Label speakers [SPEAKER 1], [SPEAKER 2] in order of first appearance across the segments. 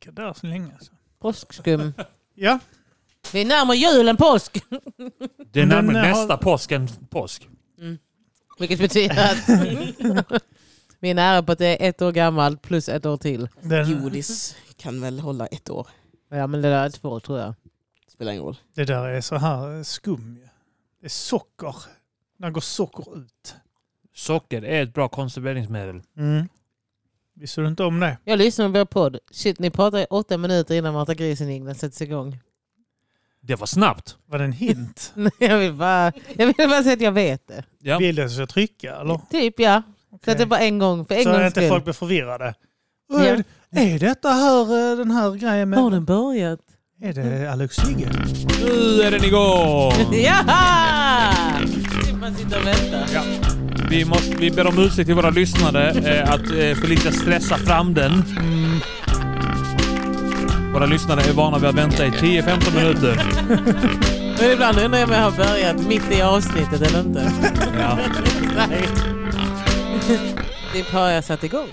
[SPEAKER 1] ligger där så länge. alltså. Så.
[SPEAKER 2] Påskskum.
[SPEAKER 1] Ja,
[SPEAKER 2] Vi är närmare jul än påsk.
[SPEAKER 3] Det är
[SPEAKER 1] Men
[SPEAKER 3] nämligen
[SPEAKER 1] har-
[SPEAKER 3] nästa påsk än påsk.
[SPEAKER 2] Vilket betyder att vi är nära på att det är ett år gammalt plus ett år till.
[SPEAKER 1] den,
[SPEAKER 4] Godis kan väl hålla ett år.
[SPEAKER 2] Ja men det där är två tror jag.
[SPEAKER 4] Spelar ingen roll.
[SPEAKER 1] det där är så här eh, skum ju. Det är socker. När går socker ut?
[SPEAKER 3] Socker är ett bra konserveringsmedel.
[SPEAKER 1] Mm. Visste du inte om det?
[SPEAKER 2] Jag lyssnar på vår podd. Shit ni pratar i åtta minuter innan Marta Grisen-iglen sätts igång.
[SPEAKER 3] Det var snabbt.
[SPEAKER 1] Var det en hint?
[SPEAKER 2] Jag vill, bara, jag vill bara säga att jag vet det.
[SPEAKER 3] Ja.
[SPEAKER 1] Vill du att jag ska trycka eller?
[SPEAKER 2] Typ ja. Så
[SPEAKER 1] Okej.
[SPEAKER 2] att det bara en gång. För en
[SPEAKER 1] så
[SPEAKER 2] gångs
[SPEAKER 1] att inte
[SPEAKER 2] skull.
[SPEAKER 1] folk blir förvirrade.
[SPEAKER 2] Ja.
[SPEAKER 1] Är, är detta här eh, den här grejen
[SPEAKER 2] Har
[SPEAKER 1] med...
[SPEAKER 2] den börjat?
[SPEAKER 1] Är det Alex Sigge?
[SPEAKER 3] Nu är den igång!
[SPEAKER 2] Jaha! Typ man sitter och väntar.
[SPEAKER 3] Ja. Vi, måste, vi ber om ursäkt till våra lyssnare eh, att eh, Felicia stressar fram den. Mm. Våra lyssnare är vana vid att vänta i 10-15 minuter.
[SPEAKER 2] Men ibland undrar jag om jag har börjat mitt i avsnittet eller inte.
[SPEAKER 3] Ja.
[SPEAKER 2] Nej. Typ har jag satt igång.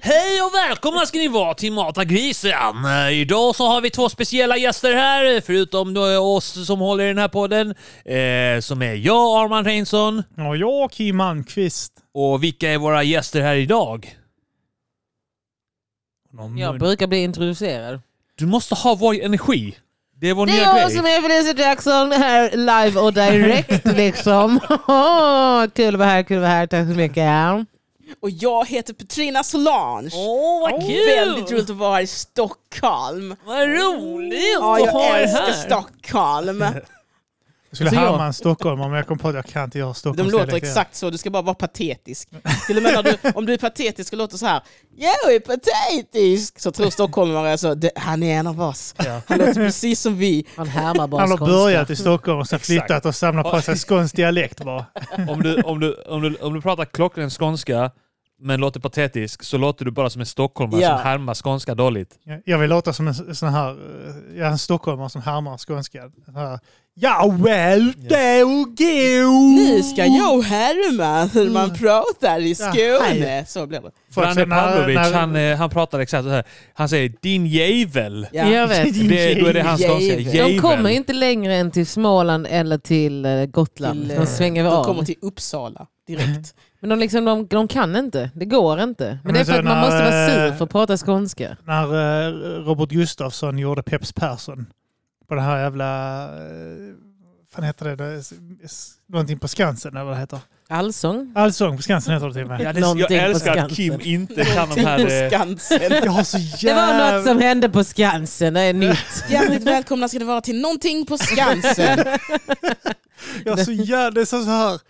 [SPEAKER 3] Hej och välkomna ska ni vara till Mata Grisen. Eh, Idag så har vi två speciella gäster här, eh, förutom då oss som håller i den här podden, eh, som är jag, Arman Reinsson.
[SPEAKER 1] Ja, jag Kim Malmqvist.
[SPEAKER 3] Och vilka är våra gäster här idag?
[SPEAKER 1] Någon
[SPEAKER 2] Jag
[SPEAKER 1] mun-
[SPEAKER 2] brukar bli introducerad.
[SPEAKER 3] Du måste ha vår energi. Det är vår
[SPEAKER 2] Det
[SPEAKER 3] nya
[SPEAKER 2] är jag
[SPEAKER 3] grej.
[SPEAKER 2] som är Felicia Jackson här live och direkt liksom. Åh, kul att vara här, kul att vara här. Tack så mycket.
[SPEAKER 4] Och jag heter Petrina Solange.
[SPEAKER 3] Åh, vad kul!
[SPEAKER 4] Väldigt roligt att vara här i Stockholm.
[SPEAKER 3] Vad roligt
[SPEAKER 4] Ja,
[SPEAKER 3] att ha er
[SPEAKER 4] jag älskar
[SPEAKER 3] här!
[SPEAKER 4] Stockholm.
[SPEAKER 1] Jag skulle
[SPEAKER 2] Alltså, jag-
[SPEAKER 1] härma en stockholmare men jag kom på att jag kan inte göra
[SPEAKER 4] De
[SPEAKER 1] Stockholms
[SPEAKER 4] låter exakt så, du ska bara vara patetisk. Till och med när du, om du är patetisk och låter så här, jag är patetisk, så tror stockholmare så, "Det- han är en av oss. Han låter precis som vi.
[SPEAKER 2] Man härmar bara
[SPEAKER 1] Han har
[SPEAKER 2] skånska.
[SPEAKER 1] börjat i Stockholm och sen
[SPEAKER 3] Exakt.
[SPEAKER 1] flyttat och samlat på sig skånsk dialekt bara.
[SPEAKER 3] Om du, om, du, om, du, om du pratar klockren skånska men låter patetisk så låter du bara som en stockholmare
[SPEAKER 4] Ja.
[SPEAKER 3] som härmar skånska dåligt.
[SPEAKER 1] Jag- Jag vill låta som en sån här, eh, jag är en stockholmare som härmar skånska. Den här, Ja, väl det och
[SPEAKER 4] Nu
[SPEAKER 1] gå!
[SPEAKER 4] ska jag härma hur man pratar i Skåne. Så blir det.
[SPEAKER 1] Folk
[SPEAKER 3] Branne
[SPEAKER 1] säger, "När-
[SPEAKER 3] Pavlovic,
[SPEAKER 1] när-
[SPEAKER 3] han, eh, han pratar exakt så här. Han säger din jävel.
[SPEAKER 4] Ja.
[SPEAKER 2] Jag vet.
[SPEAKER 3] Det, då är det hans skånska.
[SPEAKER 4] Jävel. De
[SPEAKER 3] Jävel.
[SPEAKER 2] De kommer inte längre än till Småland eller till eh, Gotland.
[SPEAKER 4] Till, eh,
[SPEAKER 2] De svänger
[SPEAKER 4] De
[SPEAKER 2] av.
[SPEAKER 4] kommer till Uppsala direkt.
[SPEAKER 2] Men de, liksom, de, de kan inte. Det går inte. Men,
[SPEAKER 1] Men
[SPEAKER 2] det är för
[SPEAKER 1] så
[SPEAKER 2] att man
[SPEAKER 1] när,
[SPEAKER 2] måste vara sur
[SPEAKER 1] eh,
[SPEAKER 2] för att prata skånska.
[SPEAKER 1] När eh, Robert Gustafsson gjorde Peps Persson på det här jävla, eh, vad heter det, det, s- s- någonting på Skansen eller vad det heter.
[SPEAKER 2] Allsång?
[SPEAKER 1] Allsång på Skansen heter det till och med.
[SPEAKER 3] Ja, det, jag
[SPEAKER 2] Någonting på
[SPEAKER 3] älskar att
[SPEAKER 2] Skansen.
[SPEAKER 3] Kim inte kan de här... Eh,
[SPEAKER 4] Skansen.
[SPEAKER 1] Jag har så
[SPEAKER 2] Det
[SPEAKER 1] jävla...
[SPEAKER 2] var något som hände på Skansen. Det är nytt.
[SPEAKER 4] Hjärtligt välkomna ska ni vara till någonting på Skansen.
[SPEAKER 1] Jag har så jävla... Det är så här...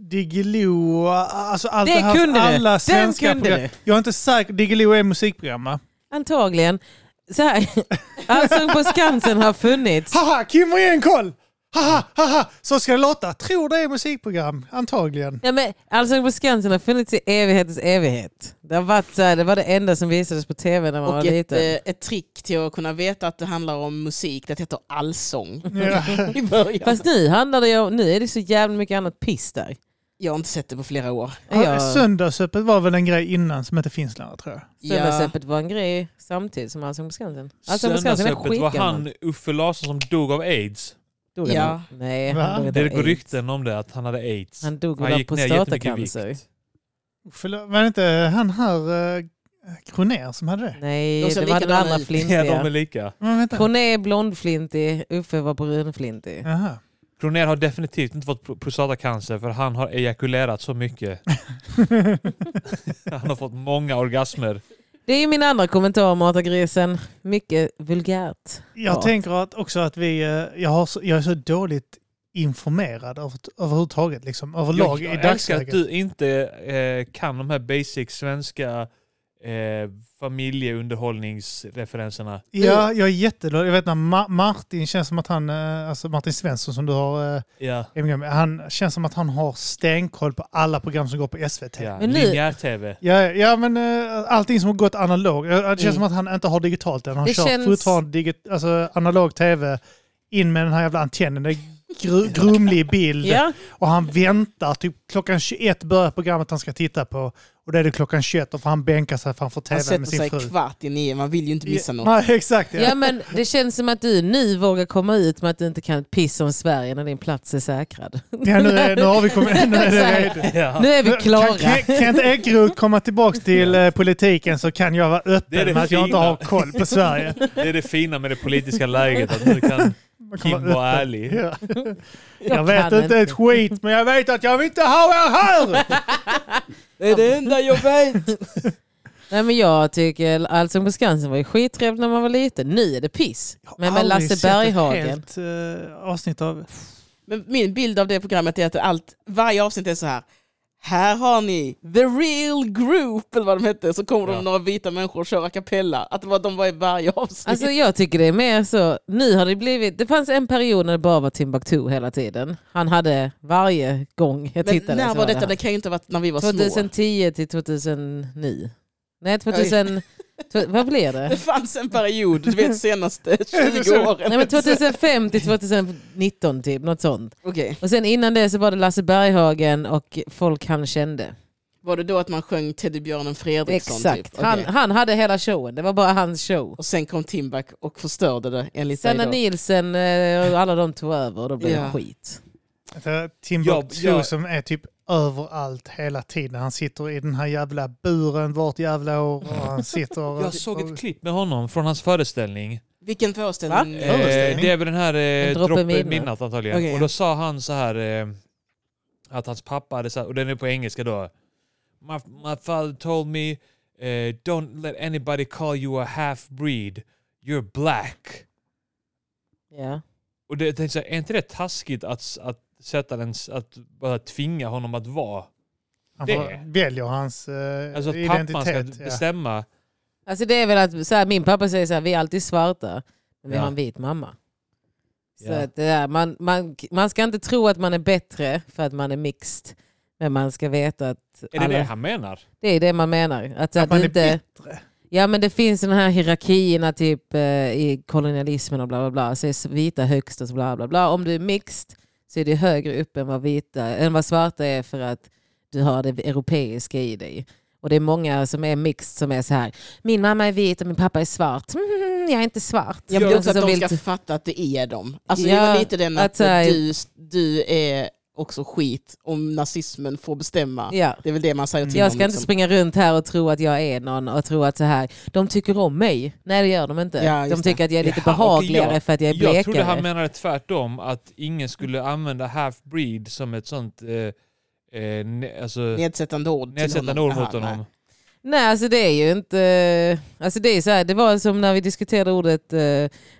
[SPEAKER 1] Diggiloo, alltså allt
[SPEAKER 2] Det
[SPEAKER 1] det här,
[SPEAKER 2] kunde du.
[SPEAKER 1] alla
[SPEAKER 2] Den
[SPEAKER 1] svenska
[SPEAKER 2] kunde
[SPEAKER 1] program. Jag är inte säker, Diggiloo är musikprogram va?
[SPEAKER 2] Antagligen. Så här. Allsång på Skansen har funnits.
[SPEAKER 1] Haha, Kim och en koll! Haha, haha, så ska det låta. Tror det är musikprogram, antagligen.
[SPEAKER 2] Ja, men Allsång på Skansen har funnits i evighetens evighet. Det, har varit så här, det var det enda som visades på tv när man var
[SPEAKER 4] Och ett, eh,
[SPEAKER 2] liten.
[SPEAKER 4] ett trick till att kunna veta att det handlar om musik, det heter allsång.
[SPEAKER 1] Ja.
[SPEAKER 4] I början.
[SPEAKER 2] Fast nu, handlar det ju, om- nu är det så jävla mycket annat piss där.
[SPEAKER 4] Jag har inte sett det på flera år.
[SPEAKER 2] Jag,
[SPEAKER 1] Söndagsöppet var väl en grej innan som inte finns längre tror jag.
[SPEAKER 2] söndagsöppet var en grej samtidigt som Allsång på Skansen. Allsång Alltså, på Skansen är
[SPEAKER 3] Söndagsöppet var
[SPEAKER 2] skitgammalt.
[SPEAKER 3] han Uffe Larsson som dog av aids.
[SPEAKER 2] Dog
[SPEAKER 4] Ja.
[SPEAKER 2] han? Nej,
[SPEAKER 1] Va?
[SPEAKER 2] han dog inte
[SPEAKER 3] Det
[SPEAKER 2] av
[SPEAKER 3] går
[SPEAKER 2] aids.
[SPEAKER 3] rykten om det, att han hade aids.
[SPEAKER 2] Han dog
[SPEAKER 3] Han
[SPEAKER 2] väl av
[SPEAKER 3] gick ner jättemycket i
[SPEAKER 2] prostatacancer.
[SPEAKER 3] vikt.
[SPEAKER 1] Förlåt, var det inte han här eh, Kronér som hade det?
[SPEAKER 2] Nej,
[SPEAKER 4] De
[SPEAKER 2] det
[SPEAKER 4] ser
[SPEAKER 2] var den
[SPEAKER 4] likadana
[SPEAKER 2] andra
[SPEAKER 4] ut.
[SPEAKER 3] Ja, de är
[SPEAKER 2] flintiga.
[SPEAKER 3] lika.
[SPEAKER 1] Men vänta.
[SPEAKER 2] Corné är blondflintig, Uffe var brunflintig.
[SPEAKER 1] Jaha.
[SPEAKER 3] Kroner har definitivt inte fått pro- prostatacancer för han har ejakulerat så mycket. han har fått många orgasmer.
[SPEAKER 2] Det är min andra kommentar om Matagrisen. Mycket vulgärt.
[SPEAKER 1] Jag
[SPEAKER 2] Ja.
[SPEAKER 1] tänker att också att vi, eh, jag, har så, jag är så dåligt informerad över, överhuvudtaget, liksom, överlag
[SPEAKER 3] jag
[SPEAKER 1] i
[SPEAKER 3] jag älskar att
[SPEAKER 1] dagsläget.
[SPEAKER 3] du inte eh, kan de här basic svenska eh, familjeunderhållningsreferenserna.
[SPEAKER 1] Ja, jag är jättedålig. Jag vet när Ma- Martin känns som att han, eh, alltså Martin Svensson som du har, eh,
[SPEAKER 3] Ja.
[SPEAKER 1] umgås med, han känns som att han har stenkoll på alla program som går på SVT. Ja.
[SPEAKER 3] Ja.
[SPEAKER 2] Men nu-
[SPEAKER 3] Linjär-tv.
[SPEAKER 1] Ja, men eh, allting som har gått analog. Eh, Det känns
[SPEAKER 2] Mm.
[SPEAKER 1] som att han inte har digitalt än. Han
[SPEAKER 2] Det
[SPEAKER 1] kör
[SPEAKER 2] känns-
[SPEAKER 1] fortfarande digit- alltså, analog tv in med den här jävla antennen. Det är gru- grumlig bild.
[SPEAKER 2] Ja,
[SPEAKER 1] Och han väntar. Typ klockan 21 börjar programmet han ska titta på.
[SPEAKER 5] Och det är det klockan 21, då får han bänka sig framför
[SPEAKER 4] Man
[SPEAKER 5] tvn
[SPEAKER 4] sätter
[SPEAKER 5] med sin
[SPEAKER 4] sig
[SPEAKER 5] fru.
[SPEAKER 4] kvart i nio, man vill ju inte missa
[SPEAKER 5] Ja,
[SPEAKER 4] något.
[SPEAKER 5] Nej, exakt. Ja.
[SPEAKER 2] Ja men det känns som att du nu vågar komma ut med att du inte kan ett piss om Sverige när din plats är säkrad.
[SPEAKER 5] Ja, nu, är, nu har vi kommit... Nu är det redo.
[SPEAKER 3] Ja.
[SPEAKER 2] Nu är vi
[SPEAKER 5] Kan-
[SPEAKER 2] klara.
[SPEAKER 5] Kan, kan inte Ekeroth komma tillbaka till eh, politiken så kan jag vara
[SPEAKER 3] Det är
[SPEAKER 5] öppen
[SPEAKER 3] det
[SPEAKER 5] med att jag inte
[SPEAKER 3] fina.
[SPEAKER 5] har koll på Sverige.
[SPEAKER 3] Det är det fina med det politiska läget, att nu kan
[SPEAKER 5] Man kan
[SPEAKER 3] Kim
[SPEAKER 5] vara
[SPEAKER 3] vara
[SPEAKER 5] öppen.
[SPEAKER 3] ärlig.
[SPEAKER 5] Ja. Jag vet
[SPEAKER 2] kan
[SPEAKER 5] inte ett skit, men jag vet att jag vill inte ha er här!
[SPEAKER 4] Det är det enda jag vet.
[SPEAKER 2] Nej men jag tycker Allsång på Skansen var ju skittrevligt när man var liten. Nu är det piss. Men med
[SPEAKER 5] Aldrig sett
[SPEAKER 2] Lasse
[SPEAKER 5] ett
[SPEAKER 2] Berghagen.
[SPEAKER 5] helt, eh, avsnitt av...
[SPEAKER 4] Men min bild av det programmet är att allt, varje avsnitt är så här. Här har ni the real group, eller vad de hette, så kommer
[SPEAKER 3] Ja.
[SPEAKER 4] de några vita människor och kör a cappella. Att det var, de var i varje avsnitt.
[SPEAKER 2] Alltså jag tycker det är mer så, nu har det blivit, det fanns en period när det bara var Timbuktu hela tiden. Han hade varje gång jag
[SPEAKER 4] men
[SPEAKER 2] tittade.
[SPEAKER 4] när
[SPEAKER 2] så
[SPEAKER 4] var detta?
[SPEAKER 2] det
[SPEAKER 4] Det,
[SPEAKER 2] han.
[SPEAKER 4] kan ju inte ha varit när vi var små.
[SPEAKER 2] 2010 till 2009. Nej 2000, tw- vad blev
[SPEAKER 4] Det
[SPEAKER 2] det?
[SPEAKER 4] fanns en period, du vet senaste 20 åren.
[SPEAKER 2] Nej men 2005 till 2019 typ, något sånt.
[SPEAKER 4] Okej.
[SPEAKER 2] Och sen innan det så var det Lasse Berghagen och folk han kände.
[SPEAKER 4] Var det då att man sjöng Teddybjörnen Fredriksson?
[SPEAKER 2] Exakt,
[SPEAKER 4] Typ? Okej.
[SPEAKER 2] han, han hade hela showen, det var bara hans show.
[SPEAKER 4] Och sen kom Timbuk och förstörde det enligt
[SPEAKER 2] Sanna
[SPEAKER 4] dig då.
[SPEAKER 2] Nielsen eh, och alla de tog över och då blev
[SPEAKER 4] Ja.
[SPEAKER 2] det skit.
[SPEAKER 5] Alltså, Timbuktu
[SPEAKER 3] Ja, ja.
[SPEAKER 5] som är typ överallt hela tiden. Han sitter i den här jävla buren vart jävla år och han sitter... och-
[SPEAKER 3] Jag såg ett klipp med honom från hans föreställning.
[SPEAKER 4] Vilken föreställning?
[SPEAKER 3] Eh,
[SPEAKER 5] Föreställning?
[SPEAKER 3] det är väl den här eh,
[SPEAKER 2] En droppe
[SPEAKER 3] droppe
[SPEAKER 2] midnatt.
[SPEAKER 3] midnatt antagligen.
[SPEAKER 4] Okej,
[SPEAKER 3] och
[SPEAKER 4] ja.
[SPEAKER 3] då sa han så här eh, att hans pappa hade sagt, och den är på engelska då. My, my father told me eh, don't let anybody call you a half breed. You're black.
[SPEAKER 2] Ja.
[SPEAKER 3] Och det, jag tänkte så här, är inte det taskigt att, att sätta den, s- att bara tvinga honom att vara?
[SPEAKER 5] Han
[SPEAKER 3] det.
[SPEAKER 5] får, väljer hans eh,
[SPEAKER 3] Alltså att pappan ska
[SPEAKER 5] identitet. ja.
[SPEAKER 3] bestämma.
[SPEAKER 2] Alltså det är väl att så här, min pappa säger så här, vi är alltid svarta, men vi
[SPEAKER 3] Ja.
[SPEAKER 2] har en vit mamma. Så
[SPEAKER 3] Ja.
[SPEAKER 2] att det där, man, man, man ska inte tro att man är bättre för att man är mixed. Men man ska veta att
[SPEAKER 3] Är det
[SPEAKER 2] alla-
[SPEAKER 3] det han menar?
[SPEAKER 2] det är det man menar. Att, så här,
[SPEAKER 5] Att man
[SPEAKER 2] du
[SPEAKER 5] är
[SPEAKER 2] inte,
[SPEAKER 5] bittre.
[SPEAKER 2] Ja men det finns den här hierarkierna typ eh, i kolonialismen och bla bla bla. Så är vita högst och så bla bla bla. Om du är mixed så är du högre upp än vad, vita, än vad svarta är för att du har det europeiska i dig. Och det är många som är mixed som är så här. Min mamma är vit och min pappa är svart. Mm, jag är inte svart.
[SPEAKER 4] Jag vill också
[SPEAKER 2] Alltså,
[SPEAKER 4] att
[SPEAKER 2] som
[SPEAKER 4] de
[SPEAKER 2] vill
[SPEAKER 4] ska
[SPEAKER 2] t-
[SPEAKER 4] fatta att det är dem. Alltså
[SPEAKER 2] Ja,
[SPEAKER 4] det var lite den att,
[SPEAKER 2] att så här-
[SPEAKER 4] du, du är också skit om nazismen får bestämma.
[SPEAKER 2] ja.
[SPEAKER 4] Det är väl det man säger till liksom-
[SPEAKER 2] Jag
[SPEAKER 4] dem.
[SPEAKER 2] ska inte springa runt här och tro att jag är någon och tro att så här, de tycker om mig. Nej det gör de inte.
[SPEAKER 4] Ja, just
[SPEAKER 2] de tycker
[SPEAKER 4] det.
[SPEAKER 2] att jag är lite
[SPEAKER 3] Ja, och
[SPEAKER 2] behagligare
[SPEAKER 3] jag-
[SPEAKER 2] för att jag är blekare.
[SPEAKER 3] Jag trodde han menade tvärtom, att ingen skulle använda half-breed som ett sånt eh, eh, ne- alltså,
[SPEAKER 4] Nedsättande ord till
[SPEAKER 3] nedsättande
[SPEAKER 4] honom.
[SPEAKER 3] ord mot
[SPEAKER 4] Aha, nej.
[SPEAKER 3] honom.
[SPEAKER 2] Nej, alltså det är ju inte... Alltså det, är så här, det var som när vi diskuterade ordet, eh,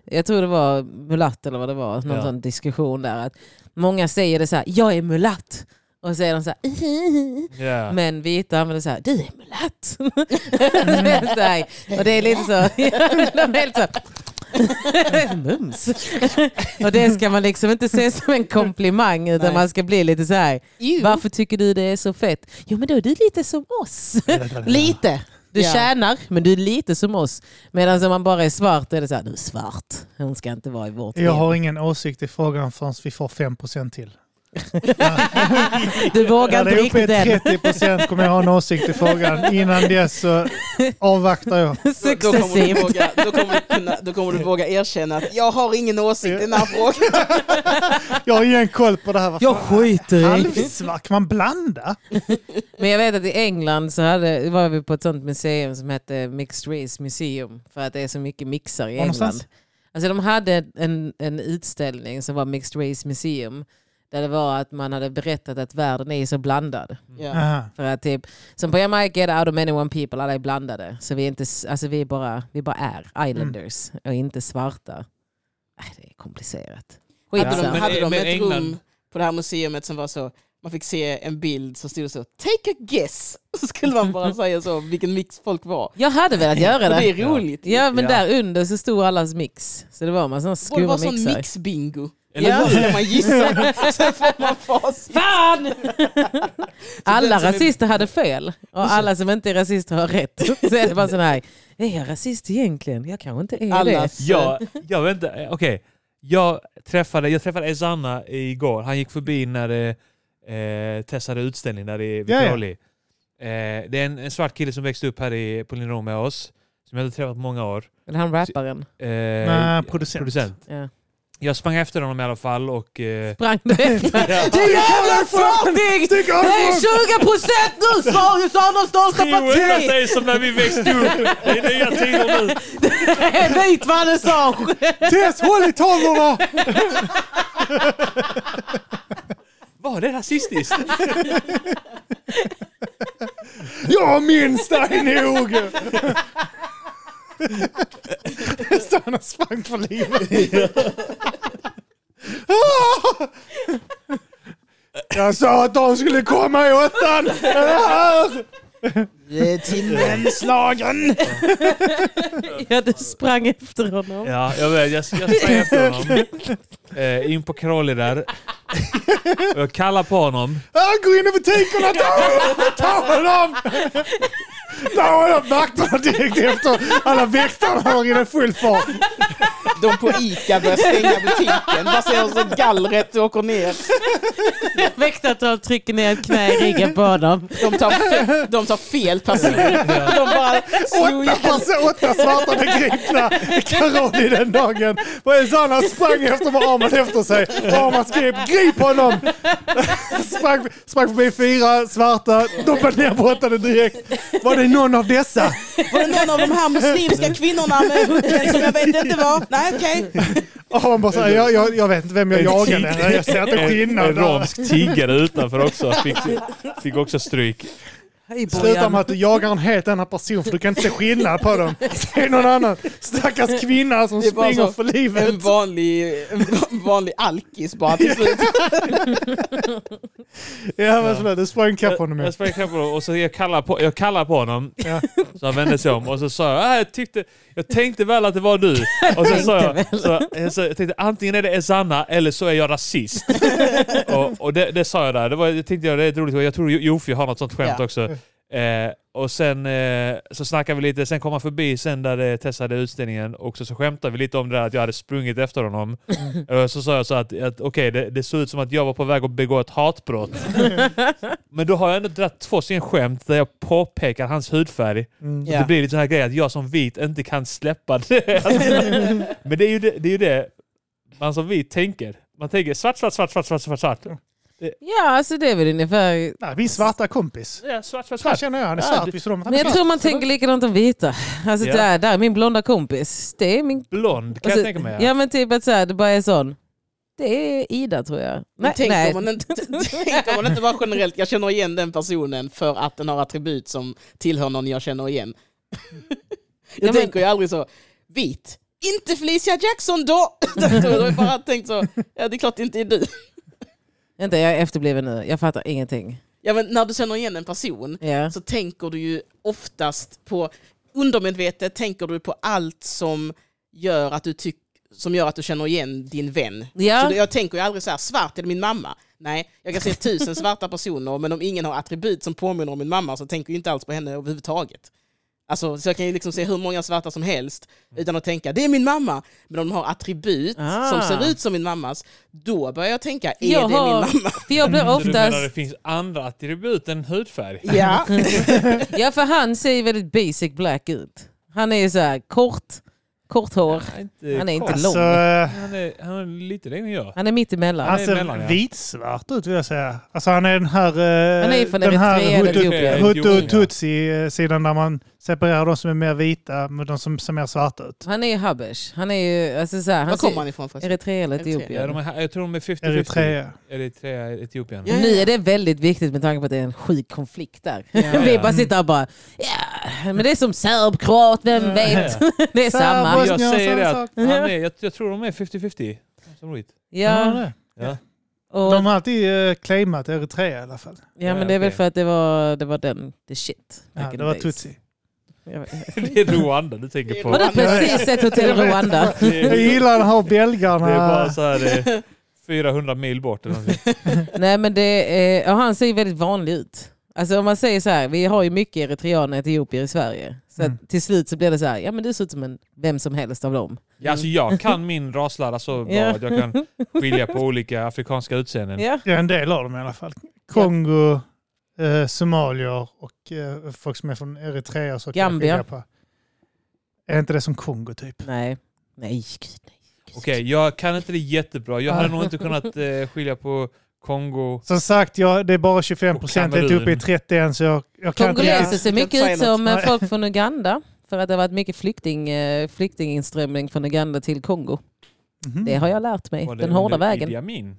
[SPEAKER 2] jag tror det var mulatt eller vad det var, någon
[SPEAKER 3] Ja.
[SPEAKER 2] sån diskussion där. Att många säger det så här, jag är mulatt. Och så är de så här, "Ihihi."
[SPEAKER 3] Ja.
[SPEAKER 2] men vita använder så här, du är mulatt. Det är så här, och det är lite så, de är helt så här, mums. och det ska man liksom inte se som en komplimang utan
[SPEAKER 4] Nej.
[SPEAKER 2] man ska bli lite så här,
[SPEAKER 4] Ew.
[SPEAKER 2] varför tycker du det är så fett? Jo men då är du lite som oss. Lite. Du
[SPEAKER 4] Ja.
[SPEAKER 2] tjänar, men du är lite som oss. Medan om man bara är svart är det så här, du är svart. Hon ska inte vara i vårt
[SPEAKER 5] Jag
[SPEAKER 2] liv.
[SPEAKER 5] har ingen åsikt i frågan förrän vi får 5% till.
[SPEAKER 2] Du vågar
[SPEAKER 5] Ja, det
[SPEAKER 2] inte
[SPEAKER 5] är uppe i
[SPEAKER 2] riktigt
[SPEAKER 5] 30
[SPEAKER 2] än.
[SPEAKER 5] procent kommer jag ha en åsikt i frågan. Innan dess så avvaktar jag.
[SPEAKER 4] Då, då, kommer du
[SPEAKER 2] Successivt.
[SPEAKER 4] våga, då, kommer du kunna, då kommer du våga erkänna att jag har ingen åsikt i den här frågan.
[SPEAKER 5] Jag har ingen koll på det här. Vad fan,
[SPEAKER 2] skiter
[SPEAKER 5] Halvsvart, kan man blanda?
[SPEAKER 2] Men jag vet att i England så hade, var vi på ett sånt museum som hette Mixed Race Museum. För att det är så mycket mixar i
[SPEAKER 5] Var
[SPEAKER 2] England.
[SPEAKER 5] någonstans?
[SPEAKER 2] Alltså de hade en, en utställning som var Mixed Race Museum. Där det var att man hade berättat att världen är så blandad.
[SPEAKER 4] Ja.
[SPEAKER 5] Aha.
[SPEAKER 2] För att typ, som på Jamaica är det out of many one people, alla är blandade. Så vi är, inte, s- alltså vi är, bara, vi bara är islanders
[SPEAKER 4] Mm.
[SPEAKER 2] och inte svarta. Äh, det är komplicerat.
[SPEAKER 4] Hade
[SPEAKER 2] Skitsamma.
[SPEAKER 4] de,
[SPEAKER 3] Men-
[SPEAKER 4] hade de
[SPEAKER 3] men
[SPEAKER 4] ett
[SPEAKER 3] England-
[SPEAKER 4] rum på det här museet som var så, man fick se en bild som stod så, take a guess. Så skulle man bara säga så, vilken mix folk var.
[SPEAKER 2] Jag hade velat göra
[SPEAKER 4] Och det är
[SPEAKER 2] det.
[SPEAKER 4] roligt.
[SPEAKER 2] Ja men
[SPEAKER 3] Ja.
[SPEAKER 2] där under så stod allas mix. Så det var en massa
[SPEAKER 4] Det borde
[SPEAKER 2] skumma
[SPEAKER 4] vara sån
[SPEAKER 2] mixar.
[SPEAKER 4] mixbingo.
[SPEAKER 3] Eller
[SPEAKER 4] Ja.
[SPEAKER 3] hur?
[SPEAKER 4] Ska man gissa, sen får man facit.
[SPEAKER 2] Fan! alla
[SPEAKER 4] den som är-
[SPEAKER 2] rasister hade fel och alla som inte är rasister har rätt. Så är det bara sån här, är jag rasist egentligen? Jag kanske inte är det.
[SPEAKER 4] Allas.
[SPEAKER 3] Jag, jag vet inte, eh, okej. Jag träffade, jag träffade Ezanna igår. Han gick förbi när det, eh, Tess hade utställning där i
[SPEAKER 5] Ja, ja.
[SPEAKER 3] Vicaroli. Eh, det är en, en svart kille som växte upp här i, på Lindholm med oss, som jag hade träffat på många år.
[SPEAKER 2] Eller han rapparen.
[SPEAKER 3] Eh,
[SPEAKER 1] Nej, producent.
[SPEAKER 3] producent.
[SPEAKER 2] Ja.
[SPEAKER 3] Jag sprang efter honom i alla fall och... Eh,
[SPEAKER 2] Sprang du efter?
[SPEAKER 3] ja,
[SPEAKER 2] Du jävla farting!
[SPEAKER 1] Stick av
[SPEAKER 2] Det är
[SPEAKER 1] folk!
[SPEAKER 2] 20 procent nu sa du, sa de största
[SPEAKER 3] Joel
[SPEAKER 2] partiet!
[SPEAKER 3] säger som när vi växte upp. Det är nya tider nu.
[SPEAKER 2] Vit vernissage!
[SPEAKER 1] Tess, håll i tavlorna!
[SPEAKER 3] Var det rasistiskt?
[SPEAKER 1] Jag minns dig nog! Så han har sprang för livet. Ah! Jag sa att de skulle komma i åttan! Ah!
[SPEAKER 4] eh, Timmenslagen!
[SPEAKER 2] Ja, du sprang efter honom.
[SPEAKER 3] Ja, jag vet. Jag, jag sprang efter honom. Eh, in på Crawley där. Och jag kallar på honom.
[SPEAKER 1] Ah, Gå in i butikerna! Ta honom! Ta honom! Ta honom! Vakterna direkt efter. Alla väktarna har redan full fart.
[SPEAKER 4] De på Ica börjar stänga butiken. Bara ser så gallret åker ner.
[SPEAKER 2] Väktartal trycker ner ett knä i ryggen på honom.
[SPEAKER 4] De tar, fe- de tar fel person. De bara
[SPEAKER 1] Åtta,
[SPEAKER 4] slog ihjäl
[SPEAKER 1] pass, åtta svarta begripna Karoli den dagen. Vad är det så han sprang efter med Arman efter sig. Arman skrek grip honom! Sprang, sprang förbi fyra svarta, de var nerbrottade direkt. Var det någon av dessa?
[SPEAKER 4] Var det någon av de här muslimska kvinnorna med hunden som jag vet inte var? Nej, okej.
[SPEAKER 1] Arman bara såhär, jag, jag, jag vet inte vem jag jagade. Jag ser inte
[SPEAKER 3] En, en
[SPEAKER 1] skillnad. där.
[SPEAKER 3] romsk tiggare utanför också. Fick, fick också stryk.
[SPEAKER 2] Hej
[SPEAKER 1] Sluta med att du jagar en helt annan person för du kan inte se skillnad på dem. Se någon annan stackars kvinna som
[SPEAKER 4] Det är bara
[SPEAKER 1] springer
[SPEAKER 4] så. Mm.
[SPEAKER 1] för livet.
[SPEAKER 4] En vanlig, en vanlig alkis bara till slut.
[SPEAKER 1] Ja, vad ja. Du sprang ikapp honom.
[SPEAKER 3] Jag,
[SPEAKER 1] ja.
[SPEAKER 3] jag sprang ikapp honom och så jag kallar på, jag kallar på honom.
[SPEAKER 1] Ja.
[SPEAKER 3] Så han vände sig om och så sa jag, "Ah, jag, tyckte, jag tänkte väl att det var du. Och så sa jag, så, jag sa- jag tänkte antingen är det Ezanna eller så är jag rasist. och och det, det sa jag där, det var, jag tänkte jag, det är ett roligt skämt. Jag tror Jo- Jofi har något sånt skämt
[SPEAKER 4] Ja.
[SPEAKER 3] också. Eh, och sen eh, så snackade vi lite, sen kom han förbi sen där det testade utställningen och så, så skämtade vi lite om det där att jag hade sprungit efter honom. Och så sa jag så att, att okej, det, det såg ut som att jag var på väg att begå ett hatbrott. Men då har jag ändå dragit två stycken skämt där jag påpekar hans hudfärg. Så
[SPEAKER 4] Ja.
[SPEAKER 3] Det blir lite sån här grej att jag som vit inte kan släppa det. Alltså, Men det är ju det, det, är ju det man som vit tänker. Man tänker svart, svart, svart, svart, svart, svart, svart.
[SPEAKER 2] Ja, alltså det är väl ungefär...
[SPEAKER 1] Nej, vi är svarta kompis.
[SPEAKER 3] Ja, svart, svart,
[SPEAKER 1] Här
[SPEAKER 3] svart.
[SPEAKER 1] känner jag, han är
[SPEAKER 3] Ja,
[SPEAKER 1] svart.
[SPEAKER 3] det-
[SPEAKER 1] Visste du om att han
[SPEAKER 2] Men
[SPEAKER 1] är
[SPEAKER 2] jag
[SPEAKER 1] svart?
[SPEAKER 2] tror man tänker likadant om vita. Alltså
[SPEAKER 3] Ja.
[SPEAKER 2] där, där, min blonda kompis. Det är min...
[SPEAKER 3] Blond kan
[SPEAKER 2] Alltså,
[SPEAKER 3] jag tänka mig.
[SPEAKER 2] Ja men typ att så här, det bara är sån. Det är Ida tror jag. Nej,
[SPEAKER 4] Tänk,
[SPEAKER 2] nej.
[SPEAKER 4] Om man inte, tänk om man inte bara generellt, jag känner igen den personen för att den har attribut som tillhör någon jag känner igen. Jag
[SPEAKER 2] Ja, men-
[SPEAKER 4] tänker ju aldrig så, vit, inte Felicia Jackson då! Utan Då har jag bara tänkt så, ja det är klart det inte är du.
[SPEAKER 2] Vänta, jag är efterbliven nu. Jag fattar ingenting.
[SPEAKER 4] Ja men när du känner igen en person
[SPEAKER 2] Ja.
[SPEAKER 4] så tänker du ju oftast på, undermedvetet tänker du på allt som gör att du tycker som gör att du känner igen din vän.
[SPEAKER 2] Ja.
[SPEAKER 4] Så det- jag tänker ju aldrig så här, svart är det min mamma? Nej, jag kan se tusen svarta personer men om ingen har attribut som påminner om min mamma så tänker jag ju inte alls på henne överhuvudtaget. Alltså, så jag kan ju liksom se hur många svarta som helst utan att tänka det är min mamma. Men om de har attribut
[SPEAKER 2] Ah.
[SPEAKER 4] som ser ut som min mammas, då börjar jag tänka är
[SPEAKER 2] Jag
[SPEAKER 4] det
[SPEAKER 2] har-
[SPEAKER 4] min mamma?
[SPEAKER 2] För jag blir
[SPEAKER 3] Mm, Så Alltså, du menar det
[SPEAKER 2] oftast...
[SPEAKER 3] finns andra attribut än hudfärg?
[SPEAKER 4] Ja.
[SPEAKER 2] Ja för han ser ju väldigt basic black ut. Han är ju så här kort, kort hår.
[SPEAKER 3] Han är inte,
[SPEAKER 2] Han är inte
[SPEAKER 3] kort.
[SPEAKER 2] lång.
[SPEAKER 1] Alltså, eh,
[SPEAKER 3] Han är, han är lite längre än jag.
[SPEAKER 2] Han är mitt emellan.
[SPEAKER 1] han
[SPEAKER 3] är mellan, ja.
[SPEAKER 1] ser vitsvart ut vill jag säga. Alltså han är den här, eh,
[SPEAKER 2] Han är ju från
[SPEAKER 1] den här
[SPEAKER 2] Eritrea eller
[SPEAKER 1] hutu,
[SPEAKER 2] Etiopien.
[SPEAKER 1] hutu
[SPEAKER 3] Etiopien,
[SPEAKER 1] och
[SPEAKER 3] ja.
[SPEAKER 1] tutsi-sidan där man separerar de som är mer vita med de som ser mer svarta ut.
[SPEAKER 2] Han är ju habesh. Han är ju... Alltså så här, han
[SPEAKER 4] Var kommer
[SPEAKER 2] ser-
[SPEAKER 4] han ifrån förresten?
[SPEAKER 2] Eritrea eller
[SPEAKER 4] Eritrea.
[SPEAKER 3] Ja, de
[SPEAKER 2] Etiopien.
[SPEAKER 3] är, jag tror de är 50-50.
[SPEAKER 1] Eritrea.
[SPEAKER 3] Eritrea, Etiopien.
[SPEAKER 4] Ja, ja,
[SPEAKER 2] Nu är det väldigt viktigt med tanke på att det är en sjuk konflikt där.
[SPEAKER 3] Ja,
[SPEAKER 2] Vi
[SPEAKER 3] ja.
[SPEAKER 2] bara sitter här och bara... Ja, men det är som serb, kroat, vem vet? Det är
[SPEAKER 1] Serb,
[SPEAKER 2] samma.
[SPEAKER 1] bosnier,
[SPEAKER 3] Jag säger det
[SPEAKER 1] samma
[SPEAKER 3] att
[SPEAKER 1] sak.
[SPEAKER 3] han är, jag, jag tror de är 50-50. Som roligt.
[SPEAKER 2] Ja,
[SPEAKER 1] det.
[SPEAKER 2] och,
[SPEAKER 1] De har alltid eh, claimat Eritrea i alla fall.
[SPEAKER 2] ja, men
[SPEAKER 3] Ja,
[SPEAKER 2] det är väl
[SPEAKER 3] okej.
[SPEAKER 2] för att det var, det var den, the shit.
[SPEAKER 1] Ja,
[SPEAKER 2] back in
[SPEAKER 1] det var
[SPEAKER 2] the days.
[SPEAKER 1] tutsi.
[SPEAKER 2] Jag vet.
[SPEAKER 3] Det är Rwanda du tänker på.
[SPEAKER 2] Var det
[SPEAKER 4] Rwanda.
[SPEAKER 2] precis ett hotell
[SPEAKER 1] Jag vet
[SPEAKER 2] Rwanda?
[SPEAKER 3] Det
[SPEAKER 1] Jag
[SPEAKER 3] är,
[SPEAKER 1] gillar att ha
[SPEAKER 3] det är bara
[SPEAKER 2] Ah.
[SPEAKER 1] belgarna.
[SPEAKER 3] så här eh, 400 mil bort. Eller någonting.
[SPEAKER 2] Nej men det är, och han ser ju väldigt vanlig ut. Alltså om man säger så här, vi har ju mycket eritreaner och etiopier i Sverige. Så att till slut så blir det så här, ja men du ser ut som en, vem som helst av dem.
[SPEAKER 3] Ja, alltså jag kan min raslära så bra
[SPEAKER 2] Ja.
[SPEAKER 3] att jag kan skilja på olika afrikanska utseenden.
[SPEAKER 2] Ja.
[SPEAKER 1] Ja, en del av dem i alla fall. Kongo, eh, somalier och eh, folk som är från Eritrea. och Så kan jag
[SPEAKER 2] Gambia.
[SPEAKER 1] skilja på. Är inte det som Kongo typ?
[SPEAKER 2] Nej. Nej, gud nej. gud.
[SPEAKER 3] Okej, jag kan inte det jättebra. Jag hade
[SPEAKER 2] Ja.
[SPEAKER 3] nog inte kunnat eh, skilja på Kongo.
[SPEAKER 1] Som sagt, jag, det är bara 25 procent, jag är inte uppe i
[SPEAKER 3] Och
[SPEAKER 1] 30 än så jag, jag kan inte...
[SPEAKER 2] Kongoleser
[SPEAKER 4] jag
[SPEAKER 2] ser
[SPEAKER 4] kan
[SPEAKER 2] mycket
[SPEAKER 4] inte
[SPEAKER 2] ut
[SPEAKER 4] säga
[SPEAKER 2] som
[SPEAKER 1] något.
[SPEAKER 2] eh, folk från Uganda. För att det har varit mycket flykting, eh, flyktinginströmning från Uganda till Kongo.
[SPEAKER 4] Mm.
[SPEAKER 1] Mhm.
[SPEAKER 2] Det har jag lärt mig,
[SPEAKER 3] Var det
[SPEAKER 2] den hårda
[SPEAKER 3] under
[SPEAKER 2] vägen.
[SPEAKER 3] Idi Amin?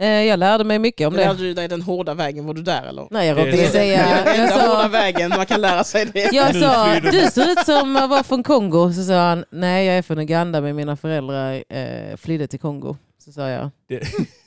[SPEAKER 2] Eh, Jag lärde mig mycket om det.
[SPEAKER 4] Lärde du dig den hårda vägen? Var du där eller?
[SPEAKER 2] Nej, jag
[SPEAKER 3] Det är
[SPEAKER 2] råkade
[SPEAKER 3] så.
[SPEAKER 2] säga...
[SPEAKER 4] Den
[SPEAKER 2] Jag
[SPEAKER 4] enda hårda
[SPEAKER 2] sa,
[SPEAKER 4] vägen man kan lära sig det.
[SPEAKER 2] jag
[SPEAKER 3] Nu
[SPEAKER 2] sa,
[SPEAKER 3] flyr de.
[SPEAKER 2] du ser ut som att vara från Kongo. Så sa han, nej jag är från Uganda men mina föräldrar eh, flydde till Kongo. Så sa jag,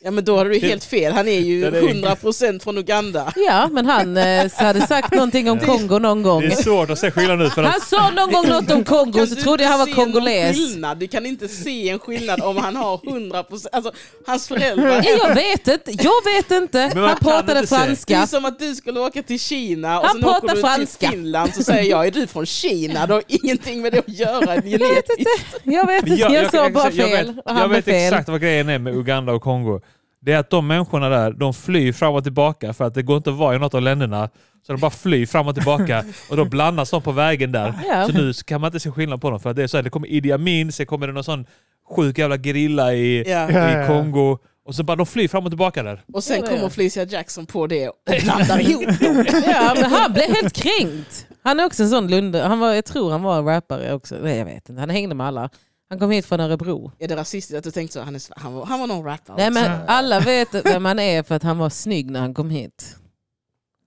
[SPEAKER 4] Ja men då hade du
[SPEAKER 3] Det-
[SPEAKER 4] helt fel, han är ju
[SPEAKER 3] Ja, det är-
[SPEAKER 4] 100% från Uganda.
[SPEAKER 2] ja men han eh, hade sagt någonting om Kongo någon gång.
[SPEAKER 3] Det är svårt att se skillnad nu för att
[SPEAKER 2] Han sa någon gång något om Kongo
[SPEAKER 4] Kan
[SPEAKER 2] så
[SPEAKER 4] du
[SPEAKER 2] trodde jag han
[SPEAKER 4] inte
[SPEAKER 2] var
[SPEAKER 4] se någon
[SPEAKER 2] kongoles.
[SPEAKER 4] skillnad? Du kan inte se en skillnad om han har 100%, alltså hans föräldrar.
[SPEAKER 2] Ja, Jag vet inte, jag vet inte.
[SPEAKER 3] man
[SPEAKER 2] Han
[SPEAKER 3] kan
[SPEAKER 2] pratade
[SPEAKER 3] inte säga.
[SPEAKER 4] Det är
[SPEAKER 2] franska.
[SPEAKER 4] som att du skulle åka till Kina och
[SPEAKER 2] Han
[SPEAKER 4] sen åker
[SPEAKER 2] pratar
[SPEAKER 4] du
[SPEAKER 2] franska.
[SPEAKER 4] till Finland så säger jag, är du från Kina? Du har ingenting med det att göra genetiskt.
[SPEAKER 2] Jag vet inte, jag sa bara fel. och
[SPEAKER 3] Jag vet, jag
[SPEAKER 2] Han blev
[SPEAKER 3] vet
[SPEAKER 2] fel.
[SPEAKER 3] exakt vad grejen är med Uganda och Kongo. Det är att de människorna där, de flyr fram och tillbaka för att det går inte att vara i något av länderna. Så de bara flyr fram och tillbaka och då blandas de på vägen där.
[SPEAKER 2] Ja.
[SPEAKER 3] Så nu kan man inte se skillnad på dem för att det är så här, det kommer Idi Amin, sen kommer det någon sån sjuk jävla gerilla i,
[SPEAKER 4] Ja.
[SPEAKER 1] Ja, ja,
[SPEAKER 3] i
[SPEAKER 1] ja.
[SPEAKER 3] Kongo. Och så bara de flyr fram och tillbaka där.
[SPEAKER 4] Och
[SPEAKER 2] Ja,
[SPEAKER 4] sen
[SPEAKER 2] det är
[SPEAKER 4] kommer
[SPEAKER 2] det.
[SPEAKER 4] Felicia Jackson på det och blandar ihop dem.
[SPEAKER 2] Ja, men han blev helt kränkt. Han är också en sån lunde. Han var, jag tror han var en rappare också. Nej, jag vet inte. Han hängde med alla. Han kom hit från Örebro.
[SPEAKER 4] Är det rasistiskt att du tänkte så? Han, är, sv- han, var, han var någon rappare.
[SPEAKER 2] Nej, men
[SPEAKER 1] Ja.
[SPEAKER 2] alla vet vem han är för att han var snygg när han kom hit.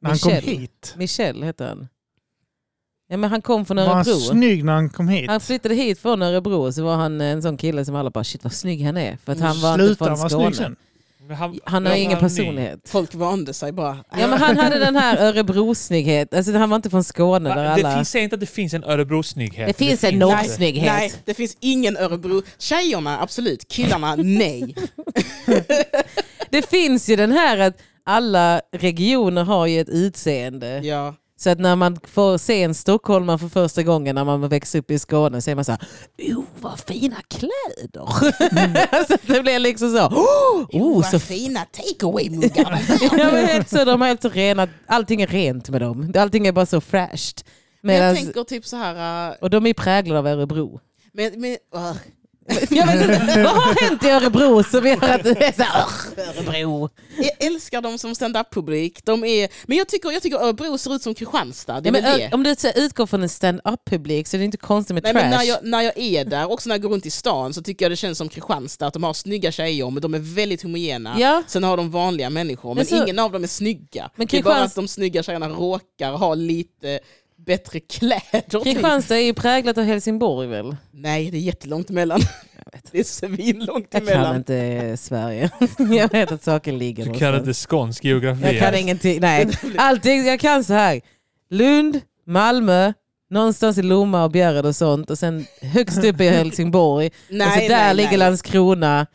[SPEAKER 1] När han kom
[SPEAKER 2] Michel.
[SPEAKER 1] hit.
[SPEAKER 2] Michel heter han. Ja, men han kom från
[SPEAKER 1] Var han
[SPEAKER 2] Örebro.
[SPEAKER 1] snygg när han kom hit?
[SPEAKER 2] Han flyttade hit från Örebro och så var han en sån kille som alla bara shit vad snygg han är. För att han var inte
[SPEAKER 1] Sluta,
[SPEAKER 2] från
[SPEAKER 1] han var snygg
[SPEAKER 2] Skåne.
[SPEAKER 1] sen.
[SPEAKER 3] Men Han,
[SPEAKER 2] Han har
[SPEAKER 3] Ja,
[SPEAKER 2] ingen
[SPEAKER 3] han är ny.
[SPEAKER 2] personlighet.
[SPEAKER 4] Folk vande sig bara. "Äh,
[SPEAKER 2] Ja, men han hade den här Örebro-snygghet. Alltså, han var inte från Skåne där
[SPEAKER 3] Va? Det
[SPEAKER 2] alla...
[SPEAKER 3] finns inte att det finns en Örebro-snygghet.
[SPEAKER 2] Det finns en
[SPEAKER 3] inte.
[SPEAKER 2] norrsnygghet.
[SPEAKER 4] Nej, det finns ingen Örebro. Tjejerna, absolut. Killarna, nej.
[SPEAKER 2] Det finns ju den här att alla regioner har ju ett utseende.
[SPEAKER 4] Ja.
[SPEAKER 2] Så att när man får se en stockholmare för första gången när man växer upp i Skåne så är man så här, oh vad fina kläder.
[SPEAKER 3] Mm.
[SPEAKER 2] så att det blir liksom så, "Åh, oh, så fint.
[SPEAKER 4] fina takeaway-muggar.
[SPEAKER 2] Ja, men helt så, de har helt så rena, allting är rent med dem. Allting är bara så fräscht.
[SPEAKER 4] jag
[SPEAKER 2] Medans,
[SPEAKER 4] tänker typ så här...
[SPEAKER 2] och de är präglade av Örebro.
[SPEAKER 4] Men, men, uh,
[SPEAKER 2] Jag vet inte, vad har hänt i Örebro som gör att det är så här, "Ugh, Örebro.
[SPEAKER 4] jag älskar dem som stand-up-publik. De är, men jag tycker, jag tycker Örebro ser ut som Kristianstad.
[SPEAKER 2] Ja,
[SPEAKER 4] Det är
[SPEAKER 2] men,
[SPEAKER 4] väl
[SPEAKER 2] ö-
[SPEAKER 4] det.
[SPEAKER 2] om du så- utgår från en stand-up-publik så är det inte konstigt med
[SPEAKER 4] Nej,
[SPEAKER 2] trash.
[SPEAKER 4] men när, jag, när jag är där, också när jag går runt i stan, så tycker jag det känns som Kristianstad. Att de har snygga tjejer, men de är väldigt homogena.
[SPEAKER 2] Ja.
[SPEAKER 4] Sen har de vanliga människor, men,
[SPEAKER 2] Men så-
[SPEAKER 4] ingen av dem är snygga.
[SPEAKER 2] Men
[SPEAKER 4] det är bara
[SPEAKER 2] Kristianst-
[SPEAKER 4] att de snygga tjejerna råkar ha lite bättre kläder. typ.
[SPEAKER 2] Kristianstad är ju präglat av Helsingborg väl?
[SPEAKER 4] Nej, det är jättelångt emellan. Det är svinlångt
[SPEAKER 2] Jag kan
[SPEAKER 4] emellan.
[SPEAKER 2] inte eh, Sverige. jag vet att saker ligger
[SPEAKER 3] Du kan
[SPEAKER 2] någonstans.
[SPEAKER 3] inte skånsk geografi.
[SPEAKER 2] Jag kan
[SPEAKER 3] alltså.
[SPEAKER 2] ingenting. Nej. Allting, jag kan så här. Lund, Malmö, någonstans i Lomma och Bjärred och sånt. Och sen högst upp i Helsingborg. och så där ligger Landskrona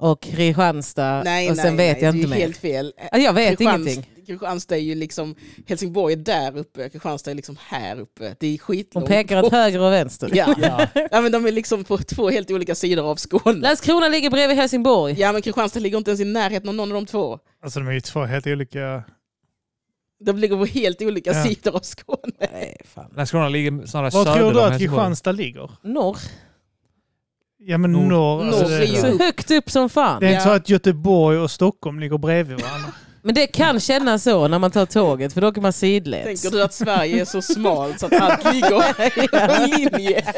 [SPEAKER 2] och Kristianstad.
[SPEAKER 4] Nej,
[SPEAKER 2] och sen
[SPEAKER 4] nej,
[SPEAKER 2] vet
[SPEAKER 4] nej,
[SPEAKER 2] jag inte
[SPEAKER 4] det är ju
[SPEAKER 2] mer.
[SPEAKER 4] helt fel.
[SPEAKER 2] Ja, Jag vet
[SPEAKER 4] Kristianst-
[SPEAKER 2] ingenting.
[SPEAKER 4] Kristianstad är ju liksom, Helsingborg är där uppe, Kristianstad är liksom här uppe. Det är
[SPEAKER 2] Hon
[SPEAKER 4] skitlångt
[SPEAKER 2] pekar åt
[SPEAKER 4] bort.
[SPEAKER 2] höger och vänster.
[SPEAKER 4] Ja.
[SPEAKER 3] Ja.
[SPEAKER 4] ja, men de är liksom på två helt olika sidor av Skåne.
[SPEAKER 2] Landskrona ligger bredvid Helsingborg.
[SPEAKER 4] Ja, men Kristianstad ligger inte ens i närheten av någon av de två.
[SPEAKER 1] Alltså de är ju två helt olika...
[SPEAKER 4] De ligger på helt olika
[SPEAKER 1] Ja.
[SPEAKER 4] sidor av Skåne.
[SPEAKER 2] Nej, fan.
[SPEAKER 3] Landskrona ligger snarare
[SPEAKER 1] Var
[SPEAKER 3] söder
[SPEAKER 1] tror du
[SPEAKER 3] om
[SPEAKER 1] att
[SPEAKER 3] Helsingborg.
[SPEAKER 1] Kristianstad ligger?
[SPEAKER 2] Norr.
[SPEAKER 1] Ja men
[SPEAKER 3] Nord-
[SPEAKER 1] norr. alltså,
[SPEAKER 4] Norr
[SPEAKER 1] det,
[SPEAKER 4] är ju-
[SPEAKER 2] Så högt upp som fan.
[SPEAKER 1] det är inte så
[SPEAKER 4] Ja.
[SPEAKER 1] att Göteborg och Stockholm ligger bredvid varandra.
[SPEAKER 2] Men det kan kännas så när man tar tåget för då åker man sidleds.
[SPEAKER 4] Tänker du att Sverige är så smalt så att allt ligger i linje?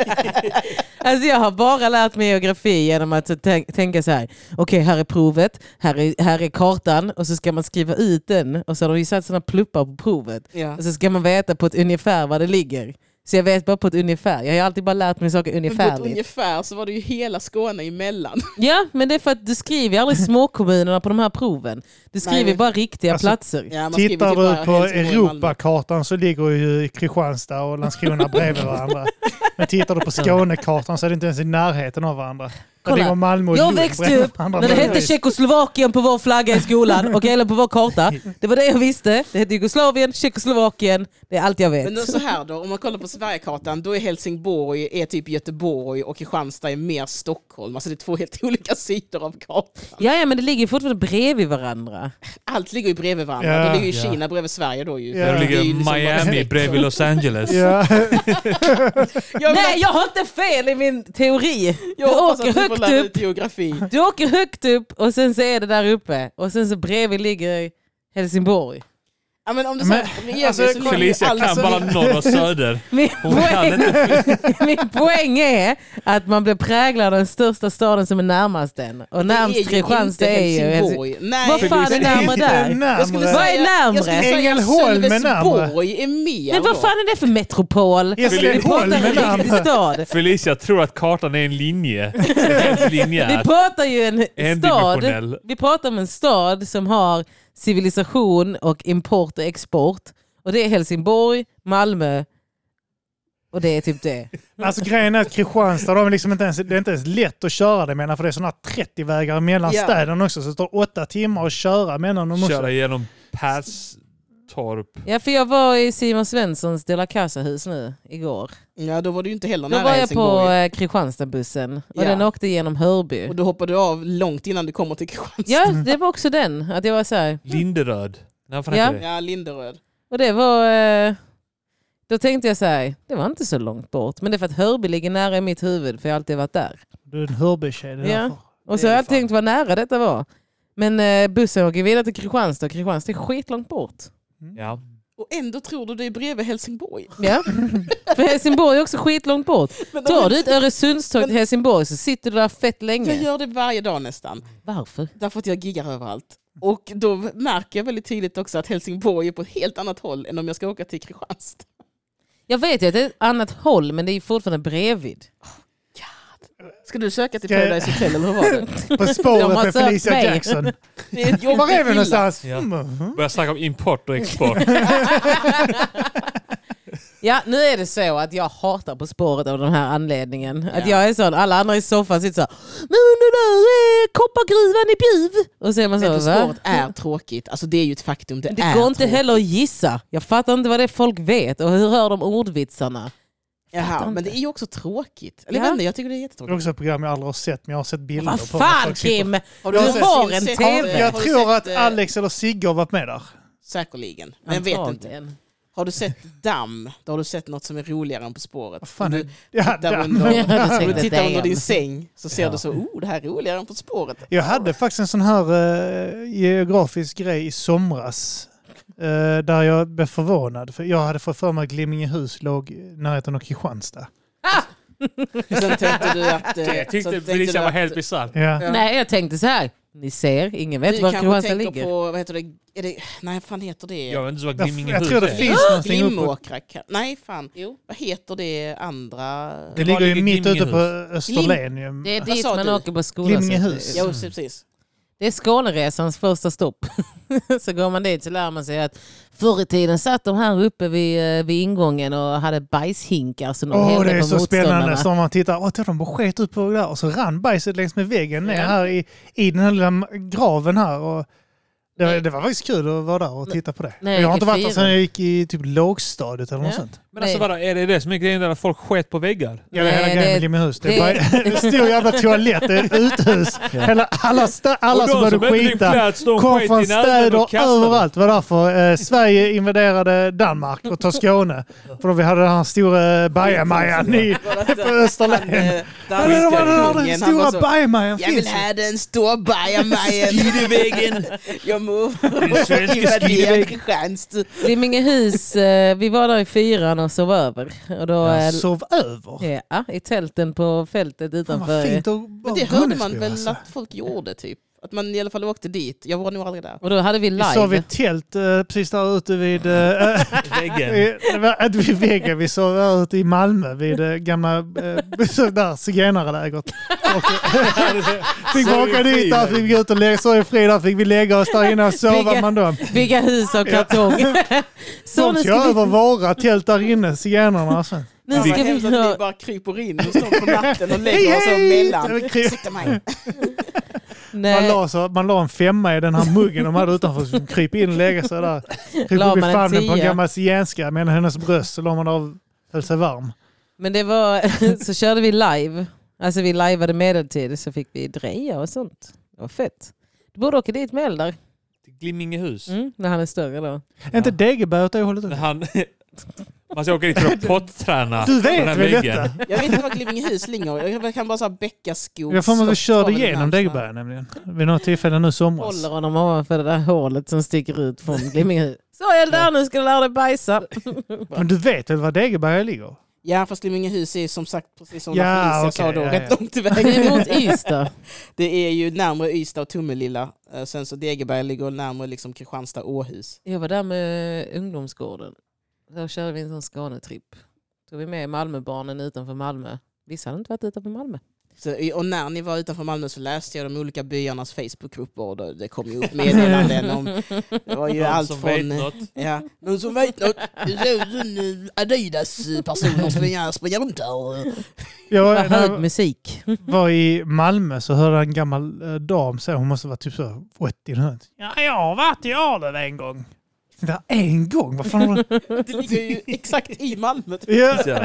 [SPEAKER 2] Alltså jag har bara lärt mig geografi genom att så tän- tänka så här. Okej, här är provet, här är, här är kartan och så ska man skriva ut den och så har de ju satt sådana pluppar på provet.
[SPEAKER 4] Ja. Alltså,
[SPEAKER 2] Och så ska man veta på ett ungefär var det ligger. Så jag vet bara på ett ungefär. Jag har ju alltid bara lärt mig saker
[SPEAKER 4] Men på ett
[SPEAKER 2] ungefärligt.
[SPEAKER 4] ungefär så var det ju hela Skåne emellan.
[SPEAKER 2] Ja, men det är för att du skriver ju aldrig småkommunerna på de här proven. Du skriver
[SPEAKER 4] Nej.
[SPEAKER 2] bara riktiga
[SPEAKER 1] Alltså,
[SPEAKER 2] platser.
[SPEAKER 4] Ja, man skriver
[SPEAKER 1] Tittar
[SPEAKER 4] typ bara
[SPEAKER 1] du på
[SPEAKER 4] Helsingborg, Malmö.
[SPEAKER 1] Europakartan så ligger ju Kristianstad och Landskrona bredvid varandra. Men tittar du på Skånekartan så är det inte ens i närheten av varandra. Kolla. Det var Malmö och
[SPEAKER 2] Jag
[SPEAKER 1] Lund,
[SPEAKER 2] växte
[SPEAKER 1] bränna
[SPEAKER 2] upp
[SPEAKER 1] på andra
[SPEAKER 2] när det hette
[SPEAKER 1] världskriget.
[SPEAKER 2] Tjeckoslovakien på vår flagga i skolan, okay, eller på vår karta. Det var det jag visste. Det hette Jugoslavien, Tjeckoslovakien, det är allt jag vet.
[SPEAKER 4] Men nu så här då, om man kollar på Sverigekartan, då är Helsingborg är typ Göteborg och Kristianstad är mer Stockholm. Alltså det är två helt olika sidor av kartan.
[SPEAKER 2] Ja, ja, men det ligger fortfarande bredvid varandra.
[SPEAKER 4] Allt ligger ju bredvid varandra.
[SPEAKER 1] Ja.
[SPEAKER 4] då ligger ju
[SPEAKER 1] Ja.
[SPEAKER 4] Kina bredvid Sverige då ju.
[SPEAKER 1] Ja.
[SPEAKER 3] Där
[SPEAKER 4] Det är ju
[SPEAKER 3] ligger
[SPEAKER 4] liksom bara
[SPEAKER 3] Miami
[SPEAKER 4] streck, så.
[SPEAKER 3] bredvid Los Angeles.
[SPEAKER 5] Ja.
[SPEAKER 4] Jag,
[SPEAKER 2] Nej,
[SPEAKER 4] Nej,
[SPEAKER 2] jag har inte fel i min teori. Du
[SPEAKER 4] jag hoppas
[SPEAKER 2] åker
[SPEAKER 4] att du får
[SPEAKER 2] högt
[SPEAKER 4] lära
[SPEAKER 2] upp,
[SPEAKER 4] ut geografi.
[SPEAKER 2] du åker högt upp och sen så är det där uppe. Och sen så bredvid ligger Helsingborg.
[SPEAKER 4] Ja, men om du
[SPEAKER 1] Men,
[SPEAKER 4] säger Miami
[SPEAKER 1] alltså,
[SPEAKER 4] så ligger ju
[SPEAKER 3] Felicia kan
[SPEAKER 4] allt
[SPEAKER 3] bara norr och söder.
[SPEAKER 2] Min
[SPEAKER 3] Hon kan
[SPEAKER 2] poäng,
[SPEAKER 3] inte.
[SPEAKER 2] min poäng är att man blir präglad av den största staden som är närmast den. Och närmst Kristianstad är ju Helsingborg.
[SPEAKER 4] Nej.
[SPEAKER 2] Vad fan är
[SPEAKER 1] Det är
[SPEAKER 2] närmare
[SPEAKER 1] inte
[SPEAKER 2] där?
[SPEAKER 4] Jag skulle
[SPEAKER 1] närmare.
[SPEAKER 2] Vad är
[SPEAKER 4] säga-
[SPEAKER 2] närmre?
[SPEAKER 4] Jag skulle säga
[SPEAKER 1] Ängelholm är närmre.
[SPEAKER 4] Sölvesborg är mer.
[SPEAKER 2] Men vad
[SPEAKER 4] då.
[SPEAKER 2] fan är det för metropol?
[SPEAKER 1] Yes,
[SPEAKER 2] Vi pratar
[SPEAKER 1] Ängelholm
[SPEAKER 2] en
[SPEAKER 1] är
[SPEAKER 2] riktig
[SPEAKER 1] närmare.
[SPEAKER 2] stad.
[SPEAKER 3] Felicia tror att kartan är en linje. En linje
[SPEAKER 2] Vi
[SPEAKER 3] är.
[SPEAKER 2] pratar ju en stad.
[SPEAKER 3] Endimensionell.
[SPEAKER 2] Vi pratar om en stad som har civilisation och import och export. Och det är Helsingborg, Malmö och det är typ det.
[SPEAKER 1] Alltså grejen är att Kristianstad, de är liksom inte ens, det är inte ens lätt att köra det menar för det är sådana 30-vägar mellan
[SPEAKER 4] Ja.
[SPEAKER 1] städerna också. Så det tar åtta timmar att köra mellan dem också.
[SPEAKER 3] Köra igenom Perstorp.
[SPEAKER 2] Ja, för jag var i Simon Svenssons De La Casa-hus nu igår.
[SPEAKER 4] Ja, då var du ju inte heller
[SPEAKER 2] Då
[SPEAKER 4] nära
[SPEAKER 2] var jag
[SPEAKER 4] Helsingborg.
[SPEAKER 2] på eh, Kristianstadbussen och
[SPEAKER 4] Ja.
[SPEAKER 2] den åkte genom Hörby.
[SPEAKER 4] Och då hoppade du av långt innan du kommer till Kristianstad.
[SPEAKER 2] Ja, det var också den. Att jag var så här.
[SPEAKER 3] Linderöd. Nej, vad fan
[SPEAKER 2] Ja.
[SPEAKER 3] heter det?
[SPEAKER 4] Ja, Linderöd.
[SPEAKER 2] Och det var... eh, Då tänkte jag så här, det var inte så långt bort. Men det är för att Hörby ligger nära i mitt huvud, för jag har alltid varit där.
[SPEAKER 1] Du är en Hörbytjej, det är
[SPEAKER 2] Ja.
[SPEAKER 1] därför.
[SPEAKER 2] Och så
[SPEAKER 3] Det är
[SPEAKER 2] har jag
[SPEAKER 3] fan.
[SPEAKER 2] tänkt vad nära detta var. Men eh, bussen åker vidare till Kristianstad och Kristianstad är skitlångt bort.
[SPEAKER 3] Ja.
[SPEAKER 4] Och ändå tror du det är bredvid Helsingborg.
[SPEAKER 2] Ja. För Helsingborg är också skitlångt bort.
[SPEAKER 4] Men
[SPEAKER 2] Tar
[SPEAKER 4] om-
[SPEAKER 2] du ett Öresundståg till Helsingborg så sitter du där fett
[SPEAKER 4] Jag
[SPEAKER 2] länge.
[SPEAKER 4] gör det varje dag nästan.
[SPEAKER 2] Varför?
[SPEAKER 4] Därför att jag giggar överallt. Och då märker jag väldigt tydligt också att Helsingborg är på ett helt annat håll än om jag ska åka till Kristianstad.
[SPEAKER 2] Jag vet ju att det är ett annat håll men det är fortfarande bredvid.
[SPEAKER 4] Ska du söka till
[SPEAKER 1] Ska jag-
[SPEAKER 4] Paradise Hotel eller hur var det?
[SPEAKER 1] På
[SPEAKER 2] De
[SPEAKER 1] spåret
[SPEAKER 2] har
[SPEAKER 1] med
[SPEAKER 2] sökt
[SPEAKER 1] Felicia
[SPEAKER 2] mig.
[SPEAKER 1] Jackson.
[SPEAKER 4] Det är ett jobbigt
[SPEAKER 1] Var är vi
[SPEAKER 4] villa.
[SPEAKER 1] någonstans?
[SPEAKER 3] Ja.
[SPEAKER 1] Mm.
[SPEAKER 3] Börjar snacka om import och export.
[SPEAKER 2] Ja, nu är det så att jag hatar På spåret av den här anledningen. Att
[SPEAKER 4] Ja.
[SPEAKER 2] jag är sån, alla andra i soffan sitter så här, nu nu nu, eh, koppargruvan i Bjuv. Och så är man så,
[SPEAKER 4] Men På
[SPEAKER 2] va? Äh,
[SPEAKER 4] spåret är tråkigt. Alltså det är ju ett faktum. Det,
[SPEAKER 2] Det
[SPEAKER 4] är
[SPEAKER 2] går inte
[SPEAKER 4] tråkigt.
[SPEAKER 2] heller att gissa. Jag fattar inte vad det är folk vet och hur hör de ordvitsarna?
[SPEAKER 4] Jaha,
[SPEAKER 2] Fattar
[SPEAKER 4] men
[SPEAKER 2] inte.
[SPEAKER 4] det är ju också tråkigt. Eller
[SPEAKER 2] Ja.
[SPEAKER 4] jag vet inte, jag tycker det är
[SPEAKER 1] Det är
[SPEAKER 4] jättetråkigt.
[SPEAKER 1] också ett program jag aldrig har sett, men jag har sett bilder
[SPEAKER 2] Vad
[SPEAKER 1] på när
[SPEAKER 2] fan
[SPEAKER 1] folk sitter-
[SPEAKER 2] Kim!
[SPEAKER 1] du
[SPEAKER 4] sett-
[SPEAKER 2] har en
[SPEAKER 4] sett-
[SPEAKER 2] TV?
[SPEAKER 4] eh,
[SPEAKER 1] Jag
[SPEAKER 4] har du
[SPEAKER 1] tror
[SPEAKER 4] sett,
[SPEAKER 1] att
[SPEAKER 4] eh,
[SPEAKER 1] Alex eller Sigge har varit med där.
[SPEAKER 4] Säkerligen, men jag vet inte.
[SPEAKER 2] Antagligen.
[SPEAKER 4] Har du sett damm, då har du sett något som är roligare än På spåret.
[SPEAKER 1] Vad fan
[SPEAKER 4] Om
[SPEAKER 1] är
[SPEAKER 4] du,
[SPEAKER 1] ja,
[SPEAKER 4] tittar
[SPEAKER 1] där.
[SPEAKER 4] under,
[SPEAKER 2] Ja, du
[SPEAKER 4] om du
[SPEAKER 2] tänkte
[SPEAKER 4] tittar under
[SPEAKER 2] damn.
[SPEAKER 4] din säng så ser
[SPEAKER 3] Ja.
[SPEAKER 4] du så, oh det här är roligare än På spåret.
[SPEAKER 1] Jag hade faktiskt en sån här eh, geografisk grej i somras. eh, där jag blev förvånad. För jag hade fått för mig att Glimmingehus låg i närheten av Kristianstad.
[SPEAKER 4] Sen tänkte du att...
[SPEAKER 3] Jag
[SPEAKER 4] eh, sen
[SPEAKER 3] tyckte
[SPEAKER 4] tänkte
[SPEAKER 3] Felicia
[SPEAKER 4] du
[SPEAKER 3] var
[SPEAKER 4] att-
[SPEAKER 3] helt bisarr.
[SPEAKER 1] Ja.
[SPEAKER 4] Ja.
[SPEAKER 2] Nej, jag tänkte så här. Ni ser, ingen vet
[SPEAKER 4] Du
[SPEAKER 2] var
[SPEAKER 4] kanske
[SPEAKER 2] Kristianstad
[SPEAKER 4] tänker
[SPEAKER 2] ligger.
[SPEAKER 4] på, vad heter det, är det nej fan heter
[SPEAKER 3] Jag
[SPEAKER 4] det?
[SPEAKER 3] vet inte så vad
[SPEAKER 1] Jag,
[SPEAKER 3] Glimmingehus
[SPEAKER 1] jag tror det
[SPEAKER 3] är.
[SPEAKER 1] finns någonting uppe.
[SPEAKER 4] Glimåkra? kan- Nej fan, vad heter det andra?
[SPEAKER 1] Det
[SPEAKER 3] Var
[SPEAKER 1] ligger ju
[SPEAKER 3] ligger
[SPEAKER 1] mitt ute på
[SPEAKER 3] Glimmingehus?
[SPEAKER 1] Österlen. ju.
[SPEAKER 2] Det är
[SPEAKER 4] Vad
[SPEAKER 2] dit
[SPEAKER 4] sa
[SPEAKER 2] man
[SPEAKER 4] du?
[SPEAKER 2] åker på
[SPEAKER 1] Glimmingehus.
[SPEAKER 4] Ja
[SPEAKER 2] skolan.
[SPEAKER 4] precis.
[SPEAKER 2] Det är Skåneresans första stopp. så går man dit så lär man sig att förr i tiden satt de här uppe vid, eh, vid ingången och hade bajshinkar som de
[SPEAKER 1] Åh,
[SPEAKER 2] hällde
[SPEAKER 1] det är
[SPEAKER 2] på
[SPEAKER 1] så
[SPEAKER 2] motståndarna.
[SPEAKER 1] spännande. Så man tittar, åh, titta, de bara sket ut på det där och så rann bajset längs med väggen ner här i, i den här lilla graven här. Och det, var- det var faktiskt kul att vara där och titta på det.
[SPEAKER 2] Nej,
[SPEAKER 1] jag har inte varit där
[SPEAKER 2] fyra.
[SPEAKER 1] sedan jag gick i typ lågstadiet eller något
[SPEAKER 2] Ja.
[SPEAKER 1] sånt.
[SPEAKER 3] Men alltså
[SPEAKER 2] Nej.
[SPEAKER 3] vadå, är det det som är grejen där att folk sket på väggar?
[SPEAKER 1] Ja, det är hela
[SPEAKER 2] Nej,
[SPEAKER 1] grejen
[SPEAKER 2] det-
[SPEAKER 1] med Glimmehus. Det
[SPEAKER 2] det-
[SPEAKER 1] är bara en stor jävla toalett, det är ett uthus. Hela, alla sta, alla
[SPEAKER 3] Och
[SPEAKER 1] som
[SPEAKER 3] de
[SPEAKER 1] började
[SPEAKER 3] inte fick
[SPEAKER 1] skita
[SPEAKER 3] plats, de
[SPEAKER 1] kom
[SPEAKER 3] sket
[SPEAKER 1] från
[SPEAKER 3] i näven och
[SPEAKER 1] städer
[SPEAKER 3] kastade dem.
[SPEAKER 1] överallt. Det var därför eh, Sverige invaderade Danmark och tog Skåne. För då vi hade den här stora bajamajan i på
[SPEAKER 4] Han,
[SPEAKER 1] Österlen.
[SPEAKER 4] eh,
[SPEAKER 1] Ja, det var den här
[SPEAKER 4] danskarkungen,
[SPEAKER 1] den
[SPEAKER 4] han var
[SPEAKER 1] stora
[SPEAKER 4] så,
[SPEAKER 1] bajamajan
[SPEAKER 4] Jag vill
[SPEAKER 1] finns ju.
[SPEAKER 4] ha den stora bajamajen.
[SPEAKER 3] Skidevägen!
[SPEAKER 4] Jag må
[SPEAKER 3] Den svenska
[SPEAKER 4] invadera
[SPEAKER 3] skidvägen.
[SPEAKER 4] Kristianstad.
[SPEAKER 2] Glimmingehus, eh, vi var där i fyran och sov över. Och då, eh,
[SPEAKER 1] Jag Sov över.
[SPEAKER 2] Ja, i tälten på fältet
[SPEAKER 1] Fan vad
[SPEAKER 2] utanför.
[SPEAKER 1] fint och,
[SPEAKER 4] Men
[SPEAKER 1] och
[SPEAKER 4] det hörde man
[SPEAKER 1] Gunnesbo,
[SPEAKER 4] väl
[SPEAKER 1] alltså.
[SPEAKER 4] att folk gjorde typ? Att man i alla fall åkte dit. Jag var nog aldrig där.
[SPEAKER 2] eh, Och då hade vi live.
[SPEAKER 1] Vi sov i ett tält eh, precis där ute vid... eh,
[SPEAKER 3] Väggen.
[SPEAKER 1] Vi- det var- Inte vid väggen, vi sov där ute i Malmö vid eh, gamla eh, så där, zigenarlägret. Och, fick vi
[SPEAKER 5] Så är
[SPEAKER 1] åka
[SPEAKER 5] det fri
[SPEAKER 1] dit,
[SPEAKER 5] där.
[SPEAKER 1] där fick vi ut och lägga, så i fri, där fick vi lägga oss där inne och sova
[SPEAKER 2] Vilka-
[SPEAKER 1] man då.
[SPEAKER 2] Bygga hus av kartong. så
[SPEAKER 1] De
[SPEAKER 2] nu
[SPEAKER 1] tog
[SPEAKER 2] ska vi,
[SPEAKER 1] över våra tält där inne, zigenarna. Alltså.
[SPEAKER 2] nu
[SPEAKER 4] Det
[SPEAKER 2] ska
[SPEAKER 4] var
[SPEAKER 2] vi
[SPEAKER 4] hemskt att vi
[SPEAKER 2] ha...
[SPEAKER 4] bara kryper in och står på natten och lägger oss emellan.
[SPEAKER 1] Det var kul.
[SPEAKER 4] Sitter man.
[SPEAKER 1] Man
[SPEAKER 2] Nej,
[SPEAKER 1] la, så, man la en femma i den här muggen de hade utanför, så kryp in och lägga sig där. Kryp
[SPEAKER 2] La
[SPEAKER 1] upp i
[SPEAKER 2] man en
[SPEAKER 1] famnen på en
[SPEAKER 2] tia?
[SPEAKER 1] gammal zigenska med hennes bröst så la man av, höll sig varm.
[SPEAKER 2] men det var... så körde vi live. Alltså vi liveade medeltid så fick vi dreja och sånt. Det var fett. Du borde åka dit med Eldar.
[SPEAKER 3] Glimmingehus.
[SPEAKER 2] Mm, när han är större då.
[SPEAKER 1] Är inte Degeberg åt det hållet?
[SPEAKER 3] När
[SPEAKER 1] också?
[SPEAKER 3] han... Man ska åka dit för att potträna.
[SPEAKER 1] Du
[SPEAKER 3] på den
[SPEAKER 1] vet
[SPEAKER 3] här
[SPEAKER 1] väl
[SPEAKER 3] väggen.
[SPEAKER 1] detta?
[SPEAKER 4] Jag vet inte vad Glimmingehus ligger. Jag kan bara säga Bäckaskog.
[SPEAKER 1] Jag får mig att vi körde
[SPEAKER 4] Slottsholmen,
[SPEAKER 1] igenom
[SPEAKER 4] Halmstad.
[SPEAKER 1] Degeberg nämligen. Vid något tillfälle nu i somras.
[SPEAKER 2] Håller honom ovanför det där hålet som sticker ut från Glimmingehus. Så Eldar, nu ska du lära dig bajsa.
[SPEAKER 1] Men du vet väl var Degeberg ligger?
[SPEAKER 4] Ja, fast Glimmingehus är som sagt, precis som
[SPEAKER 1] Ja,
[SPEAKER 4] ja, jag
[SPEAKER 1] okej,
[SPEAKER 4] sa då,
[SPEAKER 1] ja,
[SPEAKER 4] rätt
[SPEAKER 1] ja.
[SPEAKER 4] långt
[SPEAKER 2] Det
[SPEAKER 4] iväg.
[SPEAKER 2] är mot Ystad.
[SPEAKER 4] Det är ju närmare Ystad och Tomelilla. Eh, Sen så Degeberg ligger närmare liksom Kristianstad och Åhus.
[SPEAKER 2] Jag var där med ungdomsgården. Då körde vi en sån Skånetripp. Tog vi med Malmöbarnen utanför Malmö. Vissa hade inte varit utanför Malmö.
[SPEAKER 4] Så, och när ni var utanför Malmö så läste jag de olika byarnas Facebookgrupper och då- det kom ju upp meddelanden om... Det var ju
[SPEAKER 3] Någon
[SPEAKER 4] allt
[SPEAKER 3] som
[SPEAKER 4] från...
[SPEAKER 3] vet något.
[SPEAKER 4] Ja, någon som vet något? Det är så- en, eh, Adidas-personer springer, springer runt här.
[SPEAKER 2] Det
[SPEAKER 1] Jag,
[SPEAKER 2] var
[SPEAKER 1] när
[SPEAKER 2] hög
[SPEAKER 1] jag
[SPEAKER 2] musik.
[SPEAKER 1] var i Malmö så hörde jag en gammal eh, dam säga, hon måste vara typ så 80 eller något. Ja, jag har varit i Arlöv en gång. Där en gång? Vad fan har du...
[SPEAKER 4] Det ligger ju exakt i Malmö.
[SPEAKER 1] Ja,
[SPEAKER 3] Ja.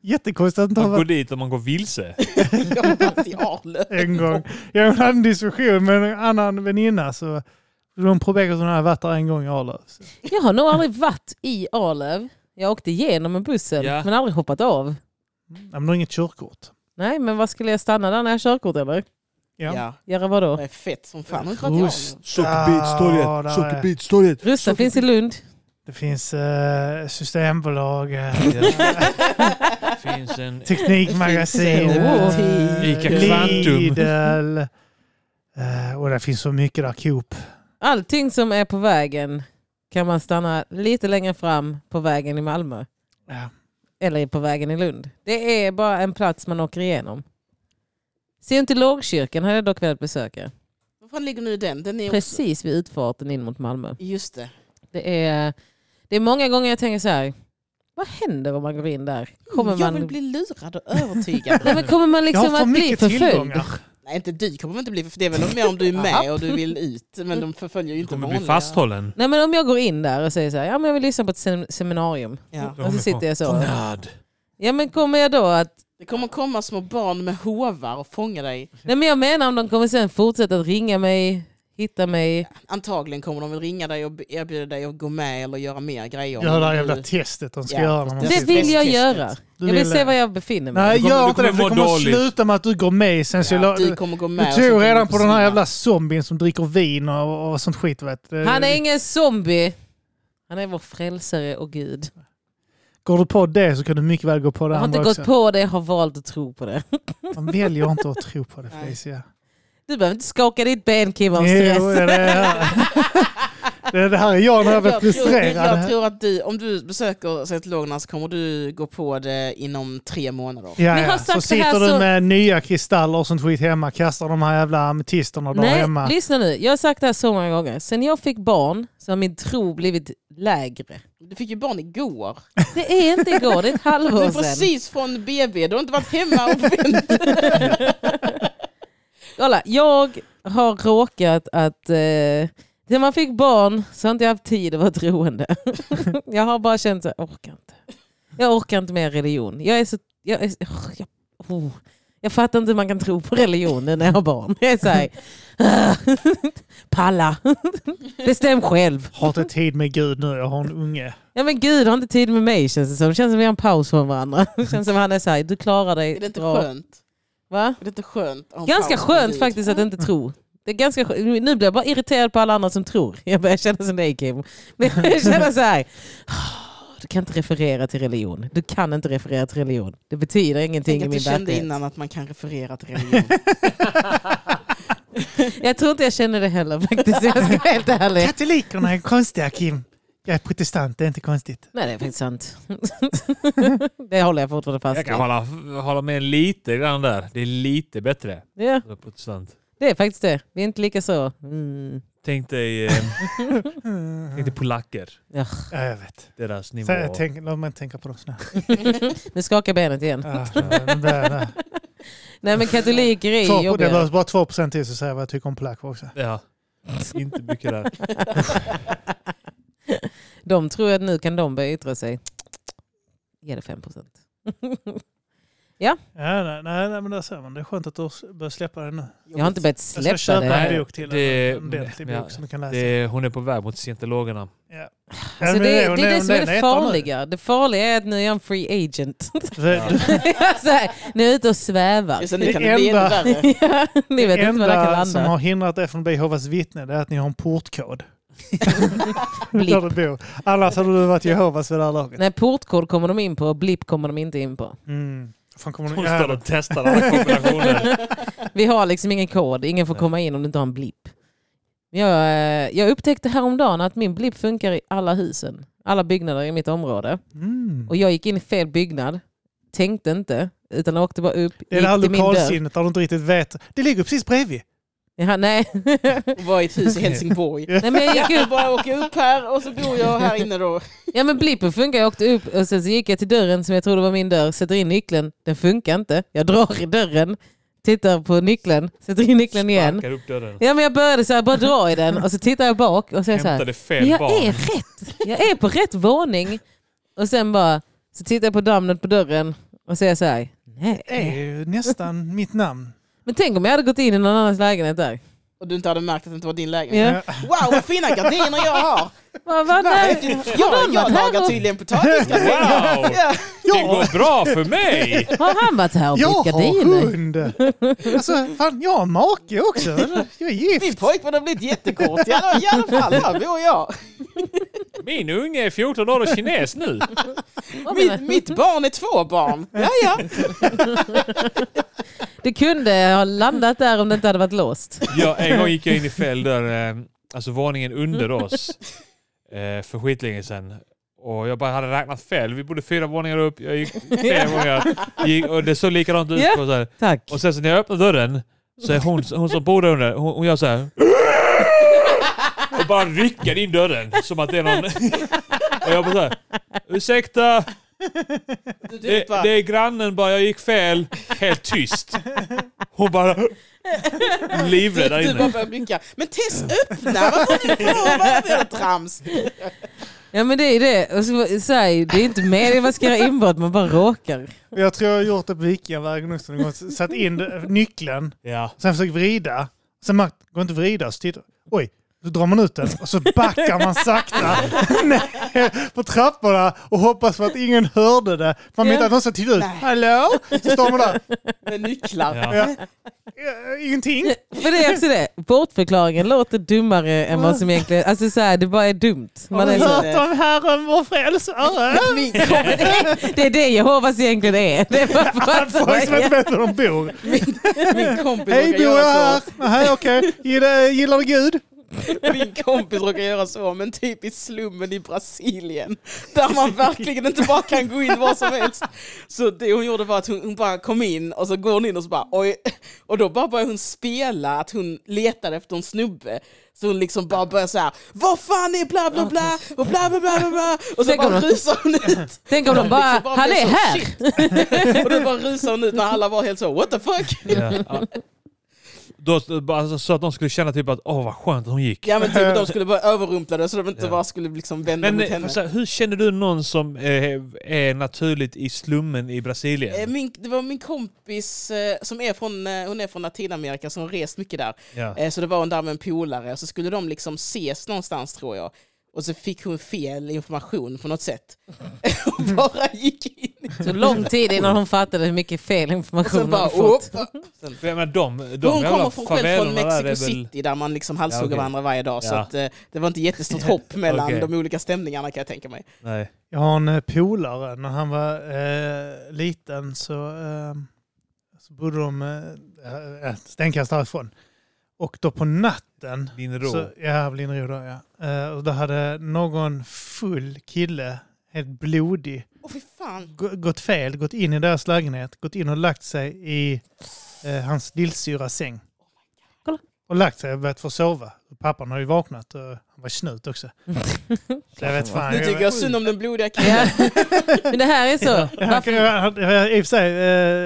[SPEAKER 1] jättekonstigt att inte ha
[SPEAKER 3] Man går
[SPEAKER 1] varit
[SPEAKER 3] dit och man går vilse.
[SPEAKER 4] Jag har varit i Arlöv.
[SPEAKER 1] en gång. Jag hade en diskussion med en annan väninna så de påpekade att hon hade varit där en gång i Arlöv. Så-
[SPEAKER 2] Jag har nog aldrig varit i Arlöv. Jag åkte igenom med bussen
[SPEAKER 3] Ja.
[SPEAKER 2] men aldrig hoppat av.
[SPEAKER 1] Ja, men du har inget körkort.
[SPEAKER 2] Nej, men vad skulle jag stanna där när jag har körkort eller?
[SPEAKER 1] Ja.
[SPEAKER 4] Ja,
[SPEAKER 2] Göra vad då?
[SPEAKER 4] det är fett som fan. Har du inte varit i Arlöv?
[SPEAKER 1] Sockerbitstorget, Ja, där är-
[SPEAKER 5] Sockerbitstorget.
[SPEAKER 2] Rusta finns i Lund.
[SPEAKER 1] Det finns eh, systembolag, eh,
[SPEAKER 3] finns en...
[SPEAKER 1] Teknikmagasin,
[SPEAKER 4] Det finns en
[SPEAKER 1] eh,
[SPEAKER 3] butik. Ica Kvantum.
[SPEAKER 1] Lidl. eh, Och det finns så mycket där, Coop.
[SPEAKER 2] Allting som är på vägen kan man stanna lite längre fram på vägen i Malmö.
[SPEAKER 1] Ja.
[SPEAKER 2] Eller på vägen i Lund. Det är bara en plats man åker igenom. Scientologkyrkan hade jag dock velat besöka.
[SPEAKER 4] Var fan ligger nu den? Den är också...
[SPEAKER 2] Precis vid utfarten in mot Malmö.
[SPEAKER 4] Just det.
[SPEAKER 2] Det är, det är många gånger jag tänker så här. Vad händer om man går in där? Kommer
[SPEAKER 4] jag vill
[SPEAKER 2] man,
[SPEAKER 4] bli lurad och övertygad.
[SPEAKER 2] nej, men kommer man
[SPEAKER 1] Mm. Jag har
[SPEAKER 2] liksom
[SPEAKER 1] för
[SPEAKER 2] att bli
[SPEAKER 1] mycket
[SPEAKER 2] förföljd?
[SPEAKER 1] tillgångar.
[SPEAKER 4] Nej, inte du kommer inte bli för det är väl mer om du är med och du vill ut. Men de förföljer ju
[SPEAKER 3] Du
[SPEAKER 4] inte
[SPEAKER 3] kommer
[SPEAKER 4] vanliga.
[SPEAKER 3] bli fasthållen.
[SPEAKER 2] Nej, men om jag går in där och säger så här. Ja, men jag vill lyssna på ett sem- seminarium.
[SPEAKER 4] Ja.
[SPEAKER 2] Och så sitter jag så.
[SPEAKER 3] Fångad.
[SPEAKER 2] Ja, men kommer jag då att
[SPEAKER 4] Det kommer komma små barn med hovar och fånga dig.
[SPEAKER 2] Nej men jag menar om de kommer sen fortsätta att ringa mig, hitta mig.
[SPEAKER 4] Antagligen kommer de väl ringa dig och erbjuda dig att gå med eller göra mer
[SPEAKER 1] Gör
[SPEAKER 4] grejer.
[SPEAKER 1] det här
[SPEAKER 4] Men
[SPEAKER 1] jävla
[SPEAKER 4] du-
[SPEAKER 1] testet de ska
[SPEAKER 4] Ja.
[SPEAKER 1] göra. När man
[SPEAKER 4] Det
[SPEAKER 2] Det
[SPEAKER 1] sitter.
[SPEAKER 2] vill jag
[SPEAKER 4] Stresstestet.
[SPEAKER 2] göra.
[SPEAKER 1] Du
[SPEAKER 2] Jag vill
[SPEAKER 1] vill
[SPEAKER 2] se
[SPEAKER 1] det.
[SPEAKER 2] var jag befinner mig.
[SPEAKER 1] Nej,
[SPEAKER 3] kommer-
[SPEAKER 1] gör
[SPEAKER 3] du
[SPEAKER 1] inte det.
[SPEAKER 3] kommer
[SPEAKER 1] för Det
[SPEAKER 3] må
[SPEAKER 1] kommer
[SPEAKER 3] dåligt.
[SPEAKER 1] sluta med att du går med. Sen så
[SPEAKER 4] Ja,
[SPEAKER 1] la-
[SPEAKER 4] du
[SPEAKER 1] du,
[SPEAKER 4] kommer gå
[SPEAKER 1] du
[SPEAKER 4] med. och sen
[SPEAKER 1] tror
[SPEAKER 4] kommer
[SPEAKER 1] redan
[SPEAKER 4] du
[SPEAKER 1] på den här
[SPEAKER 4] försvinna.
[SPEAKER 1] jävla zombien som dricker vin och, och sånt skit. Vet. du.
[SPEAKER 2] Han är ingen zombie. Han är vår frälsare och gud.
[SPEAKER 1] Går du på det så kan du mycket väl gå på det
[SPEAKER 2] Jag har inte
[SPEAKER 1] andra
[SPEAKER 2] gått
[SPEAKER 1] också.
[SPEAKER 2] på det, jag har valt att tro på det.
[SPEAKER 1] Man väljer inte att tro på det,
[SPEAKER 4] Nej.
[SPEAKER 1] Felicia.
[SPEAKER 2] Du behöver inte skaka ditt ben Kim av
[SPEAKER 1] Jo,
[SPEAKER 2] stress.
[SPEAKER 1] det, är det, här. det, det här är jag när jag blir
[SPEAKER 4] Jag tror, jag
[SPEAKER 1] frustrerad.
[SPEAKER 4] tror att du, om du besöker scientologerna så kommer du gå på det inom tre månader.
[SPEAKER 1] Ja,
[SPEAKER 2] Men jag har
[SPEAKER 1] ja.
[SPEAKER 2] sagt
[SPEAKER 1] Så
[SPEAKER 2] det här
[SPEAKER 1] sitter du
[SPEAKER 2] så-
[SPEAKER 1] med nya kristaller och sånt skit hemma, kastar de här jävla ametisterna där
[SPEAKER 2] Nej,
[SPEAKER 1] hemma.
[SPEAKER 2] lyssna nu. Jag har sagt det här så många gånger. Sen jag fick barn så har min tro blivit lägre.
[SPEAKER 4] Du fick ju barn igår.
[SPEAKER 2] Det är inte igår, det är ett
[SPEAKER 4] Du
[SPEAKER 2] halvår
[SPEAKER 4] är
[SPEAKER 2] sedan.
[SPEAKER 4] precis från BB, du har inte varit hemma och vänt.
[SPEAKER 2] Kolla, jag har råkat att... Eh, när man fick barn så har inte jag haft tid att vara troende. jag har bara känt att jag orkar inte. Jag orkar inte med religion. Jag är så... Jag, är, så- åh, jag, oh, jag fattar inte hur man kan tro på religion när jag har barn. Jag är så här, "Ah, Palla. Bestäm själv.
[SPEAKER 1] Har inte tid med Gud nu, jag har en unge.
[SPEAKER 2] Ja men gud har inte tid med mig känns det som. Det känns som vi har en paus från varandra. Det känns som han är såhär, du klarar dig
[SPEAKER 4] Är det inte
[SPEAKER 2] bra.
[SPEAKER 4] skönt?
[SPEAKER 2] Va?
[SPEAKER 4] Är det inte skönt? att ha en
[SPEAKER 2] Ganska
[SPEAKER 4] paus med
[SPEAKER 2] skönt
[SPEAKER 4] Gud?
[SPEAKER 2] faktiskt att inte tro. Det är ganska skö- nu blir jag bara irriterad på alla andra som tror. Jag börjar känna som dig Kim. Men jag känner så här. Ah, Du kan inte referera till religion. Du kan inte referera till religion. Det betyder ingenting
[SPEAKER 4] Tänk
[SPEAKER 2] i
[SPEAKER 4] att
[SPEAKER 2] min
[SPEAKER 4] du kände
[SPEAKER 2] verklighet.
[SPEAKER 4] innan att man kan referera till religion.
[SPEAKER 2] Jag tror inte jag känner det heller faktiskt. Jag ska vara helt ärlig.
[SPEAKER 1] Katolikerna är konstiga Kim. Jag är protestant, det är inte konstigt.
[SPEAKER 2] Nej, det är faktiskt sant. det håller jag fortfarande fast
[SPEAKER 3] Jag
[SPEAKER 2] vid.
[SPEAKER 3] kan hålla, hålla med lite grann där. Det är lite bättre.
[SPEAKER 2] Ja,
[SPEAKER 3] Protestant.
[SPEAKER 2] det är faktiskt det. Vi är inte lika så. Mm.
[SPEAKER 3] Tänk dig, eh, tänk dig polacker.
[SPEAKER 1] Ja, jag vet.
[SPEAKER 3] Deras nivå.
[SPEAKER 1] Så jag tänker, låt mig inte tänka på dem snabbt.
[SPEAKER 2] Nu skakar benet igen.
[SPEAKER 1] Ah, de där, där.
[SPEAKER 2] Nej, men katoliker
[SPEAKER 1] Två-
[SPEAKER 2] är
[SPEAKER 1] Det behövs
[SPEAKER 2] jobbiga.
[SPEAKER 1] bara 2 procent till så säger jag vad jag tycker om polacker också.
[SPEAKER 3] Ja. Inte mycket där.
[SPEAKER 2] De tror att nu kan de börja yttra sig. Ge det 5 procent.
[SPEAKER 1] Ja, nej, nej, nej, men där ser man. Det är släppt att du börjar släppa det nu.
[SPEAKER 2] Jag har inte börjat
[SPEAKER 1] jag ska
[SPEAKER 2] släppa
[SPEAKER 1] köpa
[SPEAKER 2] det.
[SPEAKER 1] en bok till.
[SPEAKER 3] Det-
[SPEAKER 1] en ordentlig
[SPEAKER 3] ja,
[SPEAKER 1] bok som du kan läsa.
[SPEAKER 3] Det, hon är på väg mot scientologerna.
[SPEAKER 2] Alltså det, det,
[SPEAKER 1] hon
[SPEAKER 2] är det som är
[SPEAKER 1] hon letar
[SPEAKER 2] det
[SPEAKER 1] nu.
[SPEAKER 2] farliga. Det farliga är att nu är jag en free agent.
[SPEAKER 1] Det- du-
[SPEAKER 2] så här, nu är jag ute och svävar.
[SPEAKER 4] Just det, nu
[SPEAKER 1] Det
[SPEAKER 4] kan det bli ännu
[SPEAKER 1] enda-
[SPEAKER 4] värre.
[SPEAKER 2] Ja, Ni vet
[SPEAKER 1] Det
[SPEAKER 2] inte var det kan
[SPEAKER 1] enda som
[SPEAKER 2] landa.
[SPEAKER 1] har hindrat er från att bli Jehovas vittne det är att ni har en portkod.
[SPEAKER 2] Blipp.
[SPEAKER 1] Där du bor. Annars hade du varit Jehovas vid det här laget.
[SPEAKER 2] Nej, portkod kommer de in på och blipp kommer de inte in på.
[SPEAKER 1] Mm. Fan, kommer
[SPEAKER 3] Hon
[SPEAKER 1] ni,
[SPEAKER 3] står
[SPEAKER 1] ja,
[SPEAKER 3] och testar alla kombinationer.
[SPEAKER 2] Vi har liksom ingen kod. Ingen får komma in om du inte har en blipp. Jag, eh, jag upptäckte häromdagen att min blipp funkar i alla husen. Alla byggnader i mitt område.
[SPEAKER 1] mm.
[SPEAKER 2] Och jag gick in i fel byggnad. Tänkte inte. Utan åkte bara upp.
[SPEAKER 1] Det är det här
[SPEAKER 2] gick till min dörr.
[SPEAKER 1] lokalsinnet där du inte riktigt vet. Det ligger precis bredvid.
[SPEAKER 2] Ja, nej.
[SPEAKER 4] Och vara i ett hus i Helsingborg.
[SPEAKER 2] nej men jag gick upp
[SPEAKER 4] Jag bara åker upp här och så bor jag här inne då.
[SPEAKER 2] Ja men blippen funkar, jag åkte upp och sen så gick jag till dörren som jag trodde var min dörr, sätter in nyckeln, den funkar inte. Jag drar i dörren, tittar på nyckeln, sätter in nyckeln igen.
[SPEAKER 3] Sparkar upp dörren.
[SPEAKER 2] Ja men jag började så här, bara dra i den och så tittar jag bak och så är jag så här,
[SPEAKER 3] Hämtade
[SPEAKER 2] men
[SPEAKER 3] fel
[SPEAKER 2] jag
[SPEAKER 3] barn.
[SPEAKER 2] är rätt, jag är på rätt våning. Och sen bara, så tittar jag på namnet på dörren och säger så här,
[SPEAKER 1] Det är
[SPEAKER 2] nej.
[SPEAKER 1] ju nästan mitt namn.
[SPEAKER 2] Men tänk om jag hade gått in i någon annans lägenhet där.
[SPEAKER 4] Och du inte hade märkt att det inte var din lägenhet.
[SPEAKER 2] Ja.
[SPEAKER 4] Wow vad fina gardiner jag har!
[SPEAKER 2] Vad var det?
[SPEAKER 4] Jag, jag,
[SPEAKER 2] varit här
[SPEAKER 4] lagar
[SPEAKER 2] och-
[SPEAKER 4] tydligen potatisgardiner.
[SPEAKER 3] Wow!
[SPEAKER 4] Ja.
[SPEAKER 3] Det går bra för mig!
[SPEAKER 2] Har han eh. varit här och
[SPEAKER 1] Jag
[SPEAKER 2] bytt
[SPEAKER 1] har
[SPEAKER 2] gardiner?
[SPEAKER 1] hund! Alltså, fan, jag har make också. Jag är
[SPEAKER 4] Min
[SPEAKER 1] gift.
[SPEAKER 4] pojkvän har blivit jättekort. Ja, I alla fall, här bor jag.
[SPEAKER 3] Min unge är 14 år och kines nu.
[SPEAKER 2] Vad menar
[SPEAKER 4] Mitt,
[SPEAKER 2] du?
[SPEAKER 4] mitt barn är två barn. Ja, ja.
[SPEAKER 2] Det kunde ha landat där om det inte hade varit låst.
[SPEAKER 3] Ja, en gång gick jag in i fel dörr, eh, alltså våningen under oss, eh, för skitlänge sedan. Och jag bara hade räknat fel. Vi bodde fyra våningar upp, jag gick tre våningar. Gick, och det såg likadant ut.
[SPEAKER 2] Ja.
[SPEAKER 3] På, så här.
[SPEAKER 2] Tack.
[SPEAKER 3] Och sen så när jag öppnade dörren så är hon, hon som bor där under, hon, hon gör så här. Och bara rycker in dörren som att det är någon... Och jag bara så här. Ursäkta,
[SPEAKER 4] Du, du,
[SPEAKER 3] det,
[SPEAKER 4] bara,
[SPEAKER 3] det är grannen bara, jag gick fel. Helt tyst. Hon bara... Livrädd där
[SPEAKER 4] du bara
[SPEAKER 3] inne.
[SPEAKER 4] börjar blinka. Men Tess, öppna! Vad håller du på med? Vad är det trams?
[SPEAKER 2] Ja men det är det. Och så, så här, det är inte meningen man ska göra inbrott, man bara råkar.
[SPEAKER 1] Jag tror jag har gjort det på Vikingavägen också. någon gång. Satt in nyckeln,
[SPEAKER 3] Ja.
[SPEAKER 1] sen försökt vrida. Sen märkt, går inte att vrida. Så tittar Oj, så drar man ut den och så backar man sakta ner på trapporna och hoppas på att ingen hörde det. Man
[SPEAKER 2] Ja.
[SPEAKER 1] vet att någon ska titta ut.
[SPEAKER 4] Nej.
[SPEAKER 1] Hallå? Så står man där.
[SPEAKER 4] Med nycklar.
[SPEAKER 3] Ja.
[SPEAKER 1] Ja. Ja, Ingenting.
[SPEAKER 2] För det är också det, bortförklaringen låter dummare än vad som egentligen... Alltså så här, det bara är dumt. Man är så,
[SPEAKER 1] Hört om Herren vår frälsare.
[SPEAKER 4] Min-
[SPEAKER 2] det är det Jehovas egentligen är. Det är bara Alltså, för att
[SPEAKER 1] Folk
[SPEAKER 4] liksom
[SPEAKER 1] som inte
[SPEAKER 2] säga.
[SPEAKER 1] vet var de bor.
[SPEAKER 4] Min kompis
[SPEAKER 1] Hej,
[SPEAKER 4] råkar
[SPEAKER 1] bor jag
[SPEAKER 4] göra
[SPEAKER 1] här?
[SPEAKER 4] så.
[SPEAKER 1] Nej, okej. Gillar, gillar du Gud?
[SPEAKER 4] Min kompis råkar göra så, men typ i slummen i Brasilien. Där man verkligen inte bara kan gå in var som helst. Så det hon gjorde var att hon, hon bara kom in och så går hon in och så bara oj. Och då bara började hon spela att hon letade efter en snubbe. Så hon liksom bara började så här, vad fan är bla bla bla och bla bla bla bla bla. Och så
[SPEAKER 2] Tänk om
[SPEAKER 4] bara
[SPEAKER 2] de-
[SPEAKER 4] rusar hon ut.
[SPEAKER 2] Tänk om de bara,
[SPEAKER 4] Liksom bara
[SPEAKER 2] han
[SPEAKER 4] blev
[SPEAKER 2] är
[SPEAKER 4] så,
[SPEAKER 2] här!
[SPEAKER 4] "Shit." Och då bara rusar hon ut när alla var helt så, what the fuck?
[SPEAKER 3] Ja. Då, bara alltså, så att de skulle känna typ att åh vad skönt att hon gick.
[SPEAKER 4] Ja men typ de skulle bara överrumpla det så de inte
[SPEAKER 3] Ja.
[SPEAKER 4] bara skulle liksom vända
[SPEAKER 3] Men
[SPEAKER 4] mot
[SPEAKER 3] eh,
[SPEAKER 4] henne.
[SPEAKER 3] så här, hur känner du någon som eh, är naturligt i slummen i
[SPEAKER 4] Eh,
[SPEAKER 3] Brasilien?
[SPEAKER 4] Min, det var min kompis eh, som är från, eh, hon är från Latinamerika som har rest mycket där.
[SPEAKER 3] Ja.
[SPEAKER 4] Eh, Så det var hon där med en polare, så skulle de liksom ses någonstans tror jag. Och så fick hon fel information på något sätt. Och bara gick in.
[SPEAKER 2] Så lång tid innan hon fattade hur mycket fel
[SPEAKER 4] Och
[SPEAKER 2] information
[SPEAKER 4] sen
[SPEAKER 2] hon
[SPEAKER 4] bara,
[SPEAKER 2] hade fått.
[SPEAKER 4] upp. Sen-
[SPEAKER 3] För jag menar de, de
[SPEAKER 4] hon
[SPEAKER 3] jävla
[SPEAKER 4] kommer från, själv från
[SPEAKER 3] favelorna där,
[SPEAKER 4] Mexico
[SPEAKER 3] det är väl-
[SPEAKER 4] City där man liksom halshugger
[SPEAKER 3] Ja, okej.
[SPEAKER 4] varandra varje dag. Så
[SPEAKER 3] Ja.
[SPEAKER 4] att, eh, det var inte jättestort hopp mellan
[SPEAKER 3] Okej.
[SPEAKER 4] de olika stämningarna kan jag tänka mig.
[SPEAKER 3] Nej.
[SPEAKER 1] Jag har en eh, polare, när han var eh, liten så, eh, så bodde de eh, eh, ett stenkast därifrån. Och då på natten
[SPEAKER 3] Din rå.
[SPEAKER 1] Så, ja, Blindro då, ja. Eh, och då hade någon full kille, helt blodig,
[SPEAKER 4] Åh fy fan.
[SPEAKER 1] gå- gått fel, gått in i deras lägenhet, gått in och lagt sig i eh, hans lillsyrras säng.
[SPEAKER 2] Kolla.
[SPEAKER 1] Och lagt sig och börjat få sova. Pappan har ju vaknat och han var snut också. Så jag vet fan.
[SPEAKER 4] Nu Mm. tycker jag synd om den blodiga killen.
[SPEAKER 2] Ja. Men det här är så.
[SPEAKER 1] Han kan,
[SPEAKER 2] Varför?
[SPEAKER 1] han- han- I och för sig,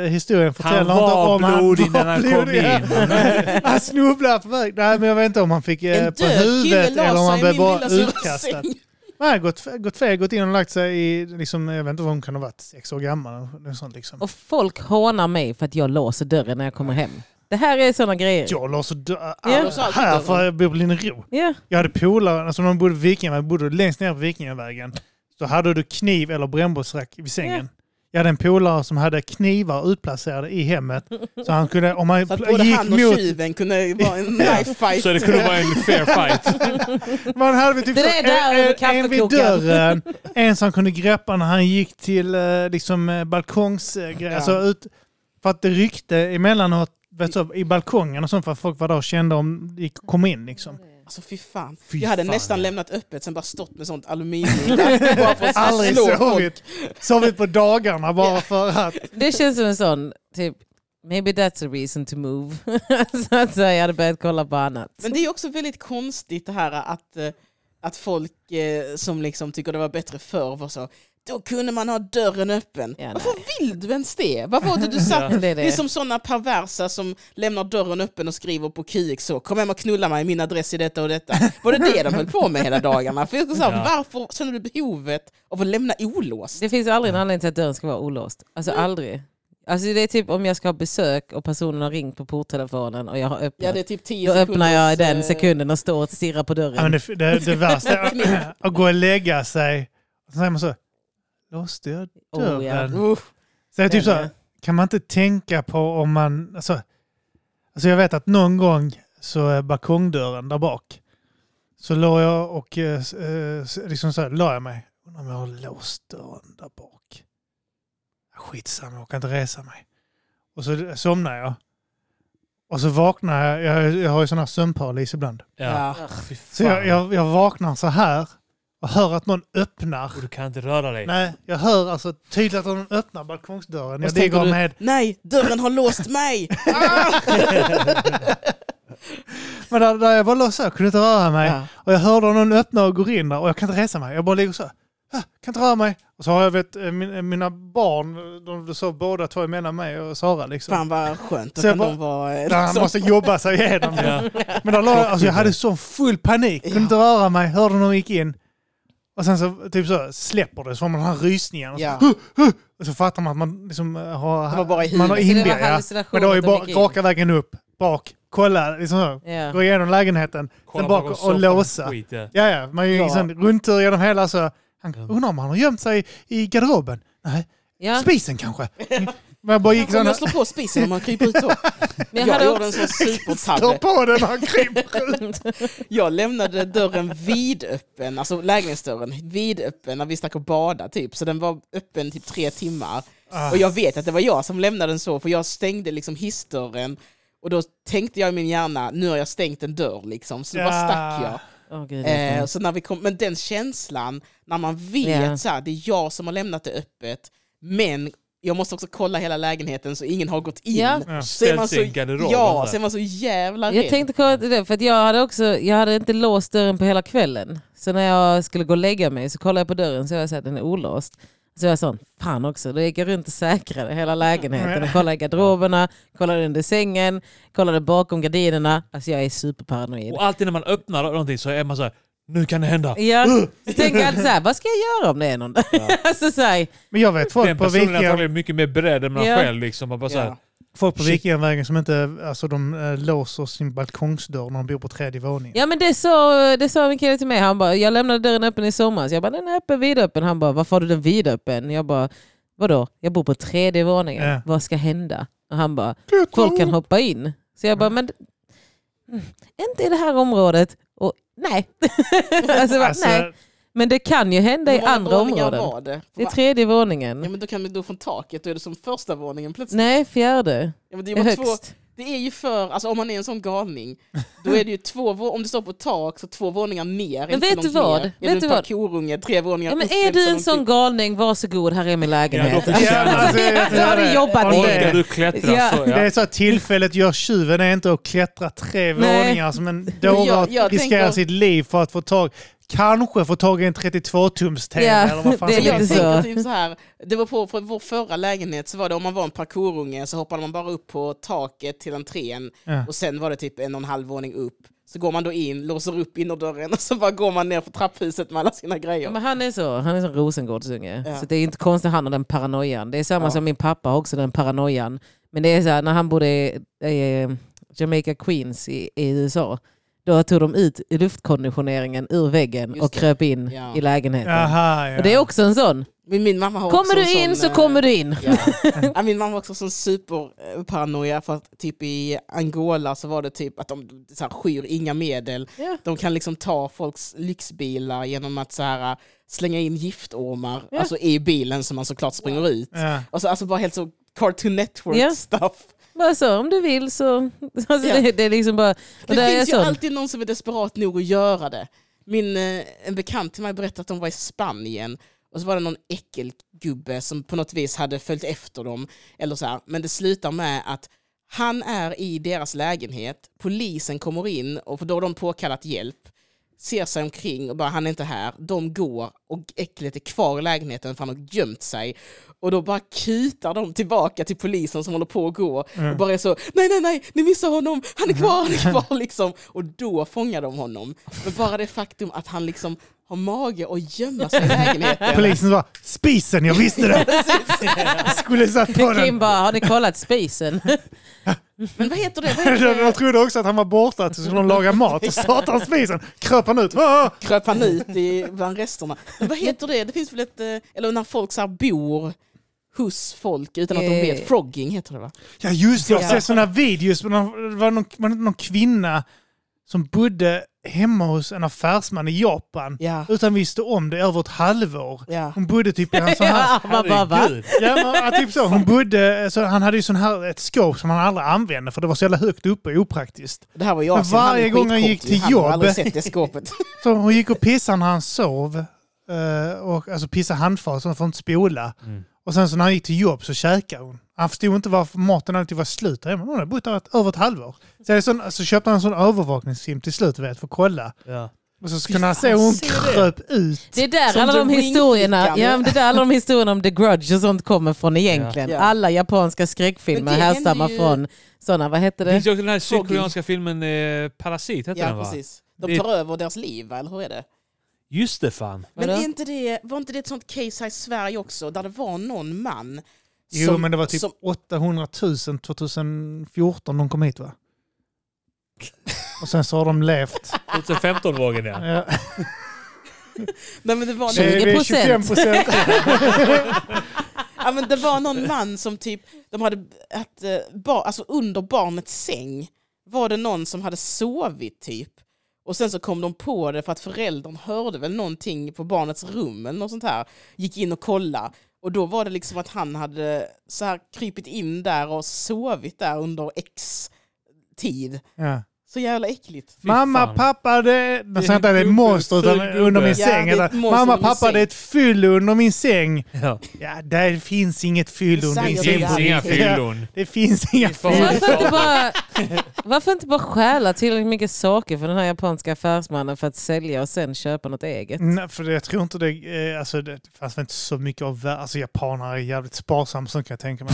[SPEAKER 1] eh, historien
[SPEAKER 3] Han
[SPEAKER 1] förtäljer inte
[SPEAKER 3] var
[SPEAKER 1] om han
[SPEAKER 3] blodig när han kom
[SPEAKER 1] blodig.
[SPEAKER 3] in.
[SPEAKER 1] Han snubblade på väg. Nej, men jag vet inte om han fick eh,
[SPEAKER 4] En
[SPEAKER 1] på
[SPEAKER 4] död kille
[SPEAKER 1] huvudet eller om
[SPEAKER 4] la
[SPEAKER 1] han
[SPEAKER 4] sig i
[SPEAKER 1] blev
[SPEAKER 4] min
[SPEAKER 1] bara
[SPEAKER 4] lilla syrras
[SPEAKER 1] utkastad.
[SPEAKER 4] säng.
[SPEAKER 1] Nej, gått, fe- gått fel, gått in och lagt sig i, liksom, jag vet inte vad hon kan ha varit, sex år gammal. eller Sånt, liksom.
[SPEAKER 2] Och folk hånar mig för att jag låser dörren när jag kommer hem. Det här är sådana grejer.
[SPEAKER 1] Jag la så dö-
[SPEAKER 2] Ja.
[SPEAKER 1] alltså, här för jag bor på Linnero.
[SPEAKER 2] Ja.
[SPEAKER 1] Jag hade polare, alltså när man bodde på Vikingavägen, bodde du längst ner på Vikingavägen så hade du kniv eller brännbollsrack vid sängen. Jag hade en polare som hade knivar utplacerade i hemmet. Så han kunde, om han
[SPEAKER 4] Så att
[SPEAKER 1] pl-
[SPEAKER 4] både
[SPEAKER 1] gick
[SPEAKER 4] han och
[SPEAKER 1] mot...
[SPEAKER 4] tjuven kunde vara en knife fight.
[SPEAKER 3] Så det kunde vara en fair fight.
[SPEAKER 1] Man hade väl typ
[SPEAKER 2] Det
[SPEAKER 1] så,
[SPEAKER 2] är där över
[SPEAKER 1] en, en, en vid
[SPEAKER 2] kaffekokaren.
[SPEAKER 1] dörren, en som kunde greppa när han gick till eh, liksom, eh, balkongs... eh, gre-
[SPEAKER 4] Ja.
[SPEAKER 1] Alltså, ut, för att det ryckte emellanåt vet så, i balkongen och sånt för att folk var där och kände om de gick- kom in. Liksom.
[SPEAKER 4] Alltså fy fan.
[SPEAKER 3] Fy
[SPEAKER 4] jag hade
[SPEAKER 3] fan,
[SPEAKER 4] nästan
[SPEAKER 3] ja.
[SPEAKER 4] lämnat öppet, sen bara stått med sånt aluminium där, bara för att
[SPEAKER 1] Aldrig
[SPEAKER 4] slå folk.
[SPEAKER 1] sovit. Sovit på dagarna bara för att...
[SPEAKER 2] Det känns som en sån, typ, maybe that's a reason to move. så att säga, jag hade börjat kolla på annat.
[SPEAKER 4] Men det är också väldigt konstigt det här att, eh, att folk eh, som liksom tycker det var bättre förr var så då kunde man ha dörren öppen.
[SPEAKER 2] Ja,
[SPEAKER 4] Varför vill du ens det? Vad var det du satt?
[SPEAKER 2] Det är
[SPEAKER 4] Det är
[SPEAKER 2] det.
[SPEAKER 4] som sådana perversa som lämnar dörren öppen och skriver på QX så kom hem och knulla mig, min adress är detta och detta. Var det det de höll på med hela dagarna? För jag skulle säga,
[SPEAKER 3] Ja.
[SPEAKER 4] Varför känner du behovet av att lämna olåst?
[SPEAKER 2] Det finns ju aldrig en anledning till att dörren ska vara olåst. Alltså
[SPEAKER 4] Mm.
[SPEAKER 2] aldrig. Alltså det är typ om jag ska ha besök och personen har ringt på porttelefonen och jag har öppnat.
[SPEAKER 4] Ja, det är typ 10
[SPEAKER 2] då öppnar jag i den
[SPEAKER 4] sekunders, eh,
[SPEAKER 2] sekunden och står och stirrar på
[SPEAKER 1] Ja, men
[SPEAKER 2] dörren.
[SPEAKER 1] det, det, det värsta är att gå och lägga sig. Och så säger man så. Låste jag dörren?
[SPEAKER 2] Oh, ja.
[SPEAKER 4] Uh,
[SPEAKER 1] Så jag typ
[SPEAKER 2] Den
[SPEAKER 1] så,
[SPEAKER 2] är-
[SPEAKER 1] kan man inte tänka på om man... Alltså, alltså jag vet att någon gång så är balkongdörren där bak. Så låg jag och eh, s- eh, s- liksom så här, la jag mig. Undrar om jag har låst dörren där bak. Skitsamma, jag kan inte resa mig. Och så somnar jag. Och så vaknar jag. Jag, jag har ju sån här sömnparalys ibland.
[SPEAKER 3] Ja.
[SPEAKER 4] ja.
[SPEAKER 3] Fy
[SPEAKER 1] Så
[SPEAKER 3] fan.
[SPEAKER 1] jag, jag, jag vaknar så här och hör att någon öppnar.
[SPEAKER 3] Och du kan inte röra dig.
[SPEAKER 1] Nej, jag hör alltså tydligt att någon öppnar balkongsdörren.
[SPEAKER 4] Och
[SPEAKER 1] Jag
[SPEAKER 4] så tänker
[SPEAKER 1] ligger
[SPEAKER 4] du-
[SPEAKER 1] med
[SPEAKER 4] Nej, dörren har låst mig!
[SPEAKER 1] Men där, där jag bara låg så, jag kunde inte röra mig.
[SPEAKER 4] Ja.
[SPEAKER 1] Och jag hörde någon öppna och går in där och jag kan inte resa mig. Jag bara ligger så. här, "Ah, Kan inte röra mig. Och så har jag vet, eh, min, eh, mina barn, de sov båda två mellan mig och Sara liksom.
[SPEAKER 4] Fan vad skönt, då
[SPEAKER 1] Så jag
[SPEAKER 4] kan
[SPEAKER 1] bara-
[SPEAKER 4] de vara... eh,
[SPEAKER 1] Där han
[SPEAKER 4] så-
[SPEAKER 1] måste jobba sig igenom det.
[SPEAKER 3] Ja.
[SPEAKER 1] Men där låg jag, alltså jag hade sån full panik. Kunde
[SPEAKER 4] Ja.
[SPEAKER 1] inte röra mig, hörde någon gick in. Och sen så typ så släpper det, så får man den här rysningen. Och så,
[SPEAKER 4] Ja.
[SPEAKER 1] och så fattar man att man liksom eh, har...
[SPEAKER 4] Det var bara i
[SPEAKER 1] man har
[SPEAKER 4] huvudet.
[SPEAKER 2] Så det var
[SPEAKER 1] inbillat, ja.
[SPEAKER 2] hallucinationer
[SPEAKER 1] Men då är ju
[SPEAKER 2] att de
[SPEAKER 1] bara
[SPEAKER 2] gick in.
[SPEAKER 1] raka vägen upp, bak, kolla, liksom så.
[SPEAKER 2] Ja.
[SPEAKER 1] Gå igenom lägenheten,
[SPEAKER 3] Kolla
[SPEAKER 1] sen bak
[SPEAKER 3] bakom
[SPEAKER 1] och,
[SPEAKER 3] soffan,
[SPEAKER 1] låsa.
[SPEAKER 3] skit, ja.
[SPEAKER 1] Ja, ja, man gör
[SPEAKER 4] Ja.
[SPEAKER 1] en sån rundtur genom hela så. Han undrar om han har gömt sig i, i garderoben? Nej,
[SPEAKER 2] Ja.
[SPEAKER 1] spisen kanske? Men jag bara gick
[SPEAKER 4] Om
[SPEAKER 1] sådana...
[SPEAKER 4] jag slår på spisen om man kryper ut då.
[SPEAKER 2] Men jag
[SPEAKER 4] jag
[SPEAKER 2] hade
[SPEAKER 4] gjorde
[SPEAKER 2] också,
[SPEAKER 4] en sån
[SPEAKER 1] Slår
[SPEAKER 4] supertabbe.
[SPEAKER 1] på den när han kryper ut.
[SPEAKER 4] Jag lämnade dörren vidöppen, alltså lägenhetsdörren vidöppen när vi stack och badade typ. Så den var öppen typ tre timmar.
[SPEAKER 1] Ah.
[SPEAKER 4] Och jag vet att det var jag som lämnade den så, för jag stängde liksom hissdörren. Och då tänkte jag i min hjärna, nu har jag stängt en dörr liksom, så då bara
[SPEAKER 1] Ja.
[SPEAKER 4] stack jag.
[SPEAKER 2] Åh, gud, det är
[SPEAKER 4] Eh,
[SPEAKER 2] fint.
[SPEAKER 4] så när vi kom, men den känslan, när man vet
[SPEAKER 2] Ja.
[SPEAKER 4] så här, det är jag som har lämnat det öppet, men jag måste också kolla hela lägenheten så ingen har gått in.
[SPEAKER 2] Ja.
[SPEAKER 1] Ja.
[SPEAKER 4] Så är man
[SPEAKER 3] Ställt sig
[SPEAKER 4] så,
[SPEAKER 3] i garderoben
[SPEAKER 4] ja,
[SPEAKER 3] där.
[SPEAKER 4] så är man så jävla
[SPEAKER 2] jag
[SPEAKER 4] rädd.
[SPEAKER 2] tänkte kolla till det, för att jag hade också, jag hade inte låst dörren på hela kvällen. Så när jag skulle gå och lägga mig så kollade jag på dörren så jag såg att den är olåst. Så jag sa, fan också, då gick jag runt och säkrade hela lägenheten. Och kollade i garderoberna, kollade under sängen, kollade bakom gardinerna. Alltså jag är superparanoid.
[SPEAKER 3] Och alltid när man öppnar någonting så är man så här, nu kan det hända.
[SPEAKER 2] Ja, så tänker jag alltid så här, vad ska jag göra om det är någon där? alltså så här,
[SPEAKER 1] Men jag vet folk
[SPEAKER 3] Den
[SPEAKER 1] på
[SPEAKER 3] personen är
[SPEAKER 1] Vikingavägen
[SPEAKER 3] antagligen mycket mer beredd än man
[SPEAKER 2] Ja.
[SPEAKER 3] själv. Liksom. Man bara så här,
[SPEAKER 4] Ja.
[SPEAKER 1] Folk på
[SPEAKER 3] Shit.
[SPEAKER 1] Vikingavägen som inte alltså, de eh, låser sin balkongsdörr när de bor på tredje våningen.
[SPEAKER 2] Ja men det sa, det sa min kille till mig, han bara, jag lämnade dörren öppen i somras. Jag bara, den är öppen, vidöppen. Han bara, varför har du den vidöppen? Jag bara, vadå? Jag bor på tredje våningen,
[SPEAKER 1] Ja.
[SPEAKER 2] vad ska hända? Och han bara, folk kan hoppa in. Så jag bara, men mm, inte i det här området. Och, nej. alltså, bara,
[SPEAKER 1] Alltså,
[SPEAKER 2] nej. Men det kan ju hända i
[SPEAKER 4] Hur många
[SPEAKER 2] andra
[SPEAKER 4] våningar
[SPEAKER 2] områden.
[SPEAKER 4] Var det?
[SPEAKER 2] Det är
[SPEAKER 4] Va?
[SPEAKER 2] tredje våningen.
[SPEAKER 4] Ja, men då kan du då från taket, då är det som första våningen plötsligt.
[SPEAKER 2] Nej, fjärde.
[SPEAKER 4] Ja, men det
[SPEAKER 2] Det
[SPEAKER 4] är
[SPEAKER 2] är
[SPEAKER 4] bara två,
[SPEAKER 2] högst.
[SPEAKER 4] Det är ju för, alltså om man är en sån galning, då är det ju två, vå- om du står på tak så två våningar ner. är
[SPEAKER 2] Men
[SPEAKER 4] inte så
[SPEAKER 2] vet
[SPEAKER 4] långt
[SPEAKER 2] du vad?
[SPEAKER 4] Ner.
[SPEAKER 2] Vet
[SPEAKER 4] Är
[SPEAKER 2] du
[SPEAKER 4] du en
[SPEAKER 2] vad?
[SPEAKER 4] parkourunge, tre våningar
[SPEAKER 2] Ja, men
[SPEAKER 4] upp,
[SPEAKER 2] är
[SPEAKER 4] inte så
[SPEAKER 2] du en
[SPEAKER 4] långt
[SPEAKER 2] sån
[SPEAKER 4] upp.
[SPEAKER 2] galning, varsågod, här är min
[SPEAKER 3] Ja, då
[SPEAKER 2] lägenhet.
[SPEAKER 3] får- Förtjänar
[SPEAKER 1] alltså, jag vet
[SPEAKER 2] Då har du
[SPEAKER 1] inte.
[SPEAKER 2] jobbat
[SPEAKER 1] Om
[SPEAKER 2] in.
[SPEAKER 3] Orkar
[SPEAKER 1] det.
[SPEAKER 3] du klättra
[SPEAKER 2] Ja.
[SPEAKER 3] så...
[SPEAKER 1] Det
[SPEAKER 3] Ja.
[SPEAKER 1] är så att tillfället gör tjuven är inte att klättra tre
[SPEAKER 2] Nej.
[SPEAKER 1] våningar som en dåre
[SPEAKER 4] Jag-
[SPEAKER 1] och
[SPEAKER 4] jag
[SPEAKER 1] riskera
[SPEAKER 4] tänker-
[SPEAKER 1] sitt liv för att få tag, kanske få tag i en 32-tums-tv
[SPEAKER 2] Ja,
[SPEAKER 1] eller vad fan
[SPEAKER 2] det är
[SPEAKER 1] som
[SPEAKER 4] jag
[SPEAKER 1] helst.
[SPEAKER 2] lite
[SPEAKER 4] tänker
[SPEAKER 2] så.
[SPEAKER 4] typ så här, det var på för vår förra lägenhet så var det om man var en parkourunge så hoppade man bara upp på taket till entrén
[SPEAKER 1] Ja.
[SPEAKER 4] och sen var det typ en och en halv våning upp. Så går man då in, låser upp innerdörren och så bara går man ner på trapphuset med alla sina
[SPEAKER 2] Ja,
[SPEAKER 4] grejer.
[SPEAKER 2] Men han är så, han är som Rosengårdsunge.
[SPEAKER 4] Ja.
[SPEAKER 2] Så det är inte konstigt att han har den paranoian. Det är samma
[SPEAKER 4] Ja.
[SPEAKER 2] som min pappa har också den paranoian. Men det är så här, när han bodde i eh, Jamaica Queens i, i USA, då tog de ut luftkonditioneringen ur väggen
[SPEAKER 4] Just
[SPEAKER 2] och
[SPEAKER 4] det.
[SPEAKER 2] kröp in
[SPEAKER 4] Ja.
[SPEAKER 2] i lägenheten.
[SPEAKER 1] Jaha,
[SPEAKER 2] Och det är
[SPEAKER 1] ja.
[SPEAKER 2] också en sån.
[SPEAKER 4] Men min mamma har också
[SPEAKER 2] Kommer du
[SPEAKER 4] en
[SPEAKER 2] in
[SPEAKER 4] sån, eh,
[SPEAKER 2] så kommer du in.
[SPEAKER 4] Ja. Ja, Min mamma var också sån superparanoia för att typ i Angola så var det typ att de så här, skyr inga medel.
[SPEAKER 2] Ja.
[SPEAKER 4] De kan liksom ta folks lyxbilar genom att så här, äh, slänga in giftormar
[SPEAKER 2] Ja.
[SPEAKER 4] alltså, i bilen som man såklart springer ut.
[SPEAKER 1] Ja.
[SPEAKER 4] Och så, alltså bara helt så Cartoon Network
[SPEAKER 2] Ja.
[SPEAKER 4] stuff.
[SPEAKER 2] Bara så, om du vill så. Alltså,
[SPEAKER 4] Ja.
[SPEAKER 2] det, det är liksom bara...
[SPEAKER 4] Det
[SPEAKER 2] Och där är jag
[SPEAKER 4] finns ju
[SPEAKER 2] sån.
[SPEAKER 4] alltid någon som är desperat nog att göra det. Min, eh, en bekant till mig berättade att de var i Spanien och så var det någon äckelgubbe som på något vis hade följt efter dem. Eller så här. Men det slutar med att han är i deras lägenhet, polisen kommer in och då har de påkallat hjälp. Ser sig omkring och bara han är inte här. De går och äcklet är kvar i lägenheten för han har gömt sig. Och då bara kutar de tillbaka till polisen som håller på att gå och bara är så nej, nej, nej, ni missar honom, han är kvar, han är kvar liksom. Och då fångar de honom. Men bara det faktum att han liksom har mage att gömma sig i lägenheten.
[SPEAKER 1] Polisen bara “Spisen, jag visste det!” Jag skulle satt på
[SPEAKER 2] Kim
[SPEAKER 1] den.
[SPEAKER 2] bara, har ni kollat spisen?
[SPEAKER 4] Men vad heter det? Vad heter
[SPEAKER 1] De
[SPEAKER 4] det?
[SPEAKER 1] trodde också att han var borta tills de lagade mat och startade spisen. Kröp han ut. Ah!
[SPEAKER 4] Kröp han ut i, bland resterna. Men vad heter det? Det finns väl ett, eh, eller när folk så här bor hos folk utan att de
[SPEAKER 2] Eh.
[SPEAKER 4] vet. Frogging heter det va?
[SPEAKER 1] Ja just det, jag har
[SPEAKER 2] Ja.
[SPEAKER 1] sett sådana videos. Men de- Det var någon, var det inte någon kvinna som bodde hemma hos en affärsman i Japan
[SPEAKER 4] Ja.
[SPEAKER 1] utan visste om det över ett halvår.
[SPEAKER 4] Ja.
[SPEAKER 1] Hon bodde typ i en sån här...
[SPEAKER 2] Ja, man bara, va?
[SPEAKER 3] Herregud.
[SPEAKER 1] Ja, men, ja, typ så. Hon bodde, så han hade ju sån här, ett skåp som han aldrig använde för det var så jävla högt uppe och opraktiskt.
[SPEAKER 4] Det här var jag
[SPEAKER 1] Men
[SPEAKER 4] som
[SPEAKER 1] varje
[SPEAKER 4] är
[SPEAKER 1] gång han
[SPEAKER 4] skitcool.
[SPEAKER 1] gick till
[SPEAKER 4] Han har aldrig
[SPEAKER 1] jobb-
[SPEAKER 4] sett det skåpet.
[SPEAKER 1] Så hon gick och pissade när han sov. eh, Och, alltså pissade handfat så han får inte spola. Och sen så när han gick till jobb så käkade hon. Han förstod inte varför maten alltid var slut där hemma. Hon hade bott där ett- över ett halvår. Så, det är sån, så köpte han en sån övervakningssim till slut vet, för att kolla.
[SPEAKER 3] Ja.
[SPEAKER 1] Och så kunde han se hur hon
[SPEAKER 3] se det.
[SPEAKER 1] kröp ut.
[SPEAKER 2] Det är där
[SPEAKER 4] Som
[SPEAKER 2] alla de
[SPEAKER 4] The Ring
[SPEAKER 2] historierna,
[SPEAKER 4] fick han.
[SPEAKER 2] ja, men det är där alla de historierna om The Grudge och sånt kommer från egentligen.
[SPEAKER 4] Ja. Ja.
[SPEAKER 2] Alla japanska skräckfilmer
[SPEAKER 4] Men det
[SPEAKER 2] härstammar
[SPEAKER 4] händer ju-
[SPEAKER 2] från sådana, vad hette
[SPEAKER 3] Det
[SPEAKER 2] det?
[SPEAKER 3] finns ju också den här sydkoreanska filmen eh, Parasit, hette den
[SPEAKER 4] ja,
[SPEAKER 3] va?
[SPEAKER 4] precis. De
[SPEAKER 3] Det-
[SPEAKER 4] tar över deras liv, va? eller hur är det?
[SPEAKER 3] Just det fan.
[SPEAKER 4] Men
[SPEAKER 2] Vadå?
[SPEAKER 4] är inte det, var inte det ett sånt case här i Sverige också, där det var någon man
[SPEAKER 1] Jo men det var typ
[SPEAKER 4] som-
[SPEAKER 1] 800 000 2014 de kom hit va? Och sen så har de levt.
[SPEAKER 3] 2015-vågen ja.
[SPEAKER 1] Ja.
[SPEAKER 4] nej, men det var
[SPEAKER 1] Det
[SPEAKER 4] någon,
[SPEAKER 1] är
[SPEAKER 2] 20%.
[SPEAKER 1] 25%.
[SPEAKER 4] ja, men det var någon man som typ, de hade att, eh, ba, alltså under barnets säng var det någon som hade sovit typ. Och sen så kom de på det för att föräldern hörde väl någonting på barnets rum eller något sånt här. Gick in och kollade. Och då var det liksom att han hade så här krypit in där och sovit där under x tid.
[SPEAKER 1] Ja.
[SPEAKER 4] Så jävla äckligt.
[SPEAKER 1] Fy Mamma,
[SPEAKER 3] fan.
[SPEAKER 1] pappa, det är... Jag säger inte att det är ett
[SPEAKER 3] gubbe,
[SPEAKER 1] monster utan
[SPEAKER 3] full gubbe.
[SPEAKER 1] under min
[SPEAKER 3] Ja,
[SPEAKER 1] säng.
[SPEAKER 4] det är ett
[SPEAKER 1] Eller,
[SPEAKER 4] monster
[SPEAKER 1] mamma,
[SPEAKER 4] under min
[SPEAKER 1] pappa,
[SPEAKER 4] säng.
[SPEAKER 1] det är ett fyllo under min säng.
[SPEAKER 3] ja.
[SPEAKER 1] Ja, det finns inget fyllo under
[SPEAKER 4] Det
[SPEAKER 1] min
[SPEAKER 3] Det
[SPEAKER 4] Jag
[SPEAKER 1] säng.
[SPEAKER 4] säger
[SPEAKER 3] finns
[SPEAKER 4] bara-
[SPEAKER 3] inga fyllon.
[SPEAKER 1] Det finns inga
[SPEAKER 3] fan.
[SPEAKER 1] fyllon.
[SPEAKER 2] Varför inte, bara, varför inte bara stjäla tillräckligt mycket saker för den här japanska affärsmannen för att sälja och sen köpa något eget?
[SPEAKER 1] Nej, för jag tror inte det... eh, Alltså, det fanns väl inte så mycket av... vär- Alltså, japaner är jävligt sparsamma, så kan jag tänka mig.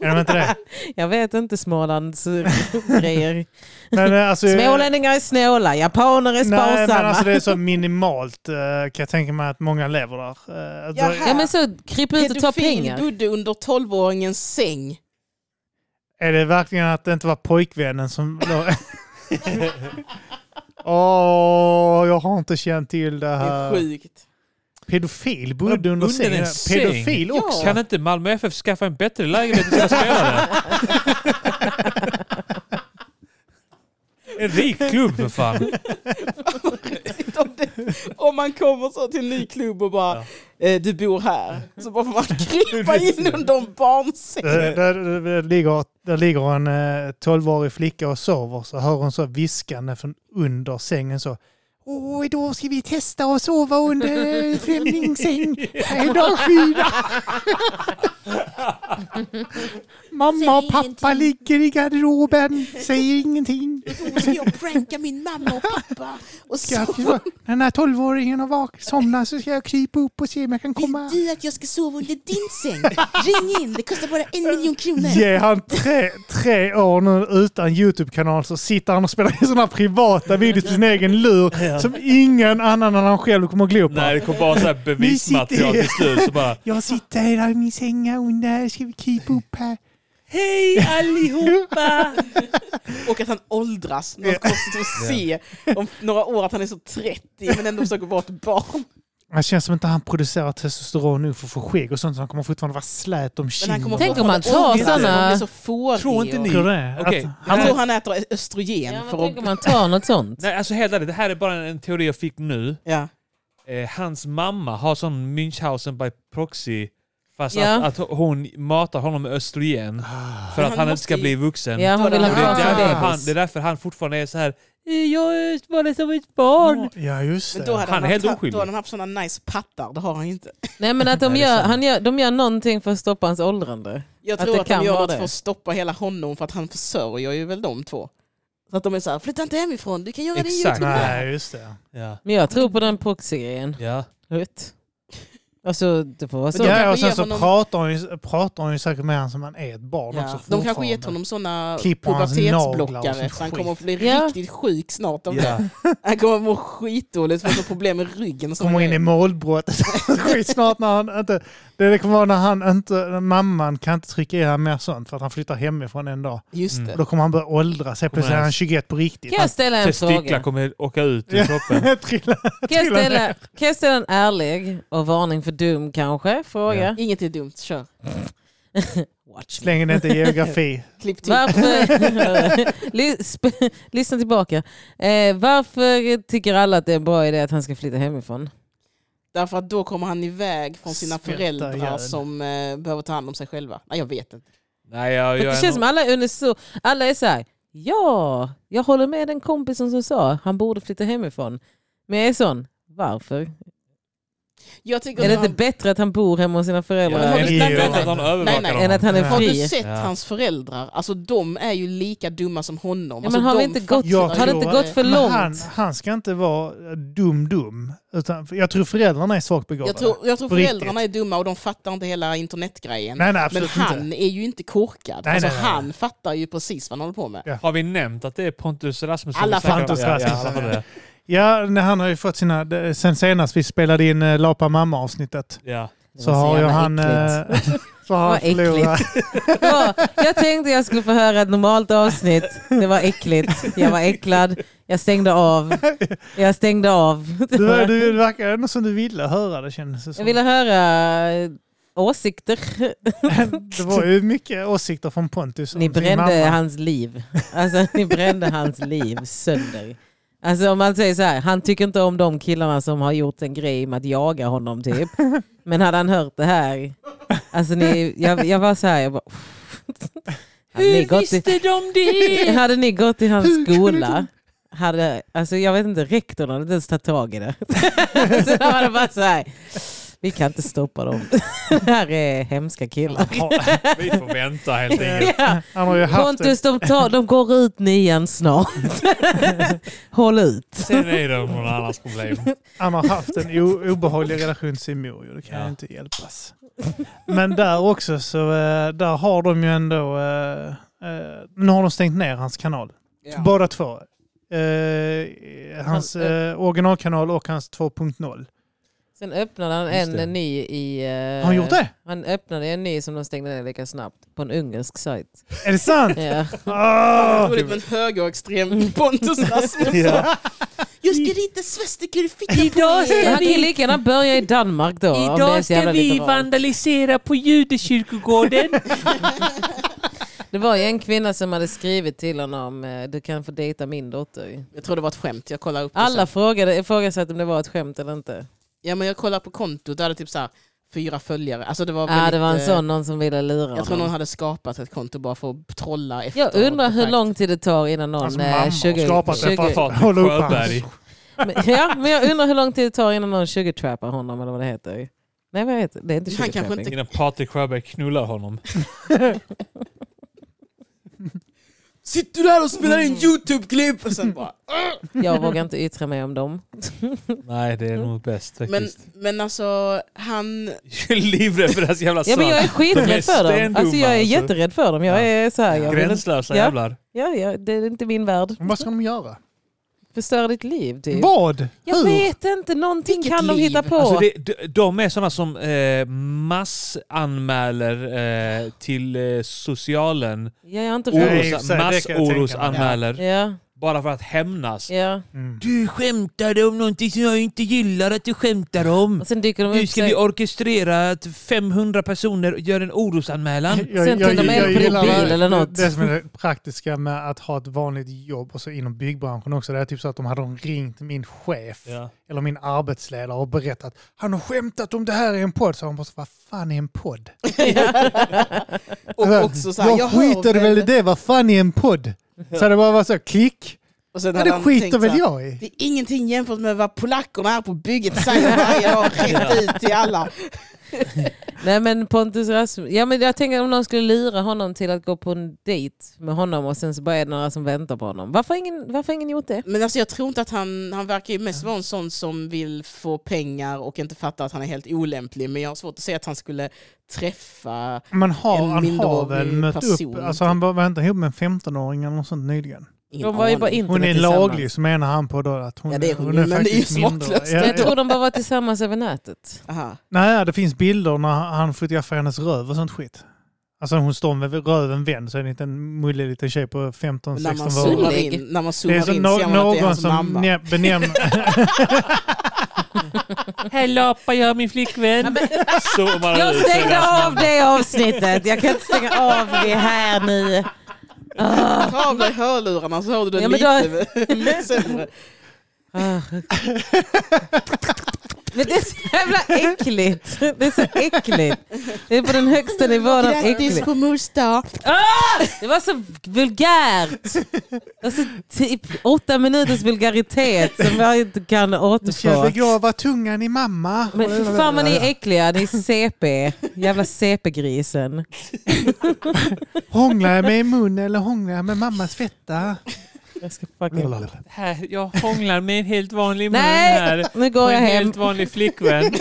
[SPEAKER 1] är de inte det?
[SPEAKER 2] Jag vet inte Smålands eh, grejer.
[SPEAKER 1] Men, eh, alltså,
[SPEAKER 2] Smålänningar är snåla, japaner är
[SPEAKER 1] Nej, men alltså
[SPEAKER 2] sparsamma.
[SPEAKER 1] det är så minimalt eh, kan jag tänka mig att många lever där. Eh,
[SPEAKER 4] Jaha.
[SPEAKER 1] där
[SPEAKER 2] Ja men så kryp ut och ta
[SPEAKER 4] Pedofil
[SPEAKER 2] pengar.
[SPEAKER 4] bodde under 12-åringens säng.
[SPEAKER 1] Är det verkligen att det inte var pojkvännen som... låg- Åh, jag har inte känt till det
[SPEAKER 4] Det är
[SPEAKER 1] här.
[SPEAKER 4] sjukt.
[SPEAKER 1] Pedofil bodde under
[SPEAKER 3] Under
[SPEAKER 1] sängen.
[SPEAKER 3] en säng?
[SPEAKER 1] Pedofil också?
[SPEAKER 3] Kan inte Malmö FF skaffa en bättre lägenhet där spela där? En rik klubb för fan.
[SPEAKER 4] om, det, om man kommer så till en ny klubb och bara
[SPEAKER 3] Ja.
[SPEAKER 4] eh, du bor här. Så bara får man krypa in under en barnsäng.
[SPEAKER 1] Där, där, Eh, där, ligger, där ligger en eh, tolvårig flicka och sover. Så hör hon så viskande från under sängen så. Åh, idag ska vi testa att sova under en främlingssäng. Här är dagskida. Mamma och pappa ligger i garderoben. Säger ingenting.
[SPEAKER 4] Då ska jag pranka min mamma och pappa. Och
[SPEAKER 1] Ska jag,
[SPEAKER 4] sova.
[SPEAKER 1] när den här tolvåringen har vak- somnat så ska jag krypa upp och se om jag kan komma.
[SPEAKER 4] Du att jag ska sova under din säng. Ring in, det kostar bara en miljon kronor.
[SPEAKER 1] Ge han tre, tre år nu utan YouTube-kanal så sitter han och spelar in sådana privata videos på sin egen lur som ingen annan än han själv kommer att glo
[SPEAKER 3] Nej,
[SPEAKER 1] på.
[SPEAKER 3] det kom bara så här bevismaterial till slut. Så bara,
[SPEAKER 1] Jag sitter här i min säng här under, ska vi krypa upp här?
[SPEAKER 3] Hej allihopa!
[SPEAKER 4] Och att han åldras. Något konstigt att se om några år att han är så 30 men ändå försöker vara ett barn.
[SPEAKER 1] Det känns som inte han producerar testosteron nu för att få skägg och sånt så han kommer fortfarande vara slät om
[SPEAKER 4] Men han
[SPEAKER 1] kinden.
[SPEAKER 4] kommer
[SPEAKER 2] Tänk om han tar
[SPEAKER 4] fortfarande åldras,
[SPEAKER 2] såna-
[SPEAKER 4] Han blir så fårig.
[SPEAKER 3] Tror inte
[SPEAKER 4] och-
[SPEAKER 3] ni-
[SPEAKER 1] Tror du det?
[SPEAKER 3] Okej.
[SPEAKER 1] Att han-
[SPEAKER 4] Jag tror han äter östrogen.
[SPEAKER 2] Ja, men
[SPEAKER 4] för
[SPEAKER 2] tänk om
[SPEAKER 4] att...
[SPEAKER 2] man tar något sånt.
[SPEAKER 3] Nej, alltså helt ärligt, det här är bara en teori jag fick nu.
[SPEAKER 4] Ja.
[SPEAKER 3] Eh, hans mamma har sån Münchhausen by proxy. Fast
[SPEAKER 2] Ja.
[SPEAKER 3] att, att hon matar honom med östrogen
[SPEAKER 1] Ah.
[SPEAKER 3] för
[SPEAKER 4] Men
[SPEAKER 3] att
[SPEAKER 4] han
[SPEAKER 3] han, inte ska
[SPEAKER 4] måste ju-
[SPEAKER 3] bli vuxen.
[SPEAKER 2] Ja, hon vill
[SPEAKER 3] Det
[SPEAKER 2] ha
[SPEAKER 3] är,
[SPEAKER 2] kvar sin
[SPEAKER 3] därför
[SPEAKER 4] Ah.
[SPEAKER 3] han,
[SPEAKER 2] bebis.
[SPEAKER 3] det är därför han fortfarande är så här. "Eh, Jag var som ett barn.
[SPEAKER 1] Ja, just
[SPEAKER 4] Men då
[SPEAKER 1] det.
[SPEAKER 4] hade
[SPEAKER 3] Han
[SPEAKER 4] han,
[SPEAKER 3] är helt
[SPEAKER 4] haft,
[SPEAKER 3] oskyldig.
[SPEAKER 4] då hade han haft sådana nice pattar, det har han ju inte.
[SPEAKER 2] Nej men att de
[SPEAKER 3] Nej, det är
[SPEAKER 2] gör,
[SPEAKER 3] sant.
[SPEAKER 2] han gör, de gör någonting för att stoppa hans åldrande.
[SPEAKER 4] Jag
[SPEAKER 2] Att
[SPEAKER 4] tror
[SPEAKER 2] det
[SPEAKER 4] att,
[SPEAKER 2] kan
[SPEAKER 4] de gör
[SPEAKER 2] vara
[SPEAKER 4] något
[SPEAKER 2] det.
[SPEAKER 4] för att stoppa hela honom för att han försörjer ju väl de två. Så att de är såhär, flytta inte hemifrån, du kan göra din
[SPEAKER 3] Exakt.
[SPEAKER 4] YouTube.
[SPEAKER 1] Nej, just det.
[SPEAKER 3] Ja.
[SPEAKER 2] Men jag tror på den proxy-grejen.
[SPEAKER 3] Ja.
[SPEAKER 2] Vet. Alltså det får vara så.
[SPEAKER 4] de
[SPEAKER 1] Ja,
[SPEAKER 4] kanske
[SPEAKER 1] och sen
[SPEAKER 4] ger
[SPEAKER 1] så
[SPEAKER 4] honom-
[SPEAKER 1] pratar hon, ju, pratar hon ju säkert med honom som han är ett barn
[SPEAKER 4] Ja.
[SPEAKER 1] också
[SPEAKER 4] De kanske gett
[SPEAKER 1] fortfarande.
[SPEAKER 4] honom sådana
[SPEAKER 1] Klipper hans naglar och
[SPEAKER 4] pubertetsblockare
[SPEAKER 1] sånt
[SPEAKER 4] så han
[SPEAKER 1] skit.
[SPEAKER 4] kommer att bli
[SPEAKER 2] Ja.
[SPEAKER 4] riktigt sjuk snart. av
[SPEAKER 3] Ja.
[SPEAKER 4] det. Han kommer att må skitdåligt för att han har problem med ryggen. och såna
[SPEAKER 1] kommer in i
[SPEAKER 4] grejer.
[SPEAKER 1] målbrottet skit snart när han inte... Det det kommer vara när han inte... när Mamman kan inte trycka i honom mer sånt för att han flyttar hemifrån en dag.
[SPEAKER 4] Just det.
[SPEAKER 1] Och då kommer han börja åldras. Helt plötsligt är han
[SPEAKER 3] hans-
[SPEAKER 1] 21 på riktigt.
[SPEAKER 2] Kan jag ställa en
[SPEAKER 3] Testiklar
[SPEAKER 2] fråga?
[SPEAKER 3] kommer åka ut ur
[SPEAKER 1] Ja.
[SPEAKER 3] kroppen.
[SPEAKER 1] Han trillar.
[SPEAKER 2] Kan jag,
[SPEAKER 1] trillar
[SPEAKER 2] ställa, kan jag ställa en ärlig och varning för dum kanske? Fråga.
[SPEAKER 4] Inget är dumt, kör.
[SPEAKER 2] Watch
[SPEAKER 1] Så länge det inte är geografi.
[SPEAKER 4] Klipp till.
[SPEAKER 2] Varför, Ly- sp- lyssna tillbaka. Eh, varför tycker alla att det är en bra idé att han ska flytta hemifrån?
[SPEAKER 4] Därför att då kommer han iväg från sina
[SPEAKER 1] Svälta
[SPEAKER 4] föräldrar
[SPEAKER 1] ihjäl.
[SPEAKER 4] som eh, behöver ta hand om sig själva. Nej, jag vet inte.
[SPEAKER 3] Nej, jag,
[SPEAKER 2] För
[SPEAKER 3] jag
[SPEAKER 2] det
[SPEAKER 3] är
[SPEAKER 2] känns som
[SPEAKER 3] nog-
[SPEAKER 2] alla är unison. Alla är så här, ja, jag håller med den kompisen som sa han borde flytta hemifrån. Men jag är sån, varför?
[SPEAKER 4] Jag tycker
[SPEAKER 2] Är det
[SPEAKER 4] att
[SPEAKER 2] inte
[SPEAKER 4] han,
[SPEAKER 2] bättre att han bor hemma hos sina
[SPEAKER 3] Ja,
[SPEAKER 2] föräldrar
[SPEAKER 3] det är
[SPEAKER 1] Jo.
[SPEAKER 3] inte bättre att han
[SPEAKER 4] Nej,
[SPEAKER 3] övervakar
[SPEAKER 4] nej.
[SPEAKER 2] än
[SPEAKER 3] honom.
[SPEAKER 2] att han är
[SPEAKER 1] Ja.
[SPEAKER 4] har du
[SPEAKER 2] fri?
[SPEAKER 4] sett
[SPEAKER 3] Ja.
[SPEAKER 4] hans föräldrar? Alltså de är ju lika dumma som honom.
[SPEAKER 2] Ja,
[SPEAKER 4] alltså,
[SPEAKER 2] men har,
[SPEAKER 4] de
[SPEAKER 2] vi inte gått,
[SPEAKER 1] Jag
[SPEAKER 2] har det inte
[SPEAKER 1] tror-
[SPEAKER 2] gått för
[SPEAKER 1] Men
[SPEAKER 2] långt?
[SPEAKER 1] Han, han ska inte vara dum-dum. Utan- för Jag tror föräldrarna är svagt begåvade.
[SPEAKER 4] Jag tror, jag tror
[SPEAKER 1] På riktigt.
[SPEAKER 4] föräldrarna är dumma och de fattar inte hela internetgrejen.
[SPEAKER 1] Nej, nej,
[SPEAKER 4] men
[SPEAKER 1] absolut
[SPEAKER 4] han
[SPEAKER 1] inte.
[SPEAKER 4] är ju inte korkad.
[SPEAKER 1] Nej,
[SPEAKER 4] alltså,
[SPEAKER 1] nej, nej.
[SPEAKER 4] Han fattar ju precis vad han håller på med.
[SPEAKER 1] Ja.
[SPEAKER 3] Har vi nämnt att det är Pontus Rasmusson?
[SPEAKER 4] Alla
[SPEAKER 3] som säkert-
[SPEAKER 1] Pontus
[SPEAKER 3] Ja, ja,
[SPEAKER 1] Rasmusson,
[SPEAKER 3] alla får
[SPEAKER 1] ja.
[SPEAKER 3] det.
[SPEAKER 1] Ja, nej, han har ju fått sina... det- Sen senast vi spelade in eh, Lapa mamma-avsnittet
[SPEAKER 3] Ja.
[SPEAKER 2] Det var
[SPEAKER 1] så har ju
[SPEAKER 2] jävla
[SPEAKER 1] han...
[SPEAKER 2] äckligt.
[SPEAKER 1] eh, Så har han
[SPEAKER 2] Vad äckligt.
[SPEAKER 1] förlorat...
[SPEAKER 2] Ja, jag tänkte jag skulle få höra ett normalt avsnitt. Det var äckligt. Jag var äcklad. Jag stängde av. Jag stängde av.
[SPEAKER 1] Du, du, det verkar ändå som du ville höra det kändes det
[SPEAKER 2] Jag
[SPEAKER 1] som.
[SPEAKER 2] ville höra eh, åsikter.
[SPEAKER 1] Det var ju mycket åsikter från Pontus. om
[SPEAKER 2] Ni
[SPEAKER 1] sin Alltså, mamma.
[SPEAKER 2] brände hans liv. Alltså ni brände hans liv sönder. Alltså om man säger så här, han tycker inte om de killarna som har gjort en grej med att jaga honom typ. Men hade han hört det här, alltså ni, jag, jag var så här, jag bara... Hade ni gått i-
[SPEAKER 3] de det?
[SPEAKER 2] Hade ni gått i hans skola, hade, alltså jag vet inte, rektorn hade inte ens tagit tag i det. så han hade bara så här, vi kan inte stoppa dem. det här är hemska killar.
[SPEAKER 3] Vi får vänta helt enkelt.
[SPEAKER 2] Ja.
[SPEAKER 1] Han har ju haft
[SPEAKER 2] Pontus, de, tar, de går ut nian snart. Håll ut.
[SPEAKER 3] Sen är det någon annans problem.
[SPEAKER 1] Han har haft en o- obehaglig relation till sin mor, ju. det kan
[SPEAKER 3] Ja.
[SPEAKER 1] ju inte hjälpas. Men där också, så eh, där har de ju ändå... eh, eh, Nu har de stängt ner hans kanal.
[SPEAKER 4] Ja.
[SPEAKER 1] Båda två. Eh, Hans
[SPEAKER 2] Han-
[SPEAKER 1] eh, originalkanal och hans 2.0.
[SPEAKER 2] Sen öppnade han
[SPEAKER 3] Just det.
[SPEAKER 2] en ny i... eh,
[SPEAKER 1] Har han gjort det?
[SPEAKER 2] Han öppnade en ny som de stängde ner lika snabbt på en ungersk sajt.
[SPEAKER 1] Är det sant?
[SPEAKER 2] Ja.
[SPEAKER 1] Ah!
[SPEAKER 4] Roligt med en
[SPEAKER 2] Mm.
[SPEAKER 4] högerextrem Pontus Rasmusson.
[SPEAKER 1] Ja.
[SPEAKER 4] Jag ska rita svastikor i fickan
[SPEAKER 3] Idag
[SPEAKER 4] på
[SPEAKER 3] ska
[SPEAKER 4] er.
[SPEAKER 2] Han kan ju lika gärna börja i Danmark då. om det är så jävla liberalt.
[SPEAKER 3] vandalisera på judekyrkogården.
[SPEAKER 2] Det var ju en kvinna som hade skrivit till honom, eh, du kan få dejta min dotter.
[SPEAKER 4] Jag tror det var ett skämt, jag kollar upp det
[SPEAKER 2] Alla
[SPEAKER 4] sen.
[SPEAKER 2] frågade, frågade sig om det var ett skämt eller inte.
[SPEAKER 4] Ja men jag kollade på kontot, där hade typ så här, fyra följare. Alltså det var
[SPEAKER 2] Ja,
[SPEAKER 4] väldigt,
[SPEAKER 2] det var en
[SPEAKER 4] eh,
[SPEAKER 2] sån någon som ville lura
[SPEAKER 4] Jag tror
[SPEAKER 2] honom.
[SPEAKER 4] någon hade skapat ett konto bara för att trolla efter.
[SPEAKER 2] Jag undrar hur
[SPEAKER 4] kontakt.
[SPEAKER 2] lång tid det tar innan någon...
[SPEAKER 1] Hans
[SPEAKER 2] eh,
[SPEAKER 1] Alltså, mamma har
[SPEAKER 2] 20
[SPEAKER 1] skapat det
[SPEAKER 2] 20
[SPEAKER 1] för att
[SPEAKER 3] Patrik
[SPEAKER 1] Håll upp
[SPEAKER 3] Sjöberg.
[SPEAKER 2] Men- Ja, men jag undrar hur lång tid det tar innan någon sugartrappar honom eller vad det heter. Nej, vad heter det? Det är inte
[SPEAKER 4] Han kanske
[SPEAKER 2] sugartrapping.
[SPEAKER 4] inte-
[SPEAKER 3] Innan Patrik Sjöberg knullar honom.
[SPEAKER 4] Sitter du här och spelar in YouTube-klipp? Och sen bara...
[SPEAKER 2] Jag vågar inte yttra mig om dem.
[SPEAKER 3] Nej, det är
[SPEAKER 2] Mm.
[SPEAKER 3] nog bäst
[SPEAKER 4] Men,
[SPEAKER 3] faktiskt.
[SPEAKER 4] men alltså, han...
[SPEAKER 3] Jag är livrädd för deras jävla
[SPEAKER 1] Alltså,
[SPEAKER 2] Ja,
[SPEAKER 3] son.
[SPEAKER 2] men jag är skiträdd för dem.
[SPEAKER 3] stendumma,
[SPEAKER 2] Alltså, jag är
[SPEAKER 3] alltså.
[SPEAKER 2] jätterädd för dem. Jag
[SPEAKER 3] Ja.
[SPEAKER 2] är så här, jag vill inte,
[SPEAKER 3] Gränslösa
[SPEAKER 2] Ja.
[SPEAKER 3] jävlar.
[SPEAKER 2] ja, ja, det är inte min värld.
[SPEAKER 1] Men Vad ska de göra?
[SPEAKER 2] Förstöra ditt liv typ.
[SPEAKER 1] Vad?
[SPEAKER 2] Jag
[SPEAKER 1] Hur?
[SPEAKER 2] vet inte, någonting
[SPEAKER 4] Vilket
[SPEAKER 2] kan de
[SPEAKER 4] liv?
[SPEAKER 2] hitta på.
[SPEAKER 3] Alltså det, de- de är sådana som eh, massanmäler eh, till eh, socialen.
[SPEAKER 2] Ja, jag har inte
[SPEAKER 1] Nej, i
[SPEAKER 2] råd.
[SPEAKER 1] och för sig, det kan jag tänka mig.
[SPEAKER 3] Massorosanmäler.
[SPEAKER 2] Ja,
[SPEAKER 3] Bara för att hämnas.
[SPEAKER 2] ja.
[SPEAKER 1] Mm.
[SPEAKER 3] Du skämtade om någonting som jag inte gillar att du skämtar om.
[SPEAKER 2] Och sen dyker de upp. sig-
[SPEAKER 3] orkestrera att 500 personer gör en orosanmälan.
[SPEAKER 2] Sen till och med på din
[SPEAKER 1] gillar
[SPEAKER 2] bil
[SPEAKER 1] det-
[SPEAKER 2] eller något.
[SPEAKER 1] Det som är det praktiska med att ha ett vanligt jobb och så inom byggbranschen också, det är typ så att de hade ringt min chef
[SPEAKER 3] Ja.
[SPEAKER 1] eller min arbetsledare och berättat han har skämtat om det här i en podd. Så han bara, så, vad fan är en podd?
[SPEAKER 4] Och också så här,
[SPEAKER 1] jag,
[SPEAKER 4] jag, hör
[SPEAKER 1] skiter väl i det, vad fan är en podd? Så det bara var så, klick.
[SPEAKER 4] Och sen
[SPEAKER 1] Ja,
[SPEAKER 4] hade
[SPEAKER 1] det
[SPEAKER 4] han tänkt
[SPEAKER 1] skiter
[SPEAKER 4] så här,
[SPEAKER 1] väl jag i.
[SPEAKER 4] Det är ingenting jämfört med vad polackerna här på bygget säger varje dag rätt ut till alla.
[SPEAKER 2] Nej men Pontus Rasmus. Ja, men jag tänker om någon skulle lura honom till att gå på en dejt med honom och sen så bara är det några som väntar på honom. Varför har ingen, varför har ingen gjort det?
[SPEAKER 4] Men alltså jag tror inte att han, han verkar ju mest vara en sån som vill få pengar och inte fatta att han är helt olämplig. Men jag har svårt att se att han skulle träffa...
[SPEAKER 1] Man har,
[SPEAKER 4] En
[SPEAKER 1] han har
[SPEAKER 4] minderårig
[SPEAKER 1] väl mött
[SPEAKER 4] person, typ.
[SPEAKER 1] upp, alltså han var, var inte ihop med en 15-åring eller något sånt nyligen.
[SPEAKER 4] Ingen
[SPEAKER 2] De var ju
[SPEAKER 4] aning.
[SPEAKER 2] bara inte
[SPEAKER 1] Hon är
[SPEAKER 2] tillsammans.
[SPEAKER 1] laglig, så menar han på då att hon,
[SPEAKER 4] Ja, det är hon ju, men det är ju
[SPEAKER 1] minderårig.
[SPEAKER 4] smaklöst
[SPEAKER 1] Ja,
[SPEAKER 2] Jag
[SPEAKER 1] ja.
[SPEAKER 2] tror de bara var tillsammans över nätet.
[SPEAKER 4] Aha.
[SPEAKER 1] Nej, det finns bilder när han fotograferar hennes röv och sånt skit. Alltså hon står med röven vänd så är det inte en mullig liten tjej på
[SPEAKER 4] Men När
[SPEAKER 1] 15-16
[SPEAKER 4] man
[SPEAKER 1] år.
[SPEAKER 4] zoomar
[SPEAKER 2] Syrlig.
[SPEAKER 4] in, när man
[SPEAKER 1] Det
[SPEAKER 4] zoomar
[SPEAKER 1] är
[SPEAKER 4] in
[SPEAKER 1] så
[SPEAKER 4] ser
[SPEAKER 1] no-
[SPEAKER 4] man att det är
[SPEAKER 1] någon
[SPEAKER 4] hans
[SPEAKER 1] som
[SPEAKER 4] mamma.
[SPEAKER 1] ne- benämner...
[SPEAKER 3] Här lapar jag min flickvän. Zoomar
[SPEAKER 2] Jag
[SPEAKER 3] ut, så är det
[SPEAKER 2] stängde
[SPEAKER 3] hans
[SPEAKER 2] av det avsnittet. Jag kan inte stänga av det här nu.
[SPEAKER 4] Ta av dig hörlurarna så hör du det
[SPEAKER 2] Ja, men
[SPEAKER 4] lite sämre.
[SPEAKER 2] Ah. Men det är så jävla äckligt. Det är så äckligt. Det är på den högsta nivån av äckligt.
[SPEAKER 4] på mors dag.
[SPEAKER 2] Ah! Det var så vulgärt. Alltså typ åtta minuters vulgaritet som jag inte kan
[SPEAKER 1] Nu ska
[SPEAKER 2] återfå.
[SPEAKER 1] jag begrava tungan i mamma.
[SPEAKER 2] Men för fan vad ni är äckliga, ni är CP. Jävla CP-grisen.
[SPEAKER 1] Hånglar jag med i mun eller hånglar jag med mammas fetta?
[SPEAKER 2] Jag ska fucking...
[SPEAKER 3] Här, jag hånglar med en helt vanlig man
[SPEAKER 2] Nej,
[SPEAKER 3] här.
[SPEAKER 2] nu
[SPEAKER 3] Och
[SPEAKER 2] går jag
[SPEAKER 3] en
[SPEAKER 2] hem.
[SPEAKER 3] helt vanlig flickvän.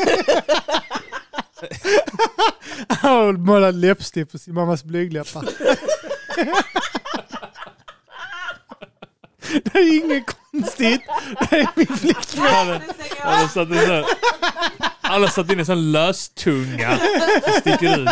[SPEAKER 1] Och målar läppstift på sin mammas blygdläppar. Det är inget konstigt. Det är min flickvän.
[SPEAKER 3] Alla- Alla satt in så- alla satt in en sån löstunga som sticker ut.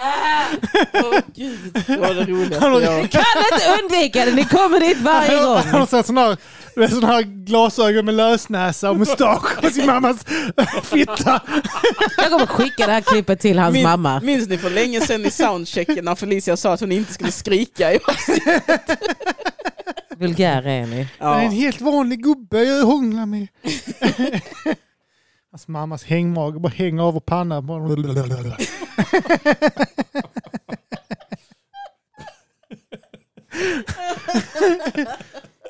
[SPEAKER 4] Åh gud, det var det
[SPEAKER 1] Han
[SPEAKER 4] roligaste
[SPEAKER 1] har-
[SPEAKER 4] jag...
[SPEAKER 2] Kan inte undvika det, ni kommer dit varje gång.
[SPEAKER 1] Han har sån sån här, du vet, sån här glasögon med lösnäsa och mustasch på sin mammas fitta.
[SPEAKER 2] Jag kommer skicka det här klippet till hans
[SPEAKER 4] Min-
[SPEAKER 2] mamma.
[SPEAKER 4] Minns ni för länge sedan i soundchecken när Felicia sa att hon inte skulle skrika? i avsnittet?
[SPEAKER 2] Vulgär är ni.
[SPEAKER 1] Det är en
[SPEAKER 4] Ja.
[SPEAKER 1] helt vanlig gubbe jag hånglar med. Hans mammas hängmage bara hänger av och panna. bara-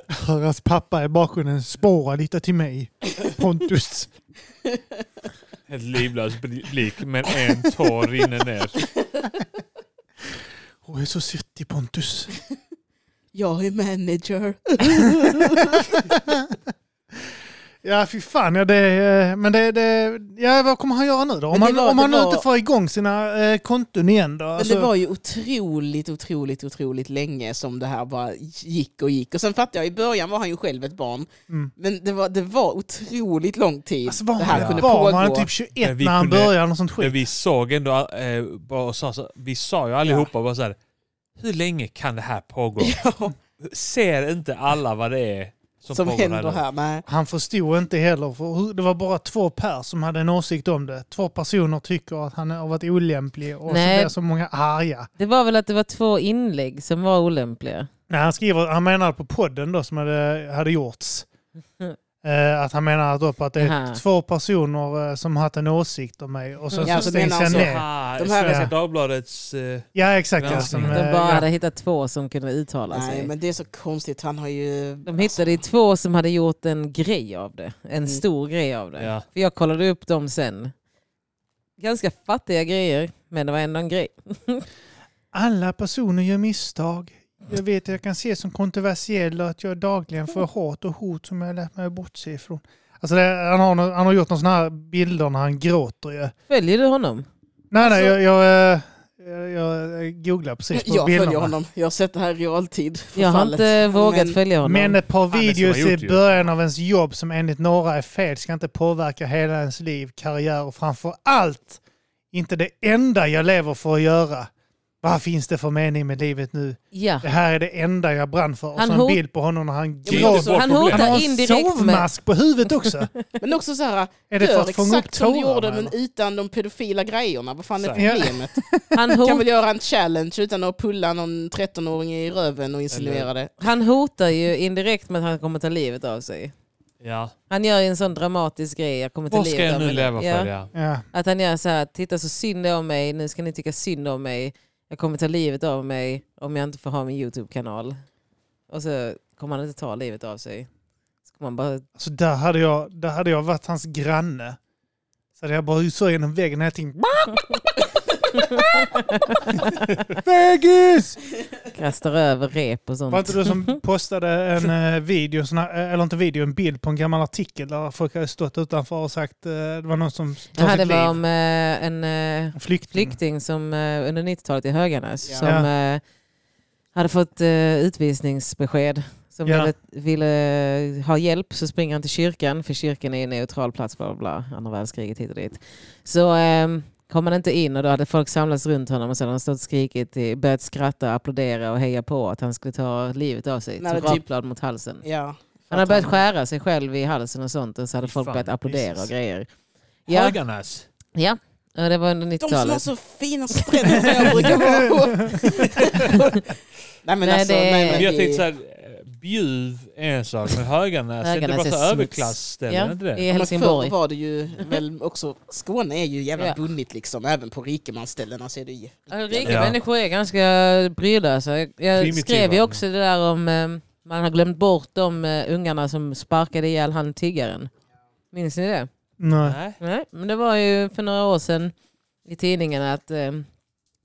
[SPEAKER 1] Hör hans pappa i bakgrunden spåra lite till mig. Pontus.
[SPEAKER 3] Helt livlös bli- blick, men en tår rinner ner.
[SPEAKER 1] Åh, jag är så svettig Pontus.
[SPEAKER 4] Jag är manager.
[SPEAKER 1] Ja, fy fan. Ja, det, eh, men det, det, ja, vad kommer han göra nu då? Om
[SPEAKER 4] Men det
[SPEAKER 1] han,
[SPEAKER 4] var-
[SPEAKER 1] om
[SPEAKER 4] det
[SPEAKER 1] han nu
[SPEAKER 4] var-
[SPEAKER 1] inte får igång sina eh, konton igen då? alltså,
[SPEAKER 4] Men det var ju otroligt, otroligt, otroligt länge som det här bara gick och gick. Och sen fattade jag, i början var han ju själv ett barn.
[SPEAKER 1] Mm.
[SPEAKER 4] Men det var, det var otroligt lång tid
[SPEAKER 1] alltså, var
[SPEAKER 4] det
[SPEAKER 1] han
[SPEAKER 4] här
[SPEAKER 1] ett
[SPEAKER 4] kunde
[SPEAKER 1] barn?
[SPEAKER 4] pågå.
[SPEAKER 1] Var han typ
[SPEAKER 3] Men
[SPEAKER 1] 21
[SPEAKER 3] vi
[SPEAKER 1] när han
[SPEAKER 3] kunde-
[SPEAKER 1] började? Något sånt
[SPEAKER 3] Men
[SPEAKER 1] skit.
[SPEAKER 3] vi såg ändå, eh, bara och sa, så- vi sa ju allihopa bara så här, hur länge kan det här pågå?
[SPEAKER 4] Ja,
[SPEAKER 3] Ser inte alla vad det är som,
[SPEAKER 4] som
[SPEAKER 3] pågår
[SPEAKER 4] händer
[SPEAKER 3] nu?
[SPEAKER 4] här. Nej.
[SPEAKER 1] Han förstod inte heller. För hur- det var bara två per som hade en åsikt om det. Två personer tycker att han har varit olämplig och så
[SPEAKER 2] Nej.
[SPEAKER 1] blir så många arga.
[SPEAKER 2] Det var väl att det var två inlägg som var olämpliga.
[SPEAKER 1] Nej, han skriver, han menar på podden då som hade, hade gjorts. Eh, att han menar då på att det är
[SPEAKER 2] Jaha.
[SPEAKER 1] två personer eh, som haft en åsikt om mig och sen
[SPEAKER 4] Ja,
[SPEAKER 1] så
[SPEAKER 4] så
[SPEAKER 1] stängs
[SPEAKER 4] menar
[SPEAKER 1] jag
[SPEAKER 4] han så.
[SPEAKER 1] ner.
[SPEAKER 3] Ah,
[SPEAKER 4] De här-
[SPEAKER 3] Svenska Dagbladets... eh,
[SPEAKER 1] Ja, exakt. Ja,
[SPEAKER 3] Granskning.
[SPEAKER 1] som, eh,
[SPEAKER 2] De bara
[SPEAKER 1] ja.
[SPEAKER 2] hade hittat två som kunde uttala
[SPEAKER 4] Nej,
[SPEAKER 2] sig.
[SPEAKER 4] men det är så konstigt. Han har ju...
[SPEAKER 2] De hittade ju två som hade gjort en grej av det. En stor grej av det.
[SPEAKER 3] Mm. Ja.
[SPEAKER 2] För jag kollade upp dem sen. Ganska fattiga grejer, men det var ändå en grej.
[SPEAKER 1] Alla personer gör misstag. Jag vet att jag kan se som kontroversiell och att jag dagligen får hat och hot som jag lärt mig att bortse ifrån. Alltså det, han, har, nå- han har gjort någon sån här bilder när han gråter ju.
[SPEAKER 2] Följer du honom?
[SPEAKER 1] Nej, nej, jag, jag, eh, jag, jag googlar precis på
[SPEAKER 4] Alltså- Jag följer
[SPEAKER 1] bilderna.
[SPEAKER 4] honom. Jag har sett det här i realtid.
[SPEAKER 2] Jag har
[SPEAKER 4] förfallet.
[SPEAKER 2] inte vågat
[SPEAKER 4] Men-
[SPEAKER 2] följa honom.
[SPEAKER 1] Men ett par
[SPEAKER 3] det är som
[SPEAKER 1] videos
[SPEAKER 3] har gjort
[SPEAKER 1] i
[SPEAKER 3] ju.
[SPEAKER 1] början av ens jobb som enligt några är fel ska inte påverka hela ens liv, karriär och framför allt inte det enda jag lever för att göra. Vad finns det för mening med livet nu?
[SPEAKER 2] ja.
[SPEAKER 1] Det här är det enda jag brann för. Och
[SPEAKER 2] Han
[SPEAKER 1] så en
[SPEAKER 2] hot-
[SPEAKER 1] bild på honom när han
[SPEAKER 3] Det är inte
[SPEAKER 1] gråter.
[SPEAKER 3] så-
[SPEAKER 2] Han
[SPEAKER 1] Han har
[SPEAKER 2] hotar
[SPEAKER 1] en
[SPEAKER 2] indirekt med...
[SPEAKER 1] sovmask på huvudet också.
[SPEAKER 4] Men också så här,
[SPEAKER 1] Är det för
[SPEAKER 4] gör
[SPEAKER 1] att fånga upp
[SPEAKER 4] exakt som du gjorde
[SPEAKER 1] tårarna?
[SPEAKER 4] men
[SPEAKER 1] eller?
[SPEAKER 4] utan de pedofila grejerna. Vad fan är
[SPEAKER 1] Så här.
[SPEAKER 4] problemet?
[SPEAKER 2] Han,
[SPEAKER 4] Du kan
[SPEAKER 2] hot,
[SPEAKER 4] väl göra en challenge utan att pulla någon 13-åring i röven och insinuera det.
[SPEAKER 2] han hotar ju indirekt med att han kommer ta livet av sig.
[SPEAKER 3] ja.
[SPEAKER 2] Han gör ju en sån dramatisk grej. Jag kommer ta
[SPEAKER 3] Vad ska
[SPEAKER 2] livet
[SPEAKER 3] jag
[SPEAKER 2] av
[SPEAKER 3] nu
[SPEAKER 2] mig.
[SPEAKER 3] leva
[SPEAKER 2] Ja.
[SPEAKER 3] för? Ja.
[SPEAKER 1] Ja.
[SPEAKER 2] Att han gör så här, titta så synd det är om mig, nu ska ni tycka synd om mig. Jag kommer ta livet av mig om jag inte får ha min YouTube-kanal. Och så kommer han inte ta livet av sig. Så kommer han bara,
[SPEAKER 1] Alltså där, hade jag, där hade jag varit hans granne. Så hade jag bara så genom väggen hela tiden. Vägis!
[SPEAKER 2] kastar över rep och
[SPEAKER 1] Var inte
[SPEAKER 2] sånt.
[SPEAKER 1] du som postade en eh, video, en sån här, eh, eller inte video, en bild på en gammal artikel där folk hade stått utanför och sagt eh, det var någon som
[SPEAKER 2] Det
[SPEAKER 1] tar
[SPEAKER 2] här
[SPEAKER 1] sitt
[SPEAKER 2] det
[SPEAKER 1] liv.
[SPEAKER 2] var om eh, en eh,
[SPEAKER 1] En flykting.
[SPEAKER 2] flykting som eh, under 90-talet i Höganäs
[SPEAKER 4] Ja.
[SPEAKER 2] som eh, hade fått eh, utvisningsbesked. Som
[SPEAKER 1] Ja.
[SPEAKER 2] ville, ville ha hjälp så springer han till kyrkan för kyrkan är en neutral plats, bla bla bla, andra världskriget hit och dit. Så eh, kom han inte in och då hade folk samlats runt honom och så hade han stått och skrikit, eh, börjat skratta, applådera och heja på att han skulle ta livet av sig.
[SPEAKER 4] Nej,
[SPEAKER 2] Tog
[SPEAKER 4] det typ-
[SPEAKER 2] rakblad mot halsen.
[SPEAKER 4] Ja.
[SPEAKER 2] Han hade börjat skära sig själv i halsen och sånt och så hade
[SPEAKER 3] Fy
[SPEAKER 2] folk
[SPEAKER 3] fan,
[SPEAKER 2] börjat applådera och
[SPEAKER 1] Jesus.
[SPEAKER 2] grejer. Ja,
[SPEAKER 3] Höganäs.
[SPEAKER 2] ja. ja, det var under
[SPEAKER 4] De som har
[SPEAKER 2] 90-talet.
[SPEAKER 4] så fina stränder som jag brukar vara på. nej men
[SPEAKER 2] Nej,
[SPEAKER 4] alltså,
[SPEAKER 2] det-
[SPEAKER 4] nej,
[SPEAKER 3] Men
[SPEAKER 4] men
[SPEAKER 3] jag
[SPEAKER 4] det-
[SPEAKER 3] tänkte såhär, eh, Bjuv är en sak, men Höganäs, är inte
[SPEAKER 2] Höganäs
[SPEAKER 3] bara
[SPEAKER 2] är
[SPEAKER 3] så
[SPEAKER 2] smuts.
[SPEAKER 3] överklassställen, är
[SPEAKER 2] Ja,
[SPEAKER 3] inte det?
[SPEAKER 2] i
[SPEAKER 4] men förr
[SPEAKER 2] Helsingborg.
[SPEAKER 4] var det ju väl också, Skåne är ju jävla
[SPEAKER 2] Ja.
[SPEAKER 4] bunnigt liksom, även på rikemansställena ser du ju.
[SPEAKER 2] Alltså, rika
[SPEAKER 3] Ja.
[SPEAKER 2] människor är ganska brydlösa. Jag, jag
[SPEAKER 3] Primitiva.
[SPEAKER 2] skrev ju också det där om eh, man har glömt bort de eh, ungarna som sparkade ihjäl han tiggaren. Minns ni det?
[SPEAKER 1] Nej.
[SPEAKER 3] Nej.
[SPEAKER 2] Nej, men det var ju för några år sedan i tidningen att eh,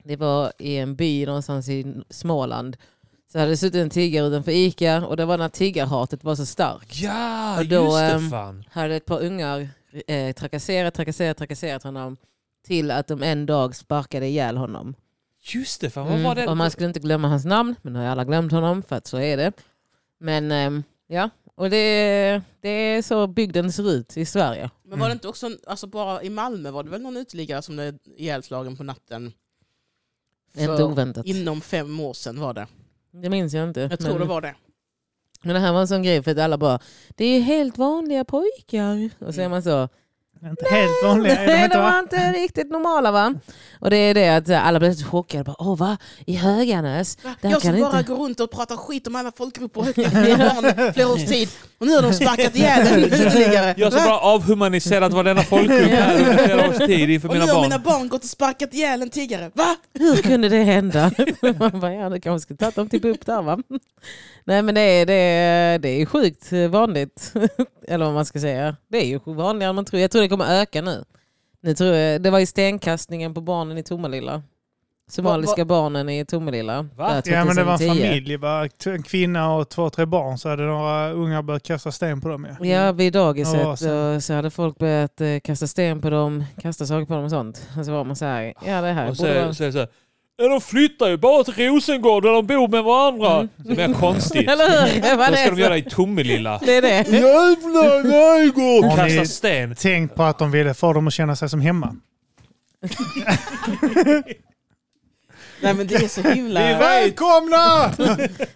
[SPEAKER 2] det var i en by någonstans i Småland. Så hade det suttit en tiggare utanför Ica och det var när tiggarhatet var så starkt.
[SPEAKER 3] Ja,
[SPEAKER 2] Och då,
[SPEAKER 3] just det
[SPEAKER 2] ehm,
[SPEAKER 3] fan.
[SPEAKER 2] hade ett par ungar eh, trakasserat, trakasserat, trakasserat honom till att de en dag sparkade ihjäl honom.
[SPEAKER 3] Just det fan, vad
[SPEAKER 2] Mm,
[SPEAKER 3] var det?
[SPEAKER 2] och man skulle inte glömma hans namn, men nu har alla glömt honom för att så är det. Men ehm, ja, och det, det är så bygden ser ut i Sverige.
[SPEAKER 4] Men
[SPEAKER 3] Mm.
[SPEAKER 4] var det inte också, en- alltså bara i Malmö var det väl någon uteliggare som blev ihjälslagen på natten?
[SPEAKER 2] Det är inte
[SPEAKER 4] För
[SPEAKER 2] oväntat.
[SPEAKER 4] Inom fem år sedan var det.
[SPEAKER 2] Det minns jag inte.
[SPEAKER 4] Jag tror
[SPEAKER 2] men,
[SPEAKER 4] det var det.
[SPEAKER 2] men det här var en sån grej för att alla bara, det är ju helt vanliga pojkar. Och så är
[SPEAKER 4] Mm.
[SPEAKER 2] man så,
[SPEAKER 1] Inte helt vanliga är de
[SPEAKER 2] nej
[SPEAKER 1] inte
[SPEAKER 2] de var
[SPEAKER 1] va?
[SPEAKER 2] inte riktigt normala va? Och det är det att alla blev så chockade, bara, åh va? I Höganäs? Där
[SPEAKER 4] jag
[SPEAKER 2] kan
[SPEAKER 4] som bara
[SPEAKER 2] inte...
[SPEAKER 4] går runt och pratar skit om alla folkgrupper och högtidliga barn i flera års tid. Och nu har de sparkat ihjäl en uteliggare.
[SPEAKER 3] Jag har så
[SPEAKER 4] Va?
[SPEAKER 3] bara avhumaniserat varenda folkgrupp här under flera års tid inför
[SPEAKER 4] Och nu
[SPEAKER 3] mina
[SPEAKER 4] har
[SPEAKER 3] barn.
[SPEAKER 4] mina barn gått och sparkat ihjäl en tiggare. Va?
[SPEAKER 2] Hur kunde det hända? Man bara, ja, du kanske skulle tagit dem till BUP där va? Nej men det är, det, är, det är sjukt vanligt. Eller vad man ska säga. Det är ju vanligare än man tror. Jag tror det kommer öka nu. nu tror jag, det var ju stenkastningen på barnen i Tomelilla. Somaliska barnen i Tomelilla.
[SPEAKER 3] Va?
[SPEAKER 2] där
[SPEAKER 1] Ja men det var en
[SPEAKER 2] 2010.
[SPEAKER 1] familj va? En kvinna och två, tre barn så hade några ungar börjat kasta sten på dem ju.
[SPEAKER 2] Ja, vid dagiset
[SPEAKER 1] Ja, sen-
[SPEAKER 2] och så hade folk börjat eh, kasta sten på dem, kasta saker på dem och sånt. Och så var man så här, ja det här
[SPEAKER 3] Och
[SPEAKER 2] borde vara...
[SPEAKER 3] så, så, så, ja, de flyttar ju bara till Rosengård där de bor med varandra. Det blir konstigt.
[SPEAKER 2] Mm. Eller hur? Vad
[SPEAKER 3] Vad
[SPEAKER 2] det,
[SPEAKER 3] ska de
[SPEAKER 2] är så-
[SPEAKER 3] göra i Tomelilla?
[SPEAKER 2] det är det.
[SPEAKER 5] Jävla nejgott!
[SPEAKER 1] Har ni
[SPEAKER 3] Kasta sten.
[SPEAKER 1] tänkt på att de ville få dem att känna sig som hemma?
[SPEAKER 4] Nej men det är så himla...
[SPEAKER 5] Välkomna!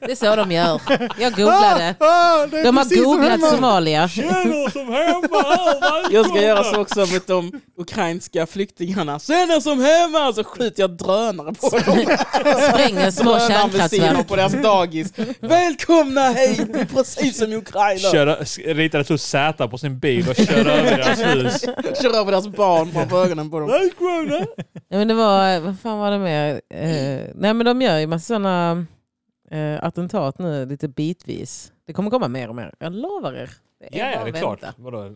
[SPEAKER 2] Det är så de gör. Jag googlade.
[SPEAKER 5] Ah, det är
[SPEAKER 2] De
[SPEAKER 5] precis som
[SPEAKER 2] har googlat
[SPEAKER 5] hemma.
[SPEAKER 2] Somalia.
[SPEAKER 3] Tjena oss som hemma här,
[SPEAKER 4] Jag ska göra så också mot de ukrainska flyktingarna. Sen är som hemma! Så skjuter jag drönare på dem.
[SPEAKER 2] Spränger små
[SPEAKER 4] Drönare med silor
[SPEAKER 2] kärnkraftverk.
[SPEAKER 4] på deras dagis. Välkomna hit! Det är Precis som i Ukraina. Kör,
[SPEAKER 3] Köra, ritade ett Z på sin bil och körde över deras hus.
[SPEAKER 4] över deras barn framför ögonen på dem.
[SPEAKER 3] Välkomna!
[SPEAKER 2] Ja, men det var, vad fan var det mer? Eh, nej men de gör ju massa sådana eh, attentat nu lite bitvis. Det kommer komma mer och mer. Jag lovar er.
[SPEAKER 3] Ja, ja,
[SPEAKER 2] bara
[SPEAKER 3] det är
[SPEAKER 2] att
[SPEAKER 3] klart.
[SPEAKER 2] vänta.
[SPEAKER 3] Vadå?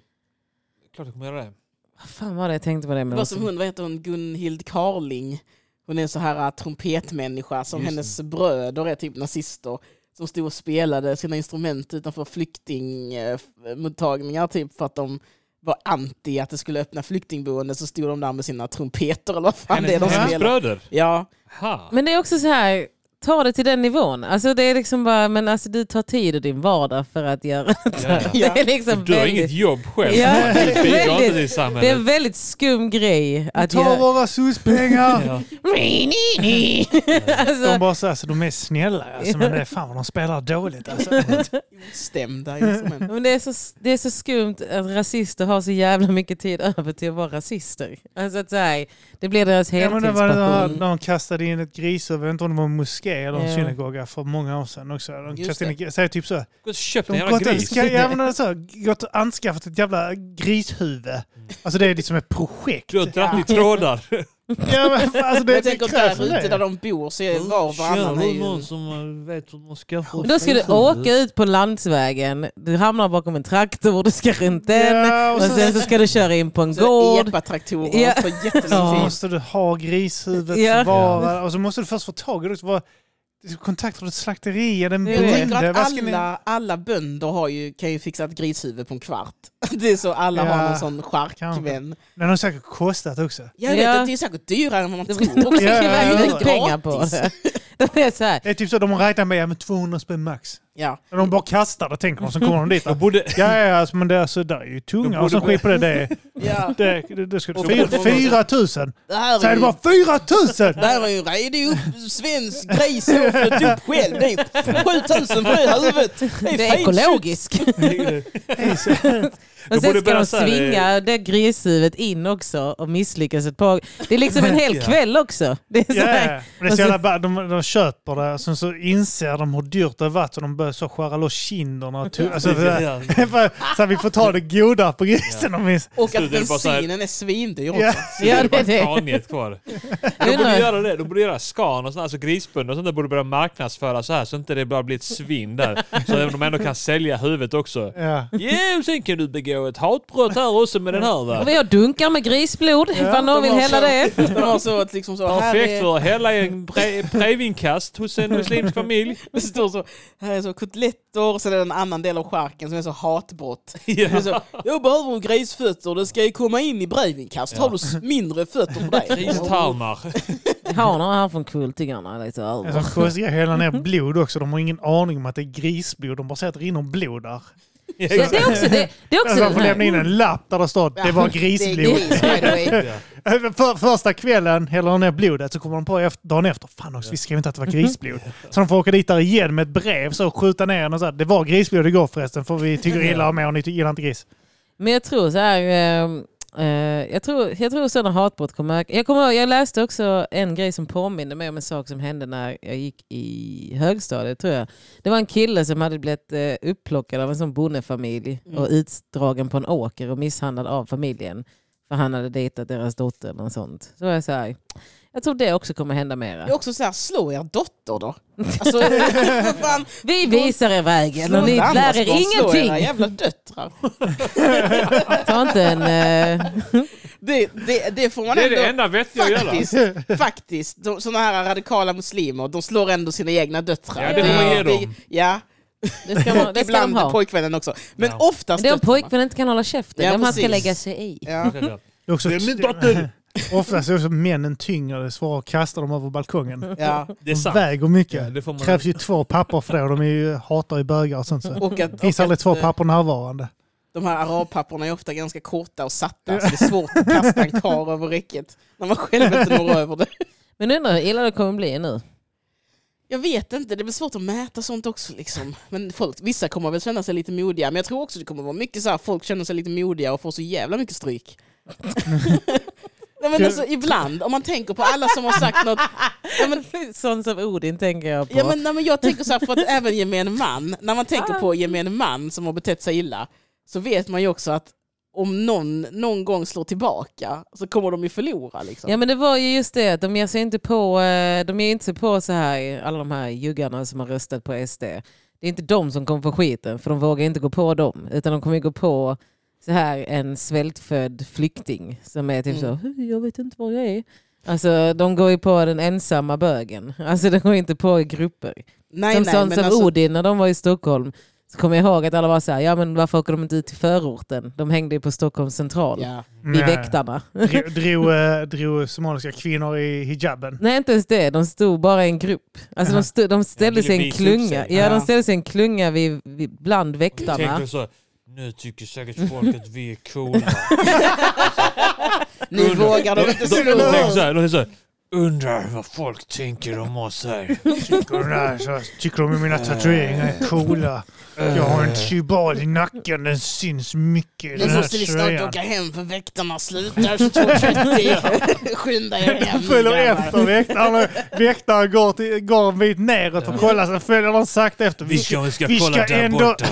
[SPEAKER 3] Klart du kommer göra det.
[SPEAKER 2] Vad fan var det jag tänkte på det
[SPEAKER 4] Det
[SPEAKER 2] med?
[SPEAKER 4] var som hon, vad heter hon, Gunhild Carling. Hon är en så här äh, trumpetmänniska som
[SPEAKER 3] Just
[SPEAKER 4] hennes bröder är typ nazister. Som stod och spelade sina instrument utanför flyktingmottagningar typ för att de var anti att det skulle öppna flyktingboenden så stod de där med sina trumpeter eller vad fan det är de
[SPEAKER 1] hennes
[SPEAKER 4] spelar.
[SPEAKER 3] bröder?
[SPEAKER 4] Ja,
[SPEAKER 3] Ha.
[SPEAKER 2] Men det är också så här, ta det till den nivån. Alltså det är liksom bara, men alltså du tar tid ur din vardag för att göra
[SPEAKER 3] Ja, ja.
[SPEAKER 4] ja.
[SPEAKER 2] det. Är liksom
[SPEAKER 3] Du har
[SPEAKER 2] väldigt,
[SPEAKER 3] inget jobb själv.
[SPEAKER 2] Ja,
[SPEAKER 3] du bidrar inte
[SPEAKER 2] väldigt.
[SPEAKER 3] till
[SPEAKER 2] det är
[SPEAKER 3] samhället.
[SPEAKER 2] en väldigt skum grej att
[SPEAKER 1] Ta
[SPEAKER 2] göra.
[SPEAKER 1] våra SOS-pengar!
[SPEAKER 3] Ja.
[SPEAKER 2] Alltså,
[SPEAKER 1] De, bara så, här, alltså, de är snälla, alltså, men det är fan vad de spelar dåligt. Alltså.
[SPEAKER 4] stämda instrument.
[SPEAKER 2] men det, är så, det är så skumt att rasister har så jävla mycket tid över till att vara rasister. Alltså att så här, det blir deras
[SPEAKER 1] Ja, men det var det här,
[SPEAKER 2] heltidspension.
[SPEAKER 1] när de kastade in ett grisor, jag vet inte om det var en moské eller en
[SPEAKER 2] Ja.
[SPEAKER 1] synagoga för många år sedan också. De
[SPEAKER 4] Just
[SPEAKER 1] kastade in, ett gris- säger typ så,
[SPEAKER 3] Gå och köp en
[SPEAKER 1] de
[SPEAKER 3] jävla
[SPEAKER 1] gått,
[SPEAKER 3] gris.
[SPEAKER 1] ska, ja, men alltså, gått och anskaffat ett jävla grishuvud. Alltså det är liksom ett projekt.
[SPEAKER 3] Du har dragit i trådar.
[SPEAKER 1] Ja, men, fan, alltså,
[SPEAKER 4] Men
[SPEAKER 1] det,
[SPEAKER 4] jag
[SPEAKER 1] det
[SPEAKER 4] tänker där
[SPEAKER 1] krävs
[SPEAKER 4] ute där
[SPEAKER 1] det.
[SPEAKER 4] de bor så är var och varannan är ju...
[SPEAKER 3] som vet hur man skaffar
[SPEAKER 2] Men Då ska du åka ut på landsvägen, du hamnar bakom en traktor, du ska runt den
[SPEAKER 1] Ja, och
[SPEAKER 2] och
[SPEAKER 1] så-
[SPEAKER 2] sen så ska du köra in på en
[SPEAKER 4] Så
[SPEAKER 2] gård.
[SPEAKER 4] Epatraktorer
[SPEAKER 2] Ja.
[SPEAKER 4] tar
[SPEAKER 1] Så
[SPEAKER 4] jättelång tid.
[SPEAKER 1] måste du ha grishuvudet
[SPEAKER 2] Ja.
[SPEAKER 1] förvarat och så måste du först få tag i det. Var, kontaktar du ett slakteri eller en
[SPEAKER 2] Det är det.
[SPEAKER 4] Jag tänker
[SPEAKER 1] bonde?
[SPEAKER 4] att
[SPEAKER 1] Vad ska ni-
[SPEAKER 4] alla, alla bönder har ju, kan ju fixa ett grishuvud på en kvart. Det är så alla
[SPEAKER 1] Ja,
[SPEAKER 4] har någon sån charkvän.
[SPEAKER 1] Den har säkert kostat också.
[SPEAKER 4] Jag vet
[SPEAKER 2] Ja.
[SPEAKER 4] att det är säkert dyrare än vad man
[SPEAKER 2] De
[SPEAKER 4] tror.
[SPEAKER 2] de
[SPEAKER 4] också.
[SPEAKER 1] Ja,
[SPEAKER 2] lägger
[SPEAKER 1] ja, ja.
[SPEAKER 2] verkligen pengar på
[SPEAKER 4] Gratis.
[SPEAKER 2] det. De är så här,
[SPEAKER 1] Det är typ så de räknar med, ja, med 200 spänn max.
[SPEAKER 4] Ja.
[SPEAKER 1] När de bara kastar det tänker de, sen kommer de dit.
[SPEAKER 3] Jag borde...
[SPEAKER 1] Ja, ja, alltså, men det, alltså, där är ju tunga och sen skit på det. Det,
[SPEAKER 4] Ja.
[SPEAKER 1] det, det, det ska,
[SPEAKER 3] Och-
[SPEAKER 1] fyra, fyra tusen!
[SPEAKER 4] Det, här är
[SPEAKER 1] Säger du
[SPEAKER 4] ju,
[SPEAKER 1] bara fyra tusen!
[SPEAKER 4] det här är ju en redig upp, svensk gris jag har fött upp själv. Det är 7000 för det huvudet.
[SPEAKER 2] det är
[SPEAKER 4] fint
[SPEAKER 2] ekologiskt.
[SPEAKER 3] Du
[SPEAKER 2] Och sen
[SPEAKER 3] borde
[SPEAKER 2] ska
[SPEAKER 3] börja
[SPEAKER 2] de
[SPEAKER 3] så
[SPEAKER 1] eh,
[SPEAKER 3] här,
[SPEAKER 2] svinga det grishuvudet in också och misslyckas ett par Det är liksom en hel
[SPEAKER 3] Ja.
[SPEAKER 2] kväll också. Det är så
[SPEAKER 1] Ja,
[SPEAKER 2] här,
[SPEAKER 1] ja. Men det är
[SPEAKER 2] Och
[SPEAKER 1] så
[SPEAKER 2] så-
[SPEAKER 1] jävla bad. de, de köper det, sen så inser de hur dyrt det har varit så de börjar så skära loss kinderna. Och tu- alltså, det där. så här, vi får ta det goda på grisen om vi...
[SPEAKER 4] Och
[SPEAKER 3] Slutar
[SPEAKER 4] att
[SPEAKER 3] det bara så här-
[SPEAKER 4] bensinen är svindyr också.
[SPEAKER 1] Ja.
[SPEAKER 2] Ja, det är det.
[SPEAKER 3] Kaniet kvar. De borde
[SPEAKER 2] undrar,
[SPEAKER 3] göra det. De borde göra skan och sådana, alltså grisbönder och sånt där borde börja marknadsföra så här så inte det bara blir ett svinn där. Så att de ändå kan sälja huvudet också.
[SPEAKER 1] Ja.
[SPEAKER 3] Ja, och sen kan du begå ett hatbrott här också med den här va?
[SPEAKER 2] och jag dunkar med grisblod ifall någon
[SPEAKER 4] de
[SPEAKER 2] vill
[SPEAKER 4] har
[SPEAKER 2] hälla
[SPEAKER 4] så-
[SPEAKER 2] det.
[SPEAKER 4] De har så att liksom så, här
[SPEAKER 3] Perfekt
[SPEAKER 4] är,
[SPEAKER 3] för att hälla en bre- brevinkast hos en muslimsk familj.
[SPEAKER 4] det står så, här är så kotletter och sen är det en annan del av charken som är så hatbrott. Det är
[SPEAKER 3] Ja.
[SPEAKER 4] Så, jag behöver grisfötter, det ska ju komma in i brevinkast. Har du s- mindre fötter för dig?
[SPEAKER 3] Gristarmar.
[SPEAKER 2] Har några här från kultingarna Liksom, lite
[SPEAKER 1] En
[SPEAKER 2] över.
[SPEAKER 1] sån konstig grej, hälla ner blod också. De har ingen aning om att det är grisblod. De bara säger att det rinner blod där.
[SPEAKER 2] Ja, det är också det. det, är också
[SPEAKER 1] Alltså, de
[SPEAKER 2] den
[SPEAKER 1] får
[SPEAKER 2] här.
[SPEAKER 1] lämna in en lapp där det står att det var
[SPEAKER 4] Det är
[SPEAKER 1] grisblod.
[SPEAKER 4] gris, by the way.
[SPEAKER 1] För, första kvällen häller de ner blodet så kommer de på efter, dagen efter, fan också, vi skrev inte att det var grisblod. Så de får åka dit där igen med ett brev så och skjuta ner den och så här, det var grisblod igår förresten för vi tycker illa om er och ni gillar inte gris.
[SPEAKER 2] Men jag tror så här, ehm, eh, jag tror, jag tror sådana hatbrott kommer öka. Jag, kommer, ihåg- jag läste också en grej som påminner mig om en sak som hände när jag gick i högstadiet tror jag. Det var en kille som hade blivit eh, upplockad av en sån bondefamilj
[SPEAKER 4] Mm.
[SPEAKER 2] och utdragen på en åker och misshandlad av familjen. För han hade dejtat deras dotter eller något sånt. Så var jag så här, jag tror det också kommer hända
[SPEAKER 4] Det
[SPEAKER 2] mera.
[SPEAKER 4] är också så här, slå er dotter då. Alltså, vad fan,
[SPEAKER 2] Vi visar er vägen och ni
[SPEAKER 4] Slå
[SPEAKER 2] lär er
[SPEAKER 4] andras barn, slå era
[SPEAKER 2] ingenting.
[SPEAKER 4] jävla döttrar.
[SPEAKER 2] Ta inte en... Eh,
[SPEAKER 4] Det, det, det får man
[SPEAKER 3] Det är det
[SPEAKER 4] ändå...
[SPEAKER 3] enda vettiga att göra.
[SPEAKER 4] Faktiskt, faktiskt. De, såna här radikala muslimer, de slår ändå sina egna döttrar.
[SPEAKER 3] Ja, det får man ge
[SPEAKER 4] Det-
[SPEAKER 3] dem.
[SPEAKER 4] Ja,
[SPEAKER 2] det ska, man, det ska de
[SPEAKER 4] ibland
[SPEAKER 2] ha.
[SPEAKER 4] pojkvännen också. Men
[SPEAKER 3] Ja.
[SPEAKER 4] oftast
[SPEAKER 2] Alltså, Det är om
[SPEAKER 4] döttrarna.
[SPEAKER 2] pojkvännen inte kan hålla käften.
[SPEAKER 4] Ja,
[SPEAKER 2] vem han ska
[SPEAKER 4] precis.
[SPEAKER 2] lägga sig i.
[SPEAKER 4] Ja.
[SPEAKER 1] Det är också,
[SPEAKER 3] Det är min dotter!
[SPEAKER 1] oftast är det också männen tyngre, det är svårare att kasta dem över balkongen.
[SPEAKER 4] Ja.
[SPEAKER 3] Det är
[SPEAKER 1] De
[SPEAKER 3] sant.
[SPEAKER 1] väger mycket.
[SPEAKER 3] Ja, det får man-
[SPEAKER 1] krävs ju två pappor för det och de är ju, hatar ju bögar och sånt. Så.
[SPEAKER 4] Och att,
[SPEAKER 1] Det finns
[SPEAKER 4] och
[SPEAKER 1] aldrig
[SPEAKER 4] att,
[SPEAKER 1] två
[SPEAKER 4] eh,
[SPEAKER 1] pappor närvarande.
[SPEAKER 4] De här arabpapporna är ofta ganska korta och satta, så det är svårt att kasta en kar över räcket när man själv inte når över det.
[SPEAKER 2] Men undrar hur illa det kommer bli nu.
[SPEAKER 4] Jag vet inte, det blir svårt att mäta sånt också. Liksom. Men folk, vissa kommer väl känna sig lite modiga, men jag tror också det kommer vara mycket så här, folk känner sig lite modiga och får så jävla mycket stryk. Nej, men alltså, ibland, om man tänker på alla som har sagt något. Nej, men,
[SPEAKER 2] Sånt som Odin tänker jag på.
[SPEAKER 4] ja, men, nej, men jag tänker så här, för att även gemene man, när man tänker
[SPEAKER 2] Ah.
[SPEAKER 4] på gemene man som har betett sig illa, så vet man ju också att om någon någon gång slår tillbaka så kommer de ju förlora. Liksom.
[SPEAKER 2] Ja men det var ju just det, att de ger sig inte på, eh, de ger inte sig på så här, alla de här juggarna som har röstat på SD. Det är inte de som kommer få skiten, för de vågar inte gå på dem. Utan de kommer ju gå på så här en svältfödd flykting som är typ så, "Hej, jag vet inte var jag är. Alltså de går ju på den ensamma bögen. Alltså de går inte på grupper.
[SPEAKER 4] nej,
[SPEAKER 2] som sån
[SPEAKER 4] men
[SPEAKER 2] som
[SPEAKER 4] alltså-
[SPEAKER 2] Odin när de var i Stockholm. Så kommer jag ihåg att alla var så här, ja men varför åker de inte ut till förorten? De hängde ju på Stockholms central,
[SPEAKER 4] Ja.
[SPEAKER 2] vid väktarna.
[SPEAKER 1] Dro- Drog, eh, drog somaliska kvinnor i hijaben.
[SPEAKER 2] Nej inte ens det, de stod bara i en grupp. Alltså de, stod, de ställde
[SPEAKER 3] ville
[SPEAKER 2] sig i en
[SPEAKER 3] visa upp
[SPEAKER 2] klunga.
[SPEAKER 3] sig.
[SPEAKER 2] Ja, de
[SPEAKER 4] Ja.
[SPEAKER 2] ställde sig i en klunga vid, vid, bland väktarna.
[SPEAKER 3] Tänker så, nu tycker säkert folk att vi är coola.
[SPEAKER 4] Nu vågar de inte
[SPEAKER 3] De- de- de tänker
[SPEAKER 4] slå.
[SPEAKER 3] så här, de tänker så här, Undrar vad folk tänker om oss här.
[SPEAKER 1] Tycker de där, så tycker de att mina tatueringar är coola. Jag har en tribal i nacken, den syns mycket i den
[SPEAKER 4] Nu
[SPEAKER 1] här
[SPEAKER 4] måste vi snart
[SPEAKER 1] tröjan.
[SPEAKER 4] åka hem för väktarna slutar 22.30. Skynda er hem
[SPEAKER 1] Följer
[SPEAKER 4] grabbar.
[SPEAKER 1] efter väktarna. Väktaren går, till, går en bit neråt och kollar, sen följer de sakta efter.
[SPEAKER 3] Vi ska, vi ska
[SPEAKER 1] vi
[SPEAKER 3] kolla
[SPEAKER 1] ska
[SPEAKER 3] där
[SPEAKER 1] ändå-
[SPEAKER 3] borta.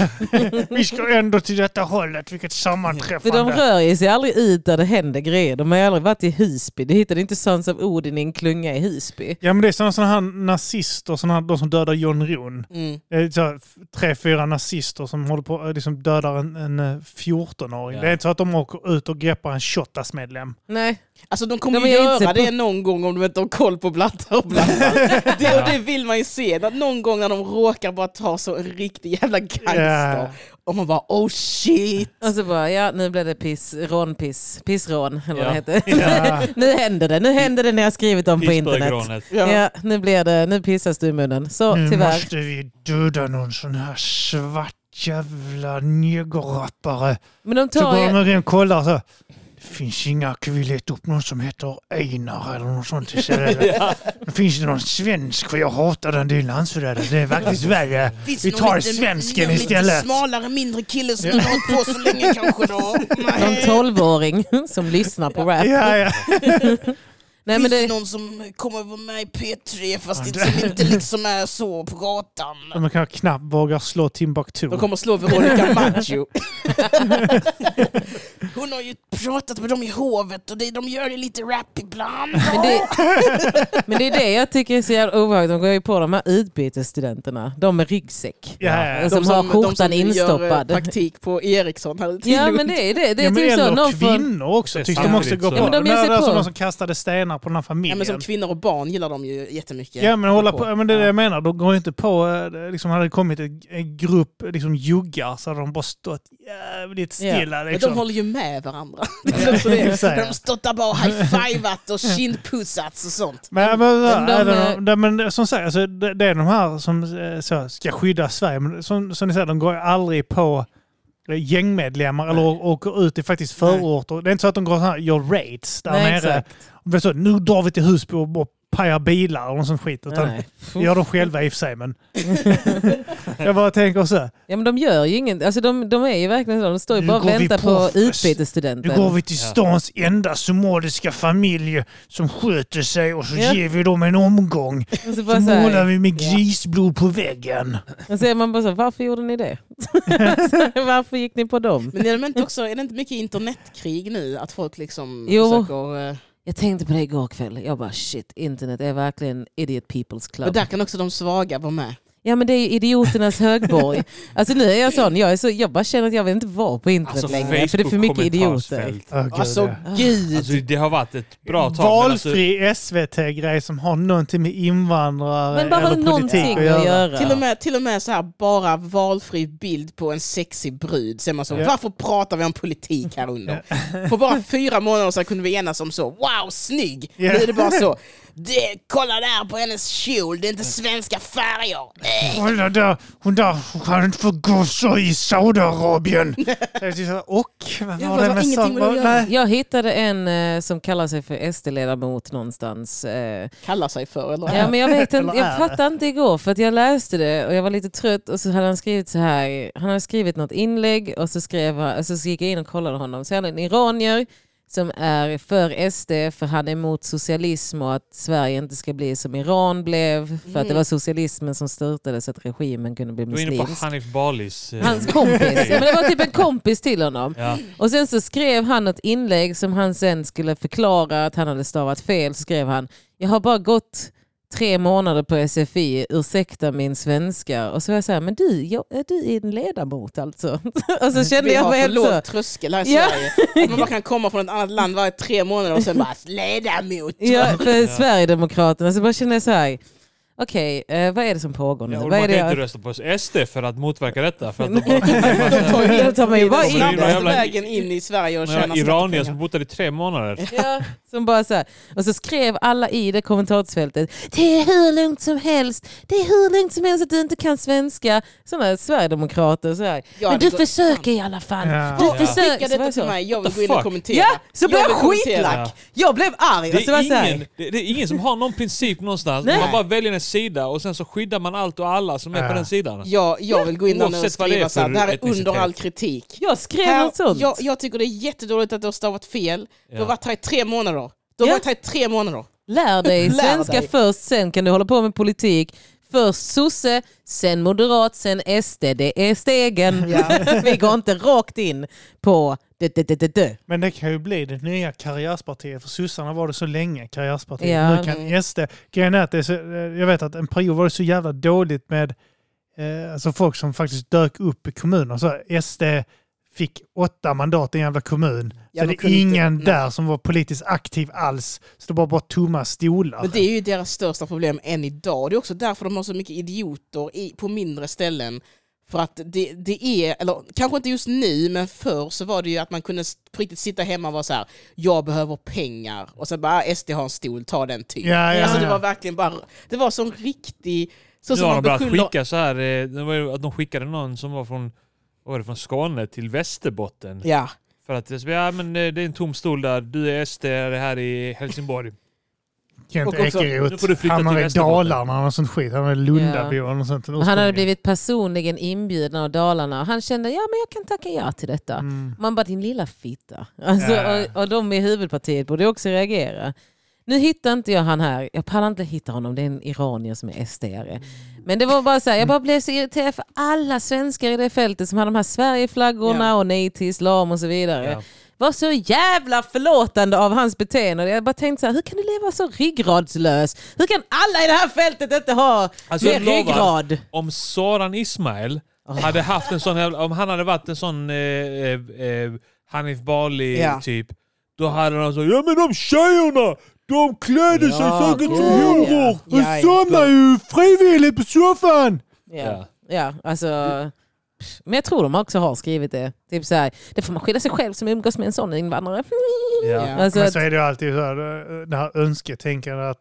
[SPEAKER 1] vi ska ändå till detta hållet, vilket
[SPEAKER 2] För de
[SPEAKER 1] sammanträffande.
[SPEAKER 2] rör ju sig aldrig ut där det händer grejer. De har ju aldrig varit i Husby. De hittade inte Sons of Odin i en klunga i Husby.
[SPEAKER 1] Ja men det är sådana, sådana här nazister, sådana här, de som dödar John Ron.
[SPEAKER 4] Mm.
[SPEAKER 1] Det är så här, f- tre, fyra nazister som håller på eh, liksom dödar en, en eh, 14-åring.
[SPEAKER 3] Ja.
[SPEAKER 1] Det är inte så att de åker ut och greppar en Shottaz-medlem.
[SPEAKER 2] Nej.
[SPEAKER 4] Alltså de kommer
[SPEAKER 2] De
[SPEAKER 4] ju
[SPEAKER 2] är inte
[SPEAKER 4] göra
[SPEAKER 2] på-
[SPEAKER 4] det någon gång om de inte har koll på blattar och blattar. det, och det vill man ju se. Att någon gång när de råkar bara ta så en riktig jävla gangster.
[SPEAKER 1] Ja.
[SPEAKER 4] Och man bara oh shit.
[SPEAKER 2] Och så bara, ja nu blev det piss, rånpiss, pissrån eller vad det
[SPEAKER 3] Ja.
[SPEAKER 2] heter.
[SPEAKER 1] Ja.
[SPEAKER 2] nu händer det, nu händer det ni har skrivit om på internet.
[SPEAKER 3] Pittsburgh-granet.
[SPEAKER 2] Ja. nu blir det, nu pissas du i munnen. Så
[SPEAKER 1] Nu
[SPEAKER 2] tyvärr.
[SPEAKER 1] måste vi döda någon sån här svart jävla negerrappare.
[SPEAKER 2] Men de
[SPEAKER 1] Så
[SPEAKER 2] tar ju...
[SPEAKER 1] går de in och kollar så. Det finns inga, kan vi leta upp någon som heter Einar eller något sånt istället? Det finns inte någon svensk för jag hatar den delen så där. Det är faktiskt värre.
[SPEAKER 4] Finns
[SPEAKER 1] Vi
[SPEAKER 4] någon
[SPEAKER 1] tar
[SPEAKER 4] liten-
[SPEAKER 1] svensken
[SPEAKER 4] någon Lite
[SPEAKER 1] istället.
[SPEAKER 4] smalare mindre kille som inte har hållit på så länge kanske då.
[SPEAKER 2] Någon
[SPEAKER 4] Nej.
[SPEAKER 2] tolvåring som lyssnar på rap.
[SPEAKER 1] Ja, ja.
[SPEAKER 2] Nej,
[SPEAKER 4] Finns
[SPEAKER 2] men
[SPEAKER 4] det
[SPEAKER 2] det,
[SPEAKER 4] någon som kommer vara med i P3 fast inte, som inte liksom är så på gatan?
[SPEAKER 1] Man kan knappt våga slå Timbuktu.
[SPEAKER 4] De kommer slå Veronica Maggio. Hon har ju pratat med dem i hovet och det, de gör ju lite rap ibland.
[SPEAKER 2] men, det, men det är det jag tycker är så jävla obehagligt. De går ju på de här utbytesstudenterna. De med ryggsäck.
[SPEAKER 1] Ja, ja.
[SPEAKER 2] Som har skjortan instoppad.
[SPEAKER 4] eh, praktik på Ericsson här ute i
[SPEAKER 2] Ja
[SPEAKER 4] Lund.
[SPEAKER 2] men det är det. det är
[SPEAKER 1] Ja, men
[SPEAKER 2] typ så,
[SPEAKER 1] eller
[SPEAKER 2] någon från,
[SPEAKER 1] kvinnor också
[SPEAKER 3] Det är
[SPEAKER 1] tycks de också
[SPEAKER 3] samtidigt
[SPEAKER 1] gå på.
[SPEAKER 3] så- Ja,
[SPEAKER 2] men de ger sig
[SPEAKER 1] det är
[SPEAKER 2] på.
[SPEAKER 1] som de som kastade stenar på den här
[SPEAKER 4] Ja,
[SPEAKER 1] familjen.
[SPEAKER 4] men som kvinnor och barn gillar de ju jättemycket.
[SPEAKER 1] Ja men hålla på,
[SPEAKER 4] Ja.
[SPEAKER 1] ja, men det är det jag menar. De går inte på, eh, liksom hade det kommit en- en grupp liksom juggar så hade de bara stått jävligt
[SPEAKER 2] Ja.
[SPEAKER 1] stilla
[SPEAKER 4] Men
[SPEAKER 1] liksom.
[SPEAKER 4] de håller ju med varandra. Liksom så det.
[SPEAKER 1] Exakt.
[SPEAKER 4] De stöttar bara och high-fivat och kindpussats och sånt.
[SPEAKER 1] Men, men,
[SPEAKER 2] Men de,
[SPEAKER 1] även om, de, men som sagt, alltså, det, det är de här som eh, så, ska skydda Sverige. Men som, som ni säger, de går aldrig på eh, gängmedlemmar eller åker ut i faktiskt förorter. Det är inte så att de går så här, gör raids där
[SPEAKER 2] Nej,
[SPEAKER 1] nere. Och det är så, nu drar vi till Husby och bara pajar bilar och någon sån skit. Utan,
[SPEAKER 2] Nej.
[SPEAKER 1] det gör de själva i och för sig men... jag bara tänker så. här,
[SPEAKER 2] Ja men de gör ju inget. Alltså de, de är ju verkligen så. De står ju
[SPEAKER 1] Nu
[SPEAKER 2] bara och
[SPEAKER 1] går vi
[SPEAKER 2] väntar
[SPEAKER 1] på-
[SPEAKER 2] på,
[SPEAKER 1] Nu går
[SPEAKER 2] utbytesstudenten.
[SPEAKER 1] vi till stans enda somaliska familj som sköter sig och så
[SPEAKER 2] Ja.
[SPEAKER 1] ger vi dem en omgång.
[SPEAKER 2] Och så,
[SPEAKER 1] Så
[SPEAKER 2] bara så,
[SPEAKER 1] målar
[SPEAKER 2] här,
[SPEAKER 1] vi med
[SPEAKER 4] Ja.
[SPEAKER 1] grisblod på väggen.
[SPEAKER 2] och så är man bara så här, varför gjorde ni det? varför gick ni på dem?
[SPEAKER 4] Men är det, inte också, är det inte mycket internetkrig nu? Att folk liksom
[SPEAKER 2] Jo.
[SPEAKER 4] försöker... eh,
[SPEAKER 2] Jag tänkte på det igår kväll. Jag bara shit, internet är verkligen idiot people's club.
[SPEAKER 4] Och där kan också de svaga vara med.
[SPEAKER 2] Ja men det är ju idioternas högborg. Alltså nu är jag sån, jag, är så, jag bara känner att jag vill inte vara på internet
[SPEAKER 3] Alltså
[SPEAKER 2] längre. För det är för mycket idioter.
[SPEAKER 3] Facebook-kommentarsfält.
[SPEAKER 4] Alltså gud!
[SPEAKER 3] Alltså, det har varit ett bra tag. men alltså-
[SPEAKER 1] Valfri SVT-grej som har någonting med invandrare
[SPEAKER 2] Men bara
[SPEAKER 1] eller
[SPEAKER 2] någonting
[SPEAKER 1] politik
[SPEAKER 2] att göra.
[SPEAKER 4] Till och, med, till och med så här bara valfri bild på en sexig brud. Så är man så,
[SPEAKER 1] Ja.
[SPEAKER 4] Varför pratar vi om politik här under? På bara fyra månader så kunde vi enas om så, wow snygg!
[SPEAKER 1] Ja.
[SPEAKER 4] Nu är det bara så, "Du, kolla där på hennes kjol, det är inte svenska färger. Äh.
[SPEAKER 1] Kolla där, hon där hon kan inte få gossa i Saudiarabien. Jag är typ så här, Och? Vad
[SPEAKER 4] Ja,
[SPEAKER 1] har
[SPEAKER 4] det
[SPEAKER 1] det
[SPEAKER 4] har
[SPEAKER 1] med
[SPEAKER 4] ingenting med det att
[SPEAKER 1] Saudiarabien?
[SPEAKER 4] göra.
[SPEAKER 1] Nej.
[SPEAKER 2] Jag hittade en eh, som kallar sig för SD-ledamot någonstans. Eh,
[SPEAKER 4] Kallar sig för, eller?
[SPEAKER 2] Ja, men jag, vet inte,
[SPEAKER 1] Eller är
[SPEAKER 2] jag fattade inte igår för att jag läste det och jag var lite trött och så hade han skrivit så här. Han hade skrivit något inlägg och så, skrev, han- och så gick jag in och kollade honom. Så är han en iranier som är för SD för han är emot socialism och att Sverige inte ska bli som Iran blev. För
[SPEAKER 1] Mm.
[SPEAKER 2] att det var socialismen som störtade så att regimen kunde bli
[SPEAKER 3] Du är inne på
[SPEAKER 2] muslimsk.
[SPEAKER 3] Hanif Balis... eh,
[SPEAKER 2] Hans kompis. Ja, men det var typ en kompis till honom.
[SPEAKER 3] Ja.
[SPEAKER 2] Och sen så skrev han ett inlägg som han sen skulle förklara att han hade stavat fel. Så skrev han, jag har bara gått tre månader på SFI, ursäkta min svenska. Och så var jag så här, men du, jag, är du en ledamot alltså? Och så kände
[SPEAKER 4] Vi
[SPEAKER 2] jag
[SPEAKER 4] har
[SPEAKER 2] mig
[SPEAKER 4] för
[SPEAKER 2] helt så.
[SPEAKER 4] låg tröskel här i
[SPEAKER 2] Ja.
[SPEAKER 4] Sverige. Att man bara kan komma från ett annat land varje tre månader och sen bara ledamot.
[SPEAKER 2] Ja, för Sverigedemokraterna. Så bara kände jag så här, okej, eh, vad är det som pågår nu?
[SPEAKER 3] Ja, och
[SPEAKER 2] vad är
[SPEAKER 3] man
[SPEAKER 2] det
[SPEAKER 3] kan inte
[SPEAKER 2] jag...
[SPEAKER 3] rösta på SD för att motverka detta. För att de bara,
[SPEAKER 2] Jag tar mig bara
[SPEAKER 4] Det är
[SPEAKER 2] in
[SPEAKER 3] Snabbt.
[SPEAKER 2] där.
[SPEAKER 3] Alltså, det. Jävla-
[SPEAKER 4] snabbaste vägen in i Sverige och tjäna
[SPEAKER 3] några
[SPEAKER 4] snabbt
[SPEAKER 3] iranier
[SPEAKER 4] pengar.
[SPEAKER 3] som bott där i tre månader.
[SPEAKER 2] Ja, som bara så här. Och så skrev alla i det kommentarsfältet. Det är hur lugnt som helst. Det är hur lugnt som helst att du inte kan svenska. Sådana sverigedemokrater. Så här.
[SPEAKER 4] Ja,
[SPEAKER 2] Men
[SPEAKER 4] det
[SPEAKER 2] du
[SPEAKER 4] går-
[SPEAKER 2] försöker i alla fall.
[SPEAKER 1] Ja.
[SPEAKER 2] Du
[SPEAKER 4] Ja,
[SPEAKER 2] försöker.
[SPEAKER 4] Skicka
[SPEAKER 2] Så var
[SPEAKER 4] detta
[SPEAKER 2] jag
[SPEAKER 4] till
[SPEAKER 2] så.
[SPEAKER 4] mig, jag vill
[SPEAKER 3] What
[SPEAKER 4] gå
[SPEAKER 3] the
[SPEAKER 4] in och
[SPEAKER 3] fuck?
[SPEAKER 4] kommentera.
[SPEAKER 2] Ja, så blev jag
[SPEAKER 4] vill kommentera.
[SPEAKER 2] skitlack. Jag blev arg.
[SPEAKER 3] Det
[SPEAKER 2] Alltså, var så
[SPEAKER 3] är,
[SPEAKER 2] här.
[SPEAKER 3] ingen, det, det är ingen som har någon princip någonstans.
[SPEAKER 2] Nej.
[SPEAKER 3] Man bara väljer en sida och sen så skyddar man allt och alla som är
[SPEAKER 1] Ja.
[SPEAKER 3] på den sidan.
[SPEAKER 4] Jag, jag vill gå in där nu och
[SPEAKER 3] Oavsett vad det är
[SPEAKER 4] skriva så här,
[SPEAKER 3] för
[SPEAKER 4] det här är
[SPEAKER 3] etnicitet.
[SPEAKER 4] under all kritik.
[SPEAKER 2] Jag skrev
[SPEAKER 4] Här,
[SPEAKER 2] något sånt.
[SPEAKER 4] jag, jag tycker det är jättedåligt att du har stavat fel. Du
[SPEAKER 3] Ja.
[SPEAKER 4] har varit här i tre månader. Du har
[SPEAKER 2] Ja.
[SPEAKER 4] varit här i tre månader.
[SPEAKER 2] Lär dig
[SPEAKER 4] Lär
[SPEAKER 2] svenska
[SPEAKER 4] dig.
[SPEAKER 2] först, sen kan du hålla på med politik. Först sosse, sen moderat, sen SD. Det är stegen. Vi går inte rakt in på det, det, det, det, det.
[SPEAKER 1] Men det kan ju bli det nya karriärspartiet. För sossarna var det så länge, karriärspartiet.
[SPEAKER 2] Ja.
[SPEAKER 1] Nu kan SD... Grejen är att det är så, eh, jag vet att en period var det så jävla dåligt med eh, alltså folk som faktiskt dök upp i kommuner. Så här, SD fick åtta mandat i en jävla kommun.
[SPEAKER 4] Ja,
[SPEAKER 1] så
[SPEAKER 4] de
[SPEAKER 1] det
[SPEAKER 4] kunde
[SPEAKER 1] är
[SPEAKER 4] inte-
[SPEAKER 1] ingen
[SPEAKER 4] nej.
[SPEAKER 1] där som var politiskt aktiv alls. Så det var bara tomma stolar.
[SPEAKER 4] Men det är ju deras största problem än idag. Det är också därför de har så mycket idioter i, på mindre ställen. För att det, det är, eller kanske inte just nu, men förr så var det ju att man kunde s- på riktigt sitta hemma och vara så här, jag behöver pengar. Och sen bara, "Ah, SD har en stol, ta den typ.
[SPEAKER 1] Ja, ja,
[SPEAKER 4] alltså det
[SPEAKER 1] ja.
[SPEAKER 4] var verkligen bara, det var som riktig, så
[SPEAKER 3] Nu
[SPEAKER 4] som
[SPEAKER 3] har
[SPEAKER 4] man
[SPEAKER 3] de börjat
[SPEAKER 4] beskyller
[SPEAKER 3] skicka så här, eh, det var ju att de skickade någon som var från, vad var det, från Skåne till Västerbotten.
[SPEAKER 4] Ja,
[SPEAKER 3] För att det är så, ja, men eh, det är en tom stol där, du är SD, det här i Helsingborg.
[SPEAKER 1] Kent
[SPEAKER 4] Och också,
[SPEAKER 3] nu får du
[SPEAKER 1] Ekeroth,
[SPEAKER 3] flytta
[SPEAKER 1] han
[SPEAKER 3] till
[SPEAKER 1] var i
[SPEAKER 3] Västerbotten.
[SPEAKER 1] Dalarna och något sånt skit. Han var i Lundaby och något sånt.
[SPEAKER 2] Och Han hade blivit personligen inbjuden av Dalarna och han kände ja men jag kan tacka ja till detta.
[SPEAKER 1] Mm.
[SPEAKER 2] Man bara din lilla fitta. Alltså,
[SPEAKER 1] Ja.
[SPEAKER 2] och, och de i huvudpartiet borde också reagera. Nu hittar inte jag han här. Jag pallar inte hitta honom. Det är en iranier som är sd
[SPEAKER 3] Mm.
[SPEAKER 2] Men det var bara så här, jag bara blev så irriterad för alla svenskar i det fältet som hade de här Sverigeflaggorna
[SPEAKER 4] Ja.
[SPEAKER 2] och nej till islam och så vidare.
[SPEAKER 3] Ja.
[SPEAKER 2] Var så jävla förlåtande av hans beteende. Jag bara tänkte så här, hur kan du leva så ryggradslös? Hur kan alla i det här fältet inte ha
[SPEAKER 3] Alltså,
[SPEAKER 2] mer
[SPEAKER 3] jag lovar.
[SPEAKER 2] ryggrad?
[SPEAKER 3] Om Soran Ismail hade haft en sån jävla, om han hade varit en sån eh, eh, eh, Hanif Bali
[SPEAKER 4] Ja.
[SPEAKER 3] typ, då hade han sagt ja men de tjejerna, de klädde sig
[SPEAKER 2] Ja,
[SPEAKER 3] säkert som
[SPEAKER 2] ja, Ah, ja.
[SPEAKER 3] horor.
[SPEAKER 4] Ja, ja.
[SPEAKER 1] ju frivilligt på soffan!
[SPEAKER 2] Ja. ja, alltså... Men jag tror de också har skrivit det. Typ så här, det får man skylla sig själv som umgås med en sån invandrare.
[SPEAKER 3] Ja.
[SPEAKER 4] ja.
[SPEAKER 2] Alltså,
[SPEAKER 1] Men
[SPEAKER 2] att-
[SPEAKER 1] så är det ju alltid så här, eh, det här önsketänkandet att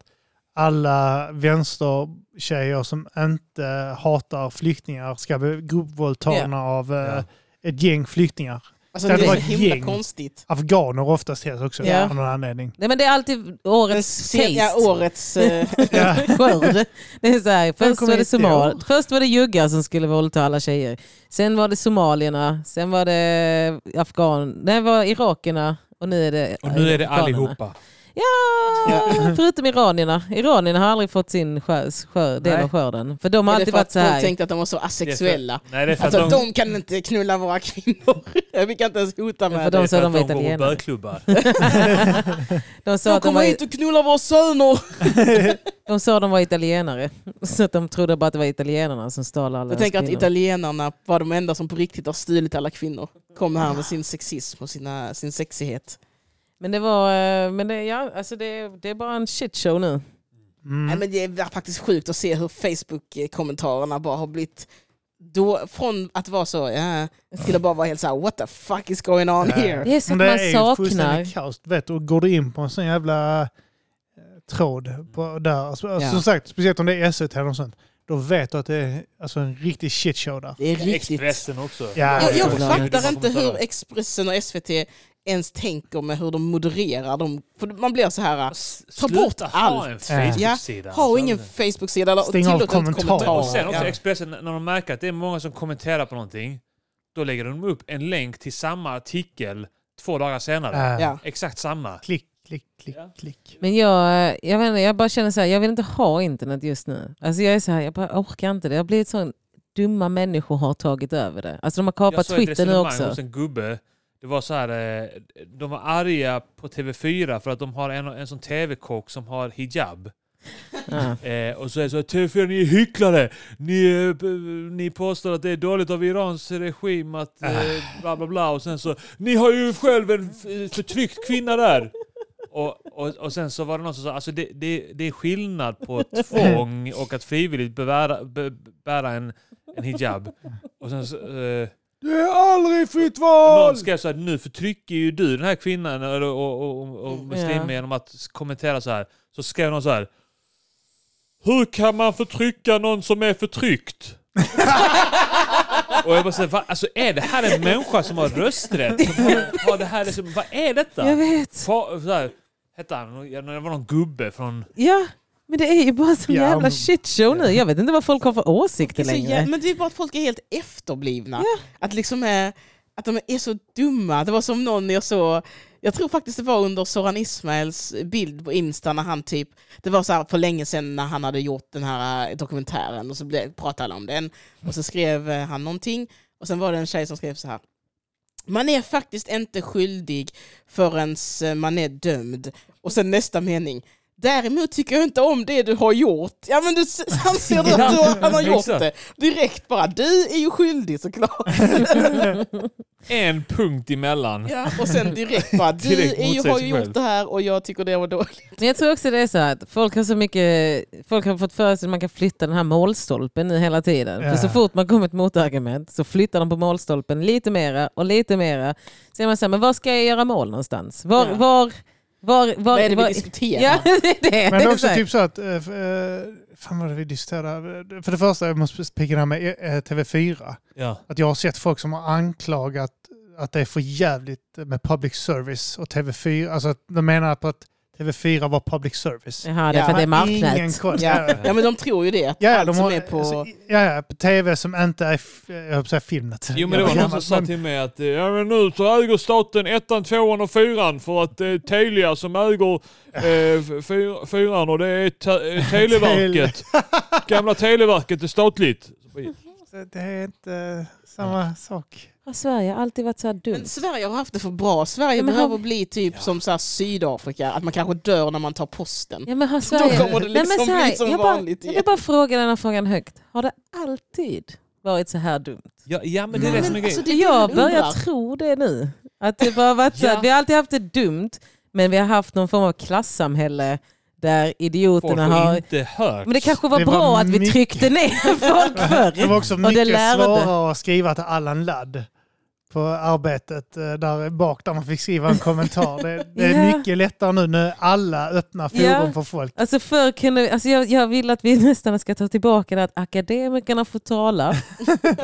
[SPEAKER 1] alla vänstertjejer som inte hatar flyktingar ska bli gruppvåldtagna av eh,
[SPEAKER 3] Ja.
[SPEAKER 1] ett gäng flyktingar.
[SPEAKER 4] Alltså
[SPEAKER 1] Det
[SPEAKER 4] det,
[SPEAKER 1] hade
[SPEAKER 4] är så
[SPEAKER 1] varit
[SPEAKER 4] himla
[SPEAKER 1] gäng.
[SPEAKER 4] konstigt.
[SPEAKER 1] Afghaner oftast helst också
[SPEAKER 2] Ja.
[SPEAKER 1] av någon anledning.
[SPEAKER 2] nej, men det är alltid
[SPEAKER 4] Den
[SPEAKER 2] årets case.
[SPEAKER 4] sena årets... eh,
[SPEAKER 1] Ja.
[SPEAKER 2] skörd. Det är så här,
[SPEAKER 1] Den
[SPEAKER 2] först,
[SPEAKER 1] kommer
[SPEAKER 2] var det
[SPEAKER 1] inte i
[SPEAKER 2] Somal-
[SPEAKER 1] år.
[SPEAKER 2] först var det juggar som skulle våldta alla tjejer. Sen var det somalierna, sen var det afghan... Nej, det var irakerna och nu är det
[SPEAKER 3] Och nu är det
[SPEAKER 2] afghanerna.
[SPEAKER 3] allihopa.
[SPEAKER 2] Ja, förutom iranierna. Iranierna har aldrig fått sin skör, skör, del
[SPEAKER 3] Nej.
[SPEAKER 2] av skörden. För de har
[SPEAKER 4] är det
[SPEAKER 2] alltid
[SPEAKER 4] för
[SPEAKER 2] varit
[SPEAKER 4] att
[SPEAKER 2] så
[SPEAKER 4] folk
[SPEAKER 2] här.
[SPEAKER 4] tänkte att de var så
[SPEAKER 3] Det är för-
[SPEAKER 4] asexuella?
[SPEAKER 3] Nej, det är för
[SPEAKER 4] Alltså
[SPEAKER 3] att de,
[SPEAKER 4] de kan inte knulla våra kvinnor. Vi kan inte ens hota
[SPEAKER 2] Ja, för
[SPEAKER 4] med
[SPEAKER 2] de
[SPEAKER 4] det.
[SPEAKER 3] det är
[SPEAKER 2] sa
[SPEAKER 3] för
[SPEAKER 2] de
[SPEAKER 3] att
[SPEAKER 2] var
[SPEAKER 3] de går på
[SPEAKER 2] italienare.
[SPEAKER 3] bögklubbar.
[SPEAKER 2] De sa
[SPEAKER 4] De
[SPEAKER 2] att de
[SPEAKER 4] kommer
[SPEAKER 2] var,
[SPEAKER 4] hit och knullar våra söner!
[SPEAKER 2] De sa de var italienare. Så att de trodde bara att det var italienarna som stal alla
[SPEAKER 4] Jag
[SPEAKER 2] deras
[SPEAKER 4] tänker att
[SPEAKER 2] kvinnor.
[SPEAKER 4] italienarna var de enda som på riktigt har stulit alla kvinnor. Kom här med sin sexism och sina, sin sexighet.
[SPEAKER 2] Men det var... eh, Men det, ja, alltså det, det är bara en shitshow nu.
[SPEAKER 1] Mm.
[SPEAKER 4] Nej, men det är faktiskt sjukt att se hur Facebook-kommentarerna bara har blivit då, från att vara så, ja, till att bara vara helt så här, what the fuck is going on
[SPEAKER 1] Ja.
[SPEAKER 4] here?
[SPEAKER 2] Det är så
[SPEAKER 1] Eh, Men
[SPEAKER 2] att
[SPEAKER 1] det
[SPEAKER 2] man
[SPEAKER 1] är ju
[SPEAKER 2] saknar...
[SPEAKER 1] fullständigt kaos. Vet du, går du in på en sån jävla eh, tråd på, där. Alltså,
[SPEAKER 2] Ja.
[SPEAKER 1] Som sagt, speciellt om det är SVT eller något sånt. Då vet du att det är alltså, en riktig shitshow där.
[SPEAKER 4] Det är riktigt.
[SPEAKER 3] Expressen också.
[SPEAKER 1] Ja,
[SPEAKER 4] Jag, jag
[SPEAKER 2] Ja,
[SPEAKER 4] fattar inte hur Expressen och SVT ens tänker med hur de modererar dem. För man blir så här, Ta bort
[SPEAKER 3] Sluta ha en
[SPEAKER 4] allt.
[SPEAKER 3] Facebook-sida.
[SPEAKER 4] ha
[SPEAKER 3] Alltså,
[SPEAKER 4] ingen Facebook-sida eller
[SPEAKER 1] Stäng av
[SPEAKER 4] tillåt inte
[SPEAKER 1] kommentarer.
[SPEAKER 3] Och sen
[SPEAKER 4] kommentarer.
[SPEAKER 3] också
[SPEAKER 4] Ja.
[SPEAKER 3] Expressen, när de märker att det är många som kommenterar på någonting, då lägger de upp en länk till samma artikel två dagar senare.
[SPEAKER 1] Äh,
[SPEAKER 4] Ja.
[SPEAKER 3] Exakt samma.
[SPEAKER 1] Klick, klick, klick,
[SPEAKER 3] Ja.
[SPEAKER 1] klick.
[SPEAKER 2] Men jag, eh, jag, vet inte, jag bara känner så här, jag vill inte ha internet just nu. Alltså jag är så här, jag bara orkar inte det. Jag har blivit sån, dumma människor har tagit över det. Alltså de har kapat
[SPEAKER 3] Jag såg ett
[SPEAKER 2] Twitter nu
[SPEAKER 3] resonemang
[SPEAKER 2] också.
[SPEAKER 3] hos en gubbe. Det var så här, eh, de var arga på TV4 för att de har en, en sån TV-kock som har hijab.
[SPEAKER 2] Ja.
[SPEAKER 3] Eh, och så är det så här, TV4 ni är hycklare! Ni, eh, p- ni påstår att det är dåligt av Irans regim att eh,
[SPEAKER 5] Ah.
[SPEAKER 3] bla bla bla och sen så, ni har ju själv en f- förtryckt kvinna där! Och, och, och sen så var det någon som sa, alltså det, det, det är skillnad på tvång och att frivilligt bevära, be, bära en, en hijab. Och sen så, eh,
[SPEAKER 5] Det är aldrig fritt
[SPEAKER 3] någon
[SPEAKER 5] val!
[SPEAKER 3] skrev så här, nu förtrycker ju du den här kvinnan och, och, och, och muslimer
[SPEAKER 2] Ja.
[SPEAKER 3] genom att kommentera så här. Så skrev någon så här. Hur kan man förtrycka någon som är förtryckt? och jag bara så här, "Va? alltså är det här en människa som har rösträtt? Som har, har det här liksom, vad är detta?
[SPEAKER 2] Jag vet.
[SPEAKER 3] Fa- Så här, hette han, det var någon gubbe från...
[SPEAKER 2] Ja, men det är ju bara sån
[SPEAKER 1] Ja,
[SPEAKER 2] jävla
[SPEAKER 1] men-
[SPEAKER 2] shitshow nu. Jag vet inte vad folk har för
[SPEAKER 4] Det
[SPEAKER 2] åsikter
[SPEAKER 4] är så jä-
[SPEAKER 2] längre.
[SPEAKER 4] men det är bara att folk är helt efterblivna. Att, liksom är, att de är så dumma. Det var som någon jag såg, jag tror faktiskt det var under Soran Ismails bild på Insta när han typ, det var så här för länge sedan när han hade gjort den här eh, dokumentären och så blev, pratade alla om den. Och så skrev eh, han någonting och sen var det en tjej som skrev så här. Man är faktiskt inte skyldig förrän eh, man är dömd. Och sen nästa mening. Däremot tycker jag inte om det du har gjort. Ja men du s- anser du att du, har- han har gjort
[SPEAKER 3] Exakt.
[SPEAKER 4] det. Direkt bara, du är ju skyldig såklart.
[SPEAKER 3] En punkt emellan.
[SPEAKER 4] Ja, och sen direkt bara, du
[SPEAKER 3] Direkt
[SPEAKER 4] är ju,
[SPEAKER 3] motsäger
[SPEAKER 4] har
[SPEAKER 3] sig
[SPEAKER 4] ju
[SPEAKER 3] själv.
[SPEAKER 4] gjort det här och jag tycker det var dåligt.
[SPEAKER 2] Men jag tror också det är så här att folk har så mycket, folk har fått för sig att man kan flytta den här målstolpen nu hela tiden.
[SPEAKER 1] Ja.
[SPEAKER 2] För så fort man kommer ett motargument så flyttar de på målstolpen lite mera och lite mera. Så är man så här, men var ska jag göra mål någonstans? Var,
[SPEAKER 4] Ja.
[SPEAKER 2] var, var, var,
[SPEAKER 4] Vad är det vi
[SPEAKER 2] var,
[SPEAKER 4] diskuterar?
[SPEAKER 2] Ja, det är det.
[SPEAKER 1] Men det är också
[SPEAKER 2] Exakt.
[SPEAKER 1] typ så att... eh, f- eh, Fan vad det vi diskuterade. För det första, jag måste picka det här med eh, TV4.
[SPEAKER 3] Ja.
[SPEAKER 1] Att jag har sett folk som har anklagat att det är för jävligt med public service och TV4. Alltså att de menar på att TV4 var public service.
[SPEAKER 2] Jaha, det är
[SPEAKER 4] Ja.
[SPEAKER 2] för att det är
[SPEAKER 1] Ingen
[SPEAKER 2] marknät.
[SPEAKER 1] koll.
[SPEAKER 4] Ja. ja men de tror ju det, att
[SPEAKER 1] Ja, ja,
[SPEAKER 4] allt
[SPEAKER 1] de
[SPEAKER 4] som
[SPEAKER 1] har,
[SPEAKER 4] är på...
[SPEAKER 1] alltså, ja, ja, på tv som inte är, f- jag höll på att säga filmnet.
[SPEAKER 3] Jo men det var någon som sa till mig att eh, ja, men nu så äger staten ettan, tvåan och fyran för att det är Telia som äger eh, f- fyr, fyran och det är te, eh, Televerket. Gamla Televerket är statligt.
[SPEAKER 1] Det är inte samma sak.
[SPEAKER 2] Har Sverige alltid varit så här dumt?
[SPEAKER 4] Men Sverige har haft det för bra. Sverige
[SPEAKER 2] Ja, men
[SPEAKER 4] behöver
[SPEAKER 2] har-
[SPEAKER 4] bli typ som så här Sydafrika, att man kanske dör när man tar posten.
[SPEAKER 2] Ja, men har Sverige...
[SPEAKER 4] kommer det
[SPEAKER 2] Nej, men
[SPEAKER 4] liksom
[SPEAKER 2] så här,
[SPEAKER 4] bli som
[SPEAKER 2] jag bara,
[SPEAKER 4] vanligt
[SPEAKER 2] Jag
[SPEAKER 4] igen.
[SPEAKER 2] vill bara fråga den här frågan högt. Har det alltid varit så här dumt?
[SPEAKER 3] Ja, ja men
[SPEAKER 4] Nej, men alltså, det är det
[SPEAKER 2] Jag
[SPEAKER 4] man
[SPEAKER 2] börjar
[SPEAKER 4] undrar.
[SPEAKER 2] tro det nu. Att det bara varit så
[SPEAKER 3] Ja.
[SPEAKER 2] att vi har alltid haft det dumt, men vi har haft någon form av klassamhälle där idioterna har...
[SPEAKER 3] inte hört.
[SPEAKER 2] Men det kanske var
[SPEAKER 1] Det var
[SPEAKER 2] bra att vi
[SPEAKER 1] mycket-
[SPEAKER 2] tryckte ner folk
[SPEAKER 1] Det var
[SPEAKER 2] förr.
[SPEAKER 1] också
[SPEAKER 2] det
[SPEAKER 1] mycket
[SPEAKER 2] lärde.
[SPEAKER 1] svårare att skriva till Allan Ladd på arbetet eh, där bak där man fick skriva en kommentar. Det, det är
[SPEAKER 2] Ja.
[SPEAKER 1] mycket lättare nu när alla öppnar forum
[SPEAKER 2] Ja.
[SPEAKER 1] för folk.
[SPEAKER 2] Alltså förr kunde, vi- alltså jag, jag vill att vi nästan ska ta tillbaka det att akademikerna får tala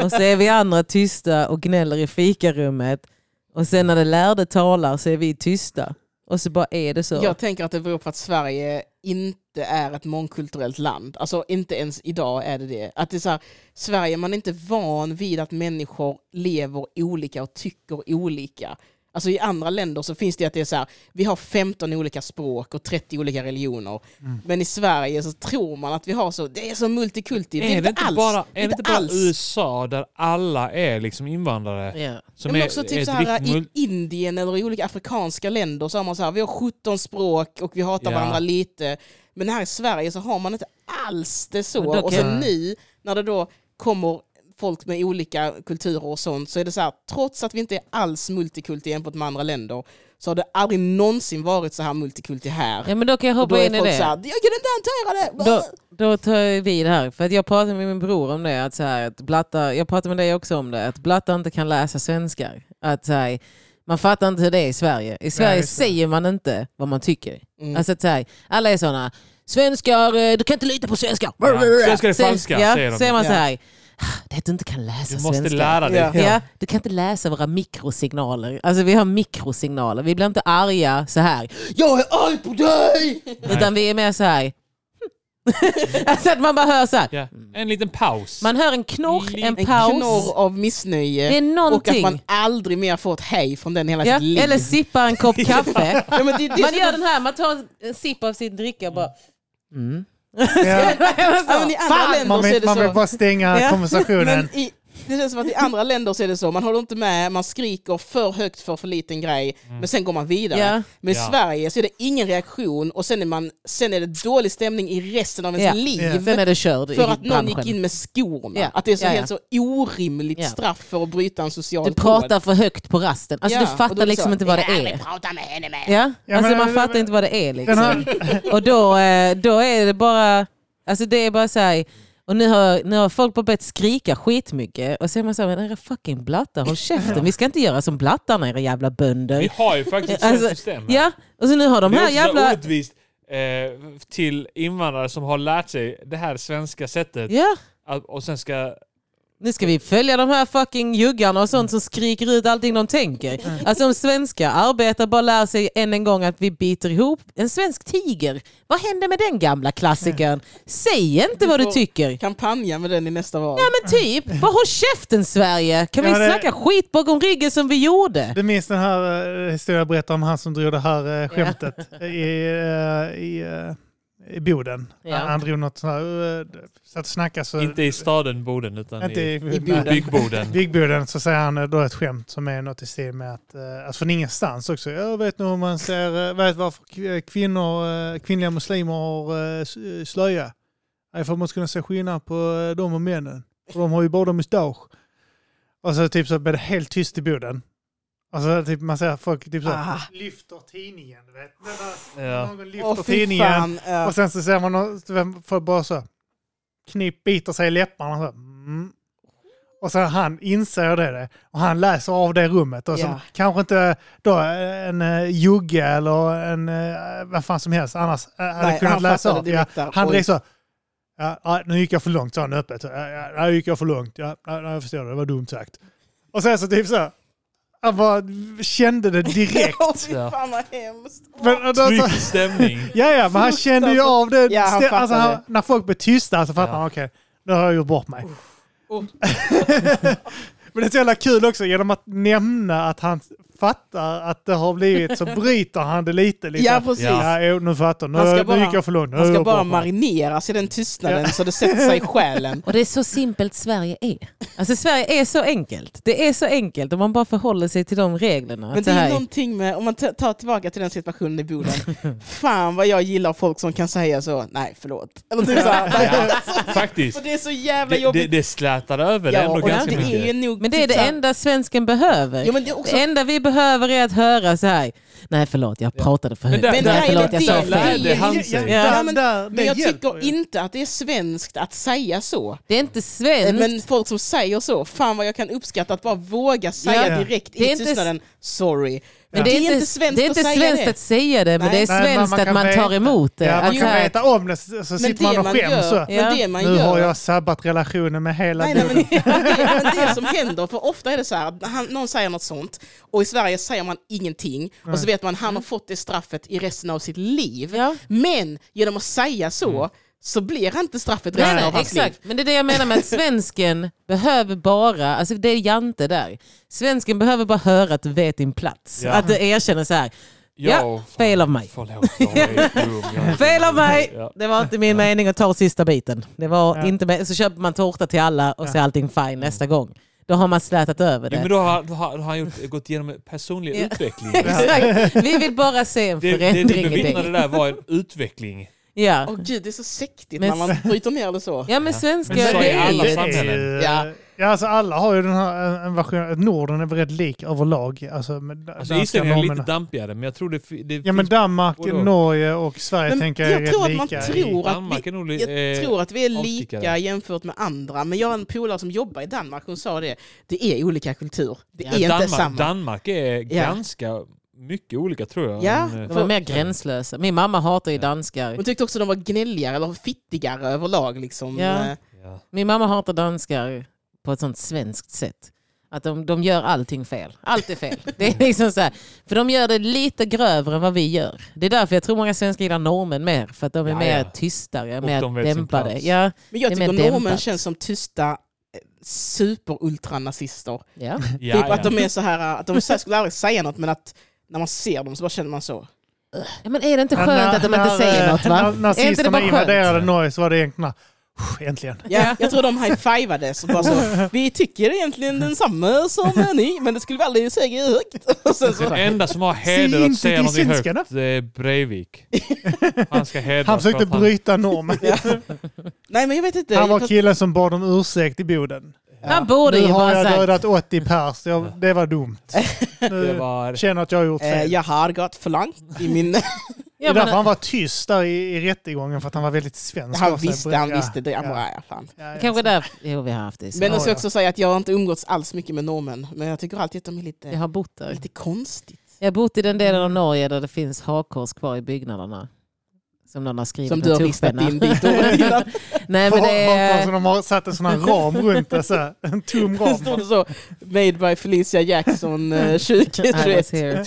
[SPEAKER 2] och så är vi andra tysta och gnäller i fikarummet. Och sen när det lärde talar så är vi tysta. Och så bara är det så.
[SPEAKER 4] Jag tänker att det beror på att Sverige inte är ett mångkulturellt land. Alltså inte ens idag är det det. Att det är så här, Sverige, man är inte van vid att människor lever olika och tycker olika. Alltså i andra länder så finns det att det är så här, vi har 15 olika språk och 30 olika religioner.
[SPEAKER 3] Mm.
[SPEAKER 4] Men i Sverige så tror man att vi har så, det är så multikulti.
[SPEAKER 3] är det inte
[SPEAKER 4] alls.
[SPEAKER 3] bara, är det
[SPEAKER 4] Inte
[SPEAKER 3] inte bara
[SPEAKER 4] alls.
[SPEAKER 3] USA där alla är liksom invandrare?
[SPEAKER 2] Ja.
[SPEAKER 3] Som
[SPEAKER 4] men
[SPEAKER 3] är,
[SPEAKER 4] också
[SPEAKER 3] är
[SPEAKER 4] typ
[SPEAKER 3] ett
[SPEAKER 4] så här,
[SPEAKER 3] riktigt
[SPEAKER 4] i
[SPEAKER 3] mul-
[SPEAKER 4] Indien eller i olika afrikanska länder så har man så här, vi har 17 språk och vi hatar
[SPEAKER 3] Ja.
[SPEAKER 4] varandra lite. Men här i Sverige så har man inte alls det så.
[SPEAKER 2] Men då
[SPEAKER 4] Och
[SPEAKER 2] kan-
[SPEAKER 4] sen nu när det då kommer folk med olika kulturer och sånt så är det så här, trots att vi inte är alls multikulti jämfört med andra länder så har det aldrig någonsin varit så här multikulti här.
[SPEAKER 2] ja men då kan jag
[SPEAKER 4] och då
[SPEAKER 2] hoppa
[SPEAKER 4] är
[SPEAKER 2] in i
[SPEAKER 4] folk
[SPEAKER 2] det.
[SPEAKER 4] så här, jag kan inte hantera det!
[SPEAKER 2] Då, då tar jag vid här. För att jag pratade med min bror om det. Att så här, att blatta, jag pratade med dig också om det. Att blattar inte kan läsa svenskar. Att så här, Man fattar inte hur det är i Sverige. I Sverige
[SPEAKER 1] just det.
[SPEAKER 2] säger man inte vad man tycker.
[SPEAKER 4] Mm.
[SPEAKER 2] Alltså, så här, alla är sådana, svenskar, eh, du kan inte lita på svenskar.
[SPEAKER 3] Ja, svenskar är
[SPEAKER 2] Säg-
[SPEAKER 3] falska,
[SPEAKER 2] ja,
[SPEAKER 3] säger de.
[SPEAKER 2] säger man
[SPEAKER 4] Ja.
[SPEAKER 2] så här, "Ah, det är att du inte kan läsa
[SPEAKER 3] Du måste
[SPEAKER 2] svenska.
[SPEAKER 3] lära dig.
[SPEAKER 4] Ja.
[SPEAKER 2] Ja, du kan inte läsa våra mikrosignaler. Alltså vi har mikrosignaler. Vi blir inte arga så här.
[SPEAKER 4] Jag är arg på dig!
[SPEAKER 2] Utan vi är mer så här. alltså att man bara hör så här.
[SPEAKER 3] Ja. En liten paus.
[SPEAKER 2] Man hör en knorr, en
[SPEAKER 4] En
[SPEAKER 2] paus.
[SPEAKER 4] knorr av
[SPEAKER 2] Det
[SPEAKER 4] missnöje.
[SPEAKER 2] är
[SPEAKER 4] Och att
[SPEAKER 2] någonting.
[SPEAKER 4] man aldrig mer får ett hej från den hela
[SPEAKER 2] ja.
[SPEAKER 4] sitt liv.
[SPEAKER 2] Eller sippar en kopp kaffe.
[SPEAKER 4] ja, men det, det,
[SPEAKER 2] Man gör den här, man tar en sipp av sin dricka och bara... Mm.
[SPEAKER 1] Ja.
[SPEAKER 4] Ja, men I andra
[SPEAKER 1] Fan,
[SPEAKER 4] länder
[SPEAKER 1] man
[SPEAKER 4] så är
[SPEAKER 1] vill,
[SPEAKER 4] det
[SPEAKER 1] man vill
[SPEAKER 4] så.
[SPEAKER 1] bara stänga
[SPEAKER 2] Ja.
[SPEAKER 1] konversationen.
[SPEAKER 4] Men i, det känns som att i andra länder så är det så. Man håller inte med, man skriker för högt för för liten grej, men sen går man vidare.
[SPEAKER 2] Mm. Ja.
[SPEAKER 4] Men i
[SPEAKER 3] Ja.
[SPEAKER 4] Sverige så är det ingen reaktion och sen är, man, sen är det dålig stämning i resten av ens
[SPEAKER 2] Ja.
[SPEAKER 4] liv.
[SPEAKER 1] Ja.
[SPEAKER 2] Sen är det körd i
[SPEAKER 4] För att någon
[SPEAKER 2] branschen.
[SPEAKER 4] gick in med skorna.
[SPEAKER 2] Ja.
[SPEAKER 4] Att det är så
[SPEAKER 2] Ja, ja.
[SPEAKER 4] helt så orimligt
[SPEAKER 2] Ja.
[SPEAKER 4] straff för att bryta en social
[SPEAKER 2] Du
[SPEAKER 4] kod.
[SPEAKER 2] pratar för högt på rasten. Alltså
[SPEAKER 4] Ja,
[SPEAKER 2] du
[SPEAKER 4] och då är
[SPEAKER 2] fattar
[SPEAKER 4] det
[SPEAKER 2] liksom
[SPEAKER 4] så,
[SPEAKER 2] inte vad det
[SPEAKER 4] "Jag vill
[SPEAKER 2] är.
[SPEAKER 4] prata med henne med."
[SPEAKER 2] Ja,
[SPEAKER 1] Ja,
[SPEAKER 2] alltså
[SPEAKER 1] men-
[SPEAKER 2] man fattar inte vad det är
[SPEAKER 1] Den
[SPEAKER 2] liksom.
[SPEAKER 1] här,
[SPEAKER 2] Och då, eh, då är det bara, alltså det är bara så här, och nu har, nu har folk bara börjat skrika skitmycket och så är man så här, men era fucking blattar, håll käften, vi ska inte göra som blattarna era jävla
[SPEAKER 3] Vi
[SPEAKER 2] bönder.
[SPEAKER 3] har ju faktiskt ett sånt
[SPEAKER 2] Alltså,
[SPEAKER 3] system. här.
[SPEAKER 2] ja, och så nu har de
[SPEAKER 3] det är
[SPEAKER 2] här
[SPEAKER 3] också så
[SPEAKER 2] jävla...
[SPEAKER 3] orättvist eh, till invandrare som har lärt sig det här svenska sättet
[SPEAKER 2] Ja,
[SPEAKER 3] att, och sen ska...
[SPEAKER 2] nu ska vi följa de här fucking juggarna och sånt som skriker ut allting de tänker. Alltså om svenska arbetare bara lär sig än en gång att vi biter ihop en svensk tiger. Vad hände med den gamla klassikern? Säg inte vad du
[SPEAKER 4] får-
[SPEAKER 2] tycker.
[SPEAKER 4] Kampanja med den i nästa val.
[SPEAKER 2] Ja men typ, bara håll käften Sverige! Kan
[SPEAKER 1] Ja,
[SPEAKER 2] vi
[SPEAKER 1] det-
[SPEAKER 2] snacka skit bakom ryggen som vi gjorde?
[SPEAKER 1] du minns den här eh, historien jag berättade om han som drog det här eh, skämtet i, eh, i, eh, i Boden.
[SPEAKER 2] Ja.
[SPEAKER 1] Han drog något sånt här, eh, satt och snackade så...
[SPEAKER 3] Inte i staden Boden utan
[SPEAKER 1] inte
[SPEAKER 3] i,
[SPEAKER 1] i,
[SPEAKER 4] I
[SPEAKER 1] nej.
[SPEAKER 4] Boden.
[SPEAKER 3] byggboden.
[SPEAKER 1] Byggboden så säger han eh, då ett skämt som är något i stil med att, eh, alltså från ingenstans också, jag vet nog hur man ser, eh, vet varför kv- kvinnor, eh, kvinnliga muslimer har eh, s- eh, slöja. Nej, för att man ska kunna se skillnad på eh, dem och männen. För de har ju båda mustasch. Och så typ så blir det helt tyst i Boden. Alltså typ man ser folk typ så här,
[SPEAKER 2] Ah.
[SPEAKER 1] lyfter tidningen, du vet. Det där,
[SPEAKER 3] Ja.
[SPEAKER 1] Någon lyfter
[SPEAKER 4] Åh, fy
[SPEAKER 1] tidningen.
[SPEAKER 4] fan. Ja.
[SPEAKER 1] Och sen så ser man någon, vem får bara så knip, biter sig i läpparna. Så, här, mm. Och sen han inser det, det och han läser av det rummet. Och så,
[SPEAKER 4] Ja.
[SPEAKER 1] Kanske inte då en uh, jugge eller en eh, vad fan som helst annars eh, hade
[SPEAKER 4] Nej,
[SPEAKER 1] kunnat
[SPEAKER 4] han
[SPEAKER 1] läsa
[SPEAKER 4] fattade
[SPEAKER 1] av. Ja,
[SPEAKER 4] direkt där.
[SPEAKER 1] han
[SPEAKER 4] Oj.
[SPEAKER 1] direkt så, ja, ja, nu gick jag för långt, sa han öppet. Ja, ja, nu gick jag för långt, ja, ja, jag förstår det, det var dumt sagt. Och sen så typ så, han bara kände det direkt.
[SPEAKER 4] Åh, fy fan vad hemskt.
[SPEAKER 1] Men, och då, så,
[SPEAKER 4] alltså-
[SPEAKER 3] Trygg stämning.
[SPEAKER 1] Ja, ja, men han kände ju av det.
[SPEAKER 4] Ja, han
[SPEAKER 1] Stä- alltså,
[SPEAKER 4] fattar
[SPEAKER 1] han, när folk blir tysta så fattar
[SPEAKER 3] Ja.
[SPEAKER 1] han, okej, nu har jag gjort bort mig. men det är så jävla kul också, genom att nämna att han fattar att det har blivit så bryter han det lite. Liksom.
[SPEAKER 4] Ja, precis.
[SPEAKER 1] Ja, jo, nu fattar
[SPEAKER 4] Han ska
[SPEAKER 1] jag. Nu,
[SPEAKER 4] bara-
[SPEAKER 1] nu gick jag för långt. Nu har
[SPEAKER 4] Han
[SPEAKER 1] jag
[SPEAKER 4] ska
[SPEAKER 1] gjort
[SPEAKER 4] bara
[SPEAKER 1] bort mig.
[SPEAKER 4] marineras i den tystnaden så det sätter sig i själen.
[SPEAKER 2] Och det är så simpelt Sverige är. Alltså Sverige är så enkelt. Det är så enkelt om man bara förhåller sig till de reglerna.
[SPEAKER 4] Men
[SPEAKER 2] Att det
[SPEAKER 4] det är
[SPEAKER 2] här...
[SPEAKER 4] någonting med, om man ta- tar tillbaka till den situationen i Boden. Fan vad jag gillar folk som kan säga så, nej förlåt. Eller typ så här, nej,
[SPEAKER 3] Ja,
[SPEAKER 4] alltså,
[SPEAKER 3] faktiskt.
[SPEAKER 4] för det är så jävla
[SPEAKER 3] Det, det,
[SPEAKER 4] jobbigt.
[SPEAKER 3] det slätar över det ändå
[SPEAKER 4] och
[SPEAKER 3] ganska
[SPEAKER 4] det är ju
[SPEAKER 3] mycket.
[SPEAKER 4] nog
[SPEAKER 2] Men det är
[SPEAKER 4] typ
[SPEAKER 2] det
[SPEAKER 4] så här-
[SPEAKER 2] enda svensken behöver.
[SPEAKER 4] Ja, men det är också-
[SPEAKER 2] Det enda vi behöver är att höra så här. Nej förlåt, jag pratade för högt.
[SPEAKER 3] där-
[SPEAKER 2] Nej,
[SPEAKER 4] där är
[SPEAKER 2] förlåt,
[SPEAKER 4] det
[SPEAKER 2] jag sa
[SPEAKER 4] del-
[SPEAKER 2] fel.
[SPEAKER 3] lärde han
[SPEAKER 1] Ja,
[SPEAKER 3] sig.
[SPEAKER 1] ja,
[SPEAKER 4] Ja,
[SPEAKER 1] men,
[SPEAKER 4] men-
[SPEAKER 1] där,
[SPEAKER 4] Men jag
[SPEAKER 1] det hjälper
[SPEAKER 4] tycker
[SPEAKER 1] ju.
[SPEAKER 4] inte att det är svenskt att säga så.
[SPEAKER 2] Det är inte svenskt.
[SPEAKER 4] Men folk som säger så, fan vad jag kan uppskatta att bara våga säga
[SPEAKER 1] Ja.
[SPEAKER 4] direkt
[SPEAKER 2] Det är
[SPEAKER 4] i
[SPEAKER 2] inte-
[SPEAKER 4] tystnaden, sorry. Men
[SPEAKER 2] Men
[SPEAKER 4] det är inte
[SPEAKER 2] det är
[SPEAKER 4] svenskt att
[SPEAKER 2] inte
[SPEAKER 4] säga
[SPEAKER 2] svenskt
[SPEAKER 4] det.
[SPEAKER 2] att säga det, men
[SPEAKER 4] Nej.
[SPEAKER 2] det är
[SPEAKER 1] Nej, men
[SPEAKER 2] svenskt att
[SPEAKER 1] kan
[SPEAKER 2] man tar
[SPEAKER 1] veta.
[SPEAKER 2] emot det.
[SPEAKER 1] Ja, man
[SPEAKER 2] Att så
[SPEAKER 1] kan
[SPEAKER 2] här-
[SPEAKER 1] veta om det, så, så
[SPEAKER 4] Men
[SPEAKER 1] sitter man
[SPEAKER 4] det
[SPEAKER 1] och
[SPEAKER 4] man
[SPEAKER 1] skäms.
[SPEAKER 4] gör,
[SPEAKER 1] så.
[SPEAKER 2] Ja.
[SPEAKER 4] men det man
[SPEAKER 1] Nu
[SPEAKER 4] gör
[SPEAKER 1] har jag sabbat relationen med hela
[SPEAKER 4] Nej, nej,
[SPEAKER 1] Boden.
[SPEAKER 4] men, det, men det som händer, för ofta är det så här att han, någon säger något sånt och i Sverige säger man ingenting och så vet man
[SPEAKER 1] Mm.
[SPEAKER 4] han har fått det straffet i resten av sitt liv.
[SPEAKER 2] Ja.
[SPEAKER 4] Men genom att säga så
[SPEAKER 1] Mm.
[SPEAKER 4] så blir han inte straffet
[SPEAKER 2] Nej,
[SPEAKER 4] resten
[SPEAKER 2] nej,
[SPEAKER 4] av hans
[SPEAKER 2] exakt.
[SPEAKER 4] liv.
[SPEAKER 2] Men det är det jag menar med att svensken behöver bara, alltså det är Jante där, svensken behöver bara höra att du vet din plats.
[SPEAKER 3] Ja.
[SPEAKER 2] Att du erkänner så här,
[SPEAKER 3] Jo,
[SPEAKER 2] ja, fel av mig.
[SPEAKER 3] Förlåt, jag är dum. Jag är
[SPEAKER 2] Fel av
[SPEAKER 3] dum.
[SPEAKER 2] mig!
[SPEAKER 3] Ja.
[SPEAKER 2] Det var inte min mening att ta sista biten. Det var
[SPEAKER 1] Ja.
[SPEAKER 2] inte me- så köper man tårta till alla och så är allting fine nästa gång. Då har man slätat över
[SPEAKER 3] Jo, men
[SPEAKER 2] det.
[SPEAKER 3] då har, då har, då har han gjort, gått igenom personlig
[SPEAKER 2] Ja.
[SPEAKER 3] utveckling.
[SPEAKER 2] Exakt. Vi vill bara se en
[SPEAKER 3] Det, det du
[SPEAKER 2] förändring i
[SPEAKER 3] bevittnade
[SPEAKER 2] dig.
[SPEAKER 3] där var en utveckling.
[SPEAKER 2] Ja.
[SPEAKER 4] Åh gud, det är så sektigt
[SPEAKER 2] Men-
[SPEAKER 4] när man bryter ner det så.
[SPEAKER 2] ja, men svenskar,
[SPEAKER 3] Men så
[SPEAKER 2] det
[SPEAKER 3] är alla
[SPEAKER 2] är ju...
[SPEAKER 3] samhällen.
[SPEAKER 1] ju-
[SPEAKER 4] Ja.
[SPEAKER 1] Ja, alltså alla har ju den här en- en version. Norden är väl rätt lik överlag. Alltså, med
[SPEAKER 3] Alltså
[SPEAKER 1] danska
[SPEAKER 3] Island är lite
[SPEAKER 1] normerna.
[SPEAKER 3] dampigare, men jag tror det, fi- det
[SPEAKER 1] Ja, men Danmark,
[SPEAKER 3] Både och.
[SPEAKER 1] Norge och Sverige
[SPEAKER 4] Men
[SPEAKER 1] tänker
[SPEAKER 4] jag
[SPEAKER 1] är
[SPEAKER 4] tror
[SPEAKER 1] rätt
[SPEAKER 4] att man
[SPEAKER 1] lika. i-
[SPEAKER 4] tror-
[SPEAKER 3] Danmark är nog li-
[SPEAKER 4] Jag
[SPEAKER 3] eh,
[SPEAKER 4] tror att vi är
[SPEAKER 3] avstickare.
[SPEAKER 4] lika jämfört med andra, men jag har en polare som jobbar i Danmark, hon sa det. Det är olika kultur. Det
[SPEAKER 2] Ja,
[SPEAKER 4] är inte
[SPEAKER 3] Danmark,
[SPEAKER 4] samma.
[SPEAKER 3] Danmark är
[SPEAKER 4] Ja.
[SPEAKER 3] ganska mycket olika tror jag.
[SPEAKER 4] Ja.
[SPEAKER 3] Men, eh,
[SPEAKER 2] De var mer gränslösa. Min mamma hatar ju danskar.
[SPEAKER 4] Hon tyckte också de var gnälligare eller fittigare överlag. Liksom.
[SPEAKER 2] Ja.
[SPEAKER 4] Eh,
[SPEAKER 3] ja.
[SPEAKER 2] Min mamma hatar danskar på ett sånt svenskt sätt. Att de, de gör allting fel. Allt är fel. Det är liksom så här, för de gör det lite grövre än vad vi gör. Det är därför jag tror många svenskar gillar normen mer. För att de är
[SPEAKER 3] Ja,
[SPEAKER 2] mer
[SPEAKER 3] ja.
[SPEAKER 2] tystare,
[SPEAKER 3] Och
[SPEAKER 2] mer
[SPEAKER 3] de vet sin
[SPEAKER 2] dämpade.
[SPEAKER 3] plats.
[SPEAKER 2] Ja,
[SPEAKER 4] Men
[SPEAKER 2] Det
[SPEAKER 4] jag
[SPEAKER 2] är mer
[SPEAKER 4] tycker norrmän
[SPEAKER 2] dämpat.
[SPEAKER 4] känns som tysta eh, superultranazister.
[SPEAKER 2] ja.
[SPEAKER 3] Ja,
[SPEAKER 4] typ
[SPEAKER 3] ja.
[SPEAKER 4] att de är så här, att de så här skulle aldrig säga något men att när man ser dem så bara känner man så.
[SPEAKER 2] ja. Men är det inte
[SPEAKER 1] Ja,
[SPEAKER 2] skönt att de inte säger
[SPEAKER 1] eh,
[SPEAKER 2] något? Va?
[SPEAKER 1] när
[SPEAKER 2] Är inte det
[SPEAKER 1] Nazisterna
[SPEAKER 2] bara skönt?
[SPEAKER 1] invaderade Norge så var det egentligen "Pff, äntligen.
[SPEAKER 4] Ja, jag tror de high-fivades och bara så. Vi tycker egentligen densamma som ni men det skulle vi aldrig säga högt. Och sen så,
[SPEAKER 3] Den enda som har
[SPEAKER 1] Säg
[SPEAKER 3] heder
[SPEAKER 1] inte
[SPEAKER 3] att säga
[SPEAKER 1] till
[SPEAKER 3] någonting högt
[SPEAKER 1] svenskarna.
[SPEAKER 3] är Breivik. Han ska hedras.
[SPEAKER 1] Han försökte
[SPEAKER 3] för att
[SPEAKER 1] bryta normen.
[SPEAKER 4] nej men jag vet inte.
[SPEAKER 1] Han var
[SPEAKER 4] Jag-
[SPEAKER 1] killen som bad om ursäkt i Boden.
[SPEAKER 2] Han borde
[SPEAKER 1] Nu
[SPEAKER 2] ju
[SPEAKER 1] har
[SPEAKER 2] bara
[SPEAKER 1] jag
[SPEAKER 2] sagt.
[SPEAKER 1] dödat 80 pers. Jag, det var dumt.
[SPEAKER 3] Det
[SPEAKER 1] Nu
[SPEAKER 3] var...
[SPEAKER 1] känner jag att jag har gjort
[SPEAKER 4] eh,
[SPEAKER 1] fel.
[SPEAKER 4] jag har gått för långt i min...
[SPEAKER 1] Det
[SPEAKER 2] Ja,
[SPEAKER 1] är därför
[SPEAKER 2] men,
[SPEAKER 1] han var tyst där i, i rättegången för att han var väldigt svensk. av
[SPEAKER 4] Han
[SPEAKER 1] sig.
[SPEAKER 4] visste, han
[SPEAKER 1] Ja,
[SPEAKER 4] visste det. Jag
[SPEAKER 1] ja,
[SPEAKER 4] bara, ja, fan.
[SPEAKER 1] ja, ja.
[SPEAKER 2] kanske där... Jo, vi har haft det.
[SPEAKER 4] Men
[SPEAKER 2] Men,
[SPEAKER 4] jag ska
[SPEAKER 1] Ja, ja.
[SPEAKER 4] också säga att jag har inte umgåtts alls mycket med norrmän. Men jag tycker alltid att de är
[SPEAKER 2] jag
[SPEAKER 4] lite,
[SPEAKER 2] har bott där.
[SPEAKER 4] lite konstigt.
[SPEAKER 2] Jag har bott i den delen av Norge där det finns hakkors kvar i byggnaderna. Som någon har skrivit
[SPEAKER 4] Som
[SPEAKER 2] med
[SPEAKER 4] du har ristat
[SPEAKER 2] tuschpenna.
[SPEAKER 4] in dit året innan.
[SPEAKER 2] Nej,
[SPEAKER 1] På
[SPEAKER 2] men det
[SPEAKER 1] Hongkong så
[SPEAKER 2] är...
[SPEAKER 1] de har satt en sån här ram runt det, så här, en tom ram.
[SPEAKER 4] Det stod det så, made by Felicia Jackson eh, 2021.
[SPEAKER 2] I was here.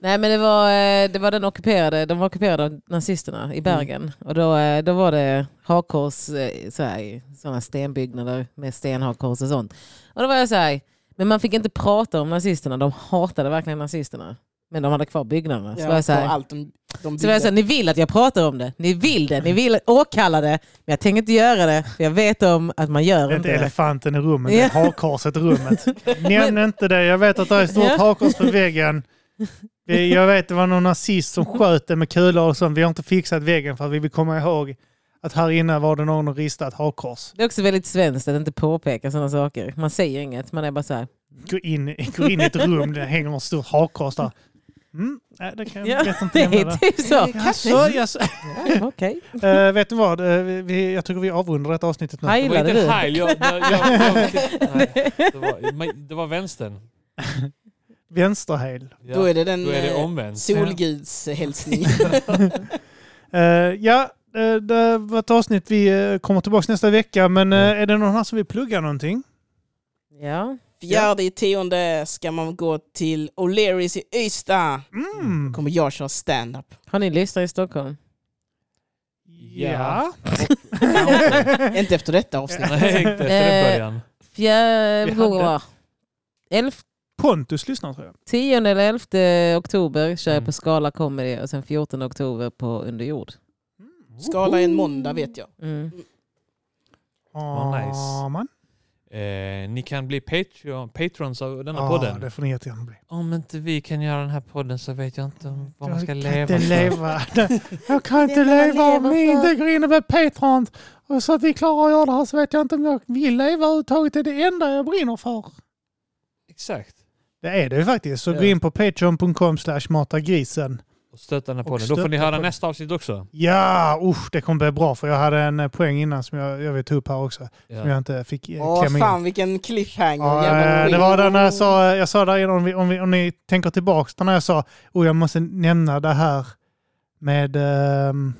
[SPEAKER 2] Nej men det var, eh, det var den ockuperade, de var ockuperade av nazisterna i
[SPEAKER 1] Mm.
[SPEAKER 2] Bergen. Och då, eh, då var det hakkors, eh, så här, i sådana stenbyggnader med stenhakkors och sånt. Och då var jag så här, men man fick inte prata om nazisterna, de hatade verkligen nazisterna. Men de hade kvar byggnaderna. Så var
[SPEAKER 4] Ja,
[SPEAKER 2] jag så här,
[SPEAKER 4] och allt de, de
[SPEAKER 2] så var jag så här, ni vill att jag pratar om det, ni vill det, ni vill åkalla det, men jag tänker inte göra det, för jag vet om att man gör
[SPEAKER 1] Det är inte
[SPEAKER 2] inte det.
[SPEAKER 1] elefanten i rummet,
[SPEAKER 2] Ja.
[SPEAKER 1] det är hakkorset i rummet. Nämn inte det, jag vet att det är ett stort
[SPEAKER 2] Ja.
[SPEAKER 1] hakkors på väggen. Det- Jag vet det var någon nazist som sköt det med kulor och sånt. Vi har inte fixat väggen för att vi vill komma ihåg att här inne var det någon som ristade ett hakkors.
[SPEAKER 2] Det är också väldigt svenskt att inte påpeka sådana saker. Man säger inget, man är bara så här.
[SPEAKER 1] Gå in, gå in i ett rum, där hänger ett stort hakkors där. Mm, nej, det kan jag vet inte
[SPEAKER 2] det
[SPEAKER 1] nämna
[SPEAKER 2] är
[SPEAKER 1] det.
[SPEAKER 2] typ så.
[SPEAKER 1] Jaså, jaså.
[SPEAKER 2] Okej.
[SPEAKER 1] Eh, vet du vad? Eh, vi- vi, jag tycker vi avrundar detta avsnittet nu.
[SPEAKER 3] Det var
[SPEAKER 2] Heilade
[SPEAKER 3] inte
[SPEAKER 2] du?
[SPEAKER 3] Heil, jag, jag, jag, jag, nej, det, var, men det var vänstern.
[SPEAKER 1] Vänsterhäl.
[SPEAKER 3] Ja.
[SPEAKER 4] Då är det den
[SPEAKER 3] Då är det
[SPEAKER 4] eh,
[SPEAKER 3] omvänt.
[SPEAKER 4] solgudshälsningen.
[SPEAKER 1] Eh, ja, eh, det var ett avsnitt. Vi eh, kommer tillbaka nästa vecka. Men eh, är det någon här som vill plugga någonting?
[SPEAKER 2] Ja.
[SPEAKER 4] Fjärde i tionde ska man gå till O'Learys i Ystad.
[SPEAKER 1] Mm.
[SPEAKER 4] kommer jag köra stand-up.
[SPEAKER 2] Har ni lyssnat i Stockholm?
[SPEAKER 1] Ja.
[SPEAKER 4] Inte efter detta avsnitt.
[SPEAKER 3] Nej, inte efter den
[SPEAKER 2] Eh,
[SPEAKER 3] början.
[SPEAKER 2] Fjärde
[SPEAKER 1] Vi hade-
[SPEAKER 2] gången var elf,
[SPEAKER 1] Pontus lyssnar tror jag.
[SPEAKER 2] tionde eller 11 oktober kör jag
[SPEAKER 3] Mm.
[SPEAKER 2] på Skala Comedy och sen 14 oktober på Underjord.
[SPEAKER 4] Skala en måndag vet jag.
[SPEAKER 2] Mm.
[SPEAKER 1] Ah,
[SPEAKER 3] nice.
[SPEAKER 1] man.
[SPEAKER 3] Eh, ni kan bli Patreon, patrons av denna
[SPEAKER 1] Ah,
[SPEAKER 3] podden.
[SPEAKER 1] Det får ni jättegärna bli.
[SPEAKER 3] Om inte vi kan göra den här podden så vet jag inte
[SPEAKER 1] Mm.
[SPEAKER 3] om vad man ska
[SPEAKER 1] jag
[SPEAKER 3] leva
[SPEAKER 1] kan inte
[SPEAKER 3] för.
[SPEAKER 1] leva. Jag kan inte leva om vi inte går in med Patreon. Och så att vi klarar att göra det här så vet jag inte om jag vill leva överhuvudtaget. Det är det enda jag brinner för.
[SPEAKER 3] Exakt.
[SPEAKER 1] Det är det ju faktiskt. Så
[SPEAKER 3] Ja.
[SPEAKER 1] gå in på patreon.com slash matagrisen.
[SPEAKER 3] Och stötta den här
[SPEAKER 1] Och
[SPEAKER 3] podden. Då får ni
[SPEAKER 1] stötta
[SPEAKER 3] höra
[SPEAKER 1] podden.
[SPEAKER 3] nästa avsnitt också.
[SPEAKER 1] Ja, usch, det kommer bli bra för jag hade en eh, poäng innan som jag, jag vill ta upp här också. Som jag inte fick eh,
[SPEAKER 4] Åh
[SPEAKER 1] klämma in.
[SPEAKER 4] fan vilken cliffhanger.
[SPEAKER 1] Ja,
[SPEAKER 4] Jävla
[SPEAKER 1] eh,
[SPEAKER 4] skit.
[SPEAKER 1] det var den när jag sa, jag sa där innan, om, vi, om, vi, om ni tänker tillbaks, när jag sa oh, jag måste nämna det här med, ehm,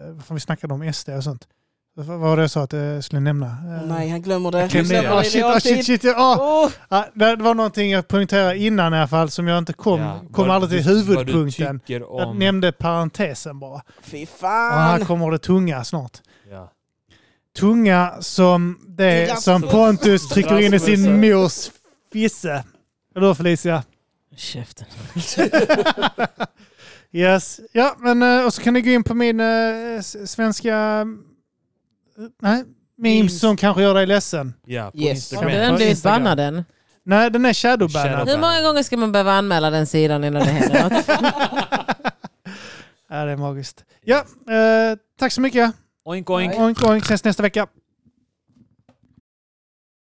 [SPEAKER 1] eh, vad fan vi snackade om, SD och sånt. Vad vad var det jag sa att jag skulle nämna? Eh,
[SPEAKER 4] Nej han glömmer det.
[SPEAKER 1] klämde
[SPEAKER 3] glömde
[SPEAKER 1] in. Ah,
[SPEAKER 3] det
[SPEAKER 1] shit, ah, shit, shit, shit. Ah,
[SPEAKER 4] Åh!
[SPEAKER 1] ah, det var någonting jag punkterade innan i alla fall som jag inte kom, kom
[SPEAKER 3] Vad
[SPEAKER 1] aldrig till
[SPEAKER 3] du- Vad
[SPEAKER 1] huvudpunkten.
[SPEAKER 3] du tycker
[SPEAKER 1] Jag
[SPEAKER 3] om...
[SPEAKER 1] nämnde parentesen bara.
[SPEAKER 4] Fy
[SPEAKER 1] Och här
[SPEAKER 4] fan!
[SPEAKER 1] kommer det tunga snart.
[SPEAKER 3] Ja.
[SPEAKER 1] tunga som det
[SPEAKER 4] Rasmus.
[SPEAKER 1] som Pontus trycker in i sin
[SPEAKER 3] Rasmus.
[SPEAKER 1] mors fisse. Eller hur Felicia?
[SPEAKER 2] Käften.
[SPEAKER 1] Yes. Ja, men eh, och så kan ni gå in på min eh, s- svenska... eh, Nej, memes
[SPEAKER 4] Memes.
[SPEAKER 1] som kanske gör dig ledsen.
[SPEAKER 3] ja, på
[SPEAKER 4] Yes.
[SPEAKER 2] Har du
[SPEAKER 1] Men
[SPEAKER 3] Instagram.
[SPEAKER 2] den
[SPEAKER 1] på
[SPEAKER 2] blivit
[SPEAKER 1] Instagram.
[SPEAKER 2] bannad än?
[SPEAKER 1] Nej, den är shadowbannad.
[SPEAKER 3] Shadow.
[SPEAKER 2] Hur många gånger ska man behöva anmäla den sidan innan det händer något?
[SPEAKER 1] Ja, det är magiskt. Ja, eh, tack så mycket.
[SPEAKER 3] Oink oink.
[SPEAKER 1] Oink, oink. Ses nästa vecka.